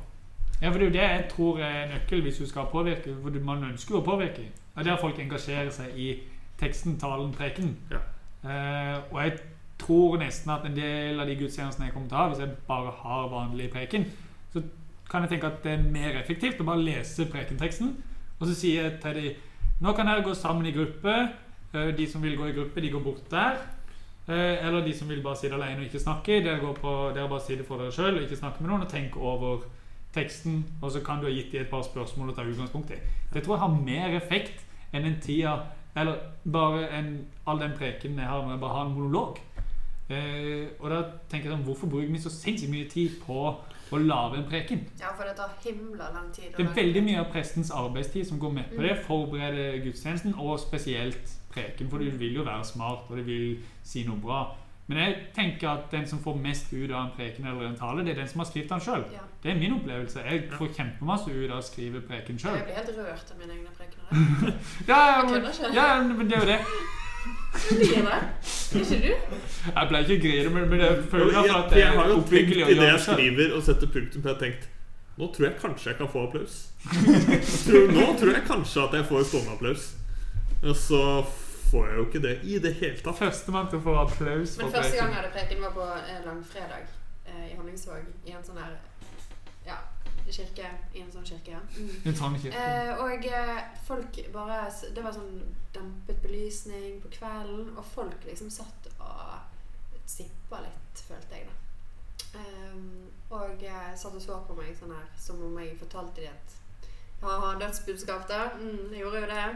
Speaker 2: Ja, for det er jo det jeg tror er nøkkel hvis du skal påvirke. For du- man ønsker jo å påvirke. Det er der folk engasjerer seg i teksten, talen, preken.
Speaker 4: Ja.
Speaker 2: Eh, og jeg tror nesten at en del av de gudstjenestene jeg kommer til å ha, hvis jeg bare har vanlig preken, så kan jeg tenke at det er mer effektivt å bare lese prekenteksten. Og så sier jeg til de Nå kan dere gå sammen i gruppe. Eh, De som vil gå i gruppe, de går bort der. Eh, Eller de som vil bare sitte alene og ikke snakke. Dere, går på, dere bare sier det for dere sjøl og ikke snakker med noen. Og tenker over teksten. Og så kan du ha gitt dem et par spørsmål å ta utgangspunkt i. Det tror jeg har mer effekt enn en tida Eller bare en, all den preken jeg har med å bare ha en monolog. Eh, og da tenker jeg sånn, Hvorfor bruker vi så sinnssykt mye tid på å lage en preken?
Speaker 3: Ja, for det tar himla lang tid. å
Speaker 2: Det er
Speaker 3: lage-
Speaker 2: veldig mye av prestens arbeidstid som går med på det. Forberede gudstjenesten, og spesielt preken. For du vil jo være smart, og du vil si noe bra. Men jeg tenker at den som får mest ut av en preken eller en tale, det er den som har skrevet den sjøl.
Speaker 3: Ja.
Speaker 2: Det er min opplevelse. Jeg får kjempemasse ut av å skrive preken sjøl.
Speaker 3: Jeg blir helt rørt av mine egne prekener.
Speaker 2: Ja, ja,
Speaker 3: Jeg
Speaker 2: men-
Speaker 3: kødder ikke.
Speaker 2: ja, men det er jo det.
Speaker 3: Blir det? Ikke du?
Speaker 2: Jeg ble ikke grine, men men jeg føler i hvert fall at
Speaker 4: Jeg,
Speaker 2: det
Speaker 4: jeg har
Speaker 2: er
Speaker 4: jo tenkt
Speaker 2: oppbyggelig å
Speaker 4: i det
Speaker 2: gjøre
Speaker 4: jeg
Speaker 2: det selv.
Speaker 4: skriver og setter punktum, for jeg har tenkt Nå tror jeg kanskje jeg kan få applaus. Tror- Nå tror jeg kanskje at jeg får stående applaus. Og så får jeg jo ikke det i det hele tatt.
Speaker 2: Førstemann til å få applaus
Speaker 3: Men
Speaker 2: for
Speaker 3: første gang
Speaker 2: preken.
Speaker 3: jeg hadde preken, var på eh, langfredag eh, i Honningsvåg. I en sånn her Ja, i kirke. I en sånn kirke, ja. Mm.
Speaker 2: En sånn kirke.
Speaker 3: Eh, og eh, folk bare s- Det var sånn dempet belysning på kvelden, og folk liksom satt og sippa litt, følte jeg, da. Ehm, og eh, satt og så på meg sånn her, som om jeg fortalte dem at Ja, ha dødsbudskap, da. Mm, jeg gjorde jo det.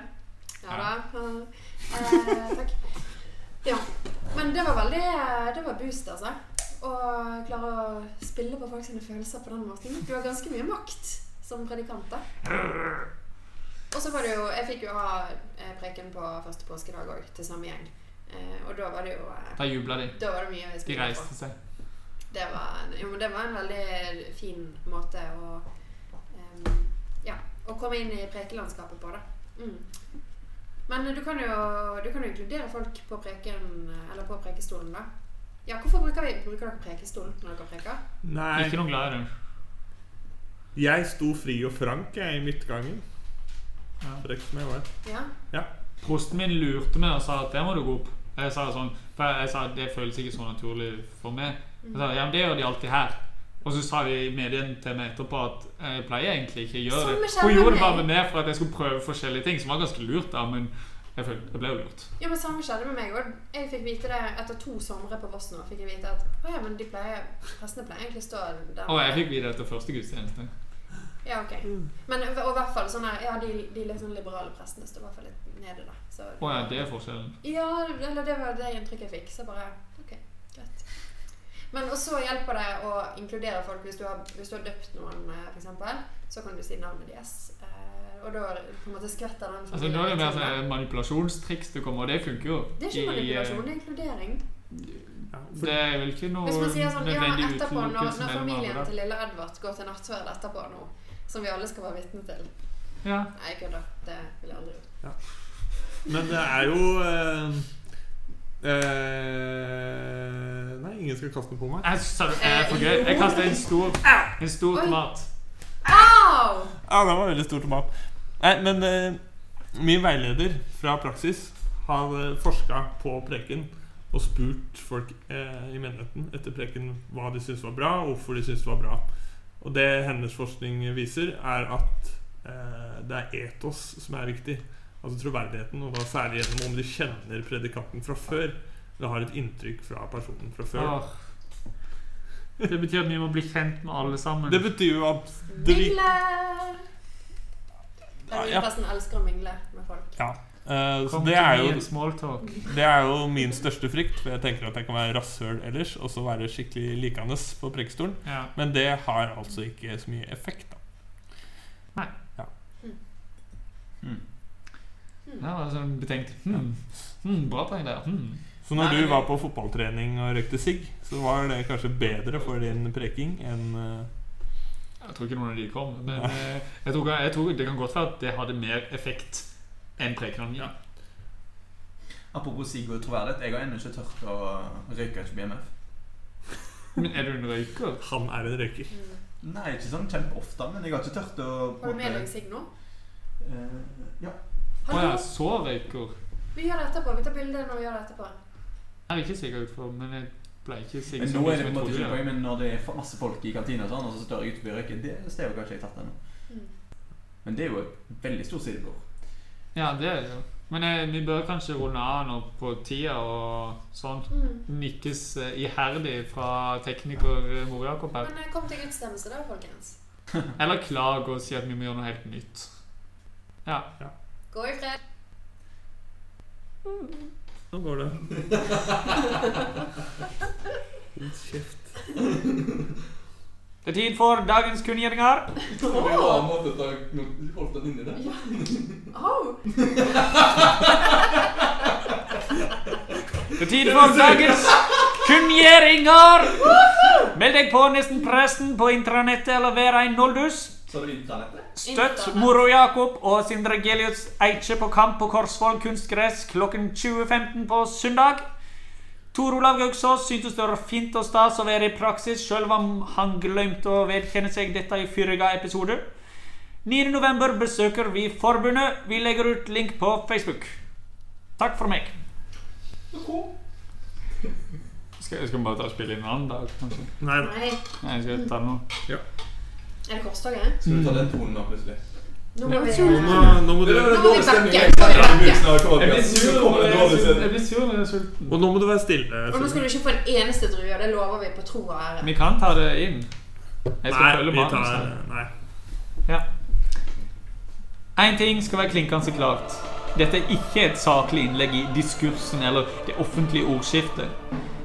Speaker 3: Ja da. Eh, takk. Ja. Men det var veldig eh, Det var boost, altså. Å klare å spille på folk sine følelser på den måten. Du har ganske mye makt som predikant, da. Og så var det jo Jeg fikk jo ha eh, preken på første påskedag òg, til samme gjeng. Eh, og da var det jo eh,
Speaker 2: Da jubla de.
Speaker 3: Da var det mye å
Speaker 2: De
Speaker 3: spille på.
Speaker 2: reiste seg.
Speaker 3: Det var, en- jo, men det var en veldig fin måte å eh, Ja, å komme inn i prekelandskapet på, da. Mm. Men du kan, jo, du kan jo inkludere folk på preken eh, Eller på prekestolen, da. Ja, hvorfor bruker, vi, bruker dere prekestolen når dere preker?
Speaker 4: Nei,
Speaker 2: Ikke noe glad i den.
Speaker 4: jeg sto fri og frank jeg i midtgangen.
Speaker 2: Ja.
Speaker 4: Frekk som jeg var.
Speaker 3: Ja.
Speaker 2: Prosten min lurte meg og sa at der må du gå opp. Jeg sa sånn, for jeg sa at det føles ikke så naturlig for meg. Jeg sa, ja, men det gjør de alltid her. Og så sa de i medien til meg etterpå at jeg pleier egentlig ikke å gjøre det.
Speaker 3: Samme
Speaker 2: Hun gjorde det
Speaker 3: skjermen.
Speaker 2: bare med meg for at jeg skulle prøve forskjellige ting, som var ganske lurt da, men jeg, følte, jeg ble jo lurt.
Speaker 3: Ja, men Samme skjedde med meg. Og jeg fikk vite det etter to somre på Voss nå. fikk jeg vite at «Å ja, men de pleier, prestene pleier egentlig å stå der.
Speaker 2: Og jeg fikk vite det etter første gudstjeneste.
Speaker 3: Ja, ok. Men og i hvert fall sånn her, ja, de, de litt sånn liberale prestene står i hvert fall litt nede, da. Så,
Speaker 2: Å ja, det er forskjellen.
Speaker 3: ja, eller det var det inntrykket jeg fikk. Så bare OK, greit. Men og så hjelper det å inkludere folk. Hvis du har, hvis du har døpt noen, eh, for eksempel, så kan du si navnet deres. Eh, Og da på en måte skvetter den
Speaker 2: Altså, nå er det mer sånn manipulasjonstriks du kommer, og det funker jo.
Speaker 3: Det er ikke
Speaker 2: i, eh,
Speaker 3: manipulasjon, det er inkludering.
Speaker 4: Ja, for
Speaker 2: Det er vel ikke noe
Speaker 3: Hvis man sier sånn, ja,
Speaker 2: nødvendig
Speaker 3: etterpå, når,
Speaker 2: utelukkelse
Speaker 3: når
Speaker 2: mellom
Speaker 3: familien
Speaker 2: alle, da.
Speaker 3: til lille Edvard går til nattverd etterpå nå, som vi alle skal være vitne til
Speaker 2: Ja.
Speaker 3: Nei, jeg kødder. Det ville jeg aldri gjort.
Speaker 4: Men det er jo eh, eh, Nei, ingen skal kaste noe på meg.
Speaker 2: Jeg sa det er for gøy. Jeg kastet en stor, en stor
Speaker 3: Oi.
Speaker 2: tomat.
Speaker 3: Au!
Speaker 4: Ja, det var veldig stor tomat. Nei, men eh, min veileder fra praksis har eh, forska på preken og spurt folk eh, i menigheten etter preken hva de syntes var bra, og hvorfor de syntes det var bra. Og det hennes forskning viser, er at eh, det er etos som er viktig. Altså troverdigheten, og da særlig gjennom om de kjenner predikanten fra før. Eller har et inntrykk fra personen fra før.
Speaker 2: Åh. Det betyr at vi må bli kjent med alle sammen.
Speaker 4: Det betyr jo at det vi-
Speaker 3: Mingle! Den
Speaker 4: Ja.
Speaker 3: nye pressen elsker å mingle med folk.
Speaker 4: ja. eh, så
Speaker 2: Kom
Speaker 4: det
Speaker 2: til
Speaker 4: er
Speaker 2: meg i
Speaker 4: jo
Speaker 2: en small talk.
Speaker 4: Det er jo min største frykt, for jeg tenker at jeg kan være rasshøl ellers, og så være skikkelig likende på prekestolen.
Speaker 2: Ja.
Speaker 4: Men det har altså ikke så mye effekt, da.
Speaker 3: Hmm.
Speaker 2: Det var sånn betenkt. Hmm. Hmm, bra poeng der. Hmm.
Speaker 4: Så når du var på fotballtrening og røykte sigg, så var det kanskje bedre for din preking enn eh,
Speaker 2: Jeg tror ikke noen av de kom, men eh, jeg tror, jeg tror det kan godt være at det hadde mer effekt enn prekenen. Ja.
Speaker 5: Apropos sigg og troverdighet. Jeg har ennå ikke tørt å røyke ut på BMF.
Speaker 2: Men er du en røyker?
Speaker 4: Han er en røyker.
Speaker 3: Mm.
Speaker 5: Nei, ikke sånn kjempeofte, men jeg har ikke tørt å på
Speaker 3: Har
Speaker 5: en
Speaker 3: du med
Speaker 5: måte-
Speaker 3: deg sigg nå?
Speaker 5: Eh, ja.
Speaker 2: Å ja,
Speaker 3: Hallo!
Speaker 2: så røyker.
Speaker 3: Vi gjør det etterpå. Vi tar bilde når vi gjør det etterpå.
Speaker 2: Jeg er ikke sikker utfor, men jeg pleier ikke å si
Speaker 5: Men
Speaker 2: så
Speaker 5: nå
Speaker 2: mye
Speaker 5: er det
Speaker 2: som
Speaker 5: på en
Speaker 2: jeg
Speaker 5: måte ikke
Speaker 2: trodde.
Speaker 5: poeng, men når det er fa- masse folk i kantina og sånn, og så står jeg utenfor og røyker, det stedet kanskje jeg tatt ennå.
Speaker 3: Mm.
Speaker 5: Men det er jo et veldig stort sidebord.
Speaker 2: Ja, det er det jo. Men eh, vi bør kanskje runde av nå på tida og sånn.
Speaker 3: Mm.
Speaker 2: Nikkes eh, iherdig fra tekniker eh, Mor Jakob her.
Speaker 3: Men eh, kom til gudstjeneste, da, folkens.
Speaker 2: Eller klag og si at vi må gjøre noe helt nytt. Ja.
Speaker 3: Gå i fred.
Speaker 4: Nå går det.
Speaker 2: Det er tid for dagens kunngjøringer.
Speaker 3: Åh!
Speaker 5: måte å holde den inni det.
Speaker 3: Au!
Speaker 2: Det er tid for dagens kunngjøringer! Meld deg på Nesten Presten på intranettet eller vær en noldus.
Speaker 5: Så er det internettet.
Speaker 2: Støtt
Speaker 3: Internett.
Speaker 2: Moro Jakob og Sindre Gelius Eiche på kamp på Korsvoll kunstgress klokken 20.15 på søndag. Tor Olav Gauksås syntes det var fint og stas å være i praksis, sjøl om han glemte å vedkjenne seg dette i forrige episode. 9.11. besøker vi forbundet. Vi legger ut link på Facebook. Takk for meg. Skal, skal vi bare ta og spille inn en annen dag, kanskje?
Speaker 4: Nei da.
Speaker 3: Nei,
Speaker 2: Nei, jeg skal ta det nå.
Speaker 3: er det korstoget?
Speaker 5: Skal du ta den tonen nå plutselig?
Speaker 3: Nå må vi
Speaker 4: Nå må, nå må du,
Speaker 3: Nå må vi bakke.
Speaker 2: når jeg er sulten.
Speaker 4: og nå må du være stille.
Speaker 3: Og nå skal
Speaker 4: Sylvi.
Speaker 3: du ikke få en eneste drue, det lover vi på tro og ære.
Speaker 2: Vi kan ta det inn. Jeg skal
Speaker 4: Nei,
Speaker 2: følge
Speaker 4: vi
Speaker 2: manus
Speaker 4: tar
Speaker 2: her.
Speaker 4: Nei.
Speaker 2: Én ting skal være klinkende klart. Dette er ikke et saklig innlegg i diskursen eller det offentlige ordskiftet.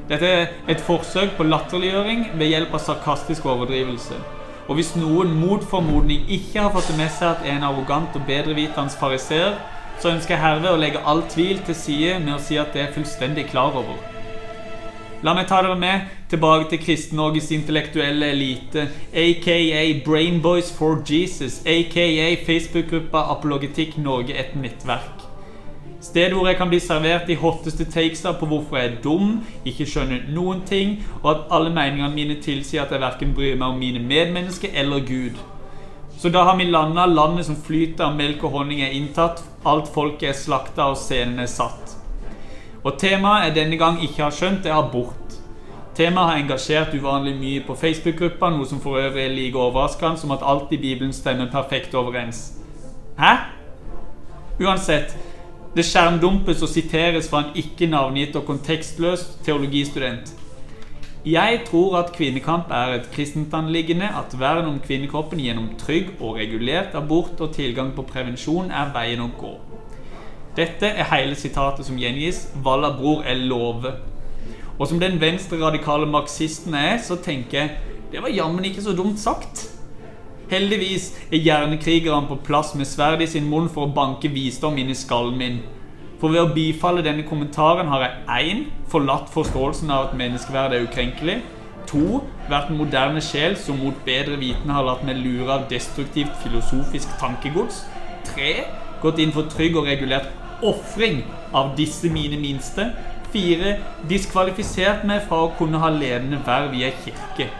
Speaker 2: Dette er et forsøk på latterliggjøring ved hjelp av sarkastisk overdrivelse. Og hvis noen mot formodning ikke har fått det med seg at jeg er en arrogant og bedrevitende fariseer, så ønsker jeg herved å legge all tvil til side med å si at det er fullstendig klar over. La meg ta dere med tilbake til Kristen-Norges intellektuelle elite, aka Brainboys for Jesus, aka Facebook-gruppa Apologetikk Norge et nettverk. Sted hvor jeg kan bli servert de hotteste takesa på hvorfor jeg er dum, ikke skjønner noen ting, og at alle meningene mine tilsier at jeg verken bryr meg om mine medmennesker eller Gud. Så da har vi landa landet som flyter av melk og honning er inntatt, alt folket er slakta og scenen er satt. Og temaet jeg denne gang ikke har skjønt, er abort. Temaet har engasjert uvanlig mye på Facebook-gruppa, noe som for øvrig er like overraskende som at alt i Bibelen stemmer perfekt overens. Hæ? Uansett. Det skjermdumpes og siteres fra en ikke navngitt og kontekstløs teologistudent. Jeg tror at kvinnekamp er et kristent anliggende, at vern om kvinnekroppen gjennom trygg og regulert abort og tilgang på prevensjon er veien å gå. Dette er hele sitatet som gjengis. Valla bror, jeg lover. Og som den venstre-radikale marxisten jeg er, så tenker jeg det var jammen ikke så dumt sagt. Heldigvis er hjernekrigeren på plass med sverdet i sin munn for å banke visdom inn i skallen min. For ved å bifalle denne kommentaren har jeg 1. forlatt forståelsen av at menneskeverdet er ukrenkelig. 2. vært en moderne sjel som mot bedre vitende har latt meg lure av destruktivt filosofisk tankegods. 3. gått inn for trygg og regulert ofring av disse mine minste. 4. diskvalifisert meg fra å kunne ha ledende verv i ei kirke.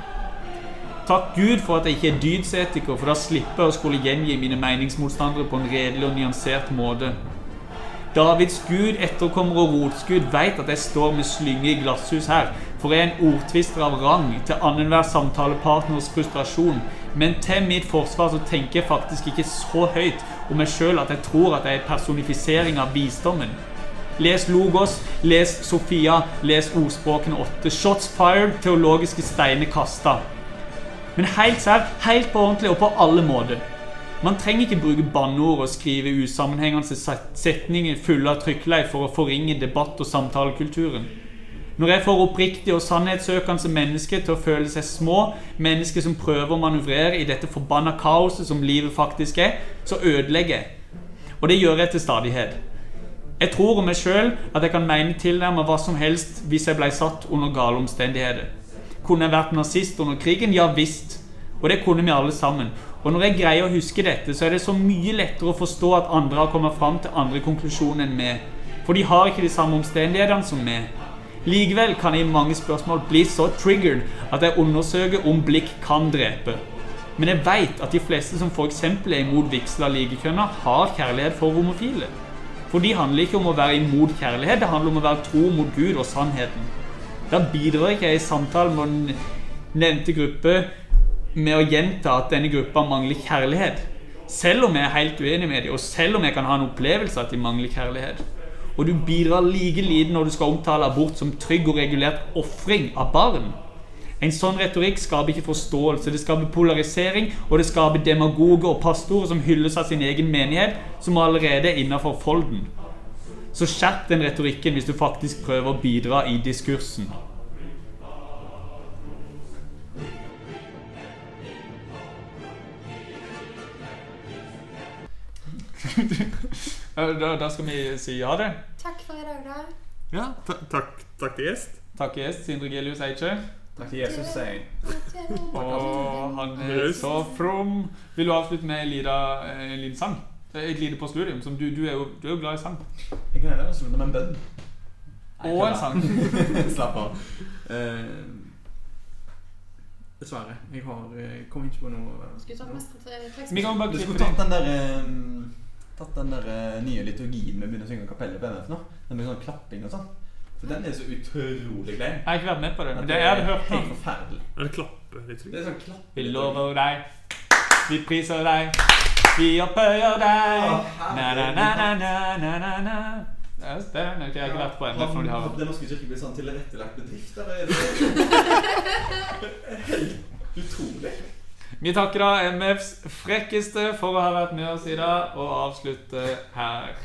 Speaker 2: Takk Gud for at jeg ikke er dydsetiker, for da slipper jeg å skulle gjengi mine meningsmotstandere på en redelig og nyansert måte. Davids Gud, etterkommer og rotsgud veit at jeg står med slynge i glasshus her, for jeg er en ordtvister av rang til annenhver samtalepartners frustrasjon. Men til mitt forsvar så tenker jeg faktisk ikke så høyt om meg sjøl at jeg tror at jeg er personifisering av visdommen. Les Logos, les Sofia, les Ordspråkene 8. Shots fired, teologiske steiner kasta. Men helt sær, helt på ordentlig og på alle måter. Man trenger ikke bruke banneord og skrive usammenhengende set- setninger fulle av trykkleif for å forringe debatt- og samtalekulturen. Når jeg får oppriktige og sannhetssøkende mennesker til å føle seg små, mennesker som prøver å manøvrere i dette forbanna kaoset som livet faktisk er, så ødelegger jeg. Og det gjør jeg til stadighet. Jeg tror om meg sjøl at jeg kan mene tilnærmet hva som helst hvis jeg ble satt under gale omstendigheter. Kunne jeg vært nazist under krigen? Ja visst. Og det kunne vi alle sammen. Og når jeg greier å huske dette, så er det så mye lettere å forstå at andre har kommet fram til andre konklusjoner enn meg. For de har ikke de samme omstendighetene som meg. Likevel kan jeg i mange spørsmål bli så triggered at jeg undersøker om blikk kan drepe. Men jeg veit at de fleste som f.eks. er imot vigsel av likekjønna, har kjærlighet for homofile. For de handler ikke om å være imot kjærlighet, det handler om å være tro mot Gud og sannheten. Da bidrar ikke jeg i samtalen med den nevnte gruppe med å gjenta at denne gruppa mangler kjærlighet. Selv om jeg er helt uenig med dem, og selv om jeg kan ha en opplevelse at de mangler kjærlighet. Og du bidrar like lite når du skal omtale abort som trygg og regulert ofring av barn. En sånn retorikk skaper ikke forståelse. Det skaper polarisering, og det skaper demagoger og pastorer som hylles av sin egen menighet, som allerede er innafor folden. Så skjerp den retorikken hvis du faktisk prøver å bidra i diskursen. da, da skal vi si ha det.
Speaker 3: Takk for i dag, da.
Speaker 4: Ja, ta- takk, takk til gjest.
Speaker 2: Takk gjest, Sindre Gelius Eiche.
Speaker 5: Takk til Jesus, sier jeg.
Speaker 2: Og han er Eh,
Speaker 4: Raust.
Speaker 2: så from. Vil du avslutte med en lita- en liten sang? Eh, Et lite postludium. Som du, du, er jo, du er jo glad i sang.
Speaker 5: Jeg kan gjerne avslutte med en bønn. Nei,
Speaker 2: Og en
Speaker 5: kødda.
Speaker 2: sang.
Speaker 5: Slapp av. Eh, dessverre. Jeg har eh, kom ikke på noe
Speaker 3: Skulle tatt mest eh,
Speaker 2: Vi kan
Speaker 3: tekstmelding.
Speaker 2: bare
Speaker 5: Du skulle
Speaker 2: klippe
Speaker 5: tatt
Speaker 2: det.
Speaker 5: den der eh, Tatt den der eh, nye liturgien vi begynner å synge i kapellet på MF nå. Den med sånn klapping og sånn. For den er så utrolig klein.
Speaker 2: Jeg har ikke vært med på det, men det jeg hadde hørt
Speaker 5: Helt
Speaker 2: om.
Speaker 5: forferdelig.
Speaker 4: Er det klappe litt?
Speaker 5: Det er sånn klapp...
Speaker 2: Vi lover deg, vi priser deg, vi opphøyer deg.
Speaker 5: Å,
Speaker 2: Na-na-na-na-na-na-na. Det er det. men Jeg har ikke vært på MF når de har
Speaker 5: Den norske kirke blir sånn tilrettelagt bedrift, eller er det Helt utrolig.
Speaker 2: Vi takker da MFs frekkeste for å ha vært med oss i dag, og avslutter her.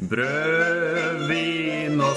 Speaker 1: Brød, vin og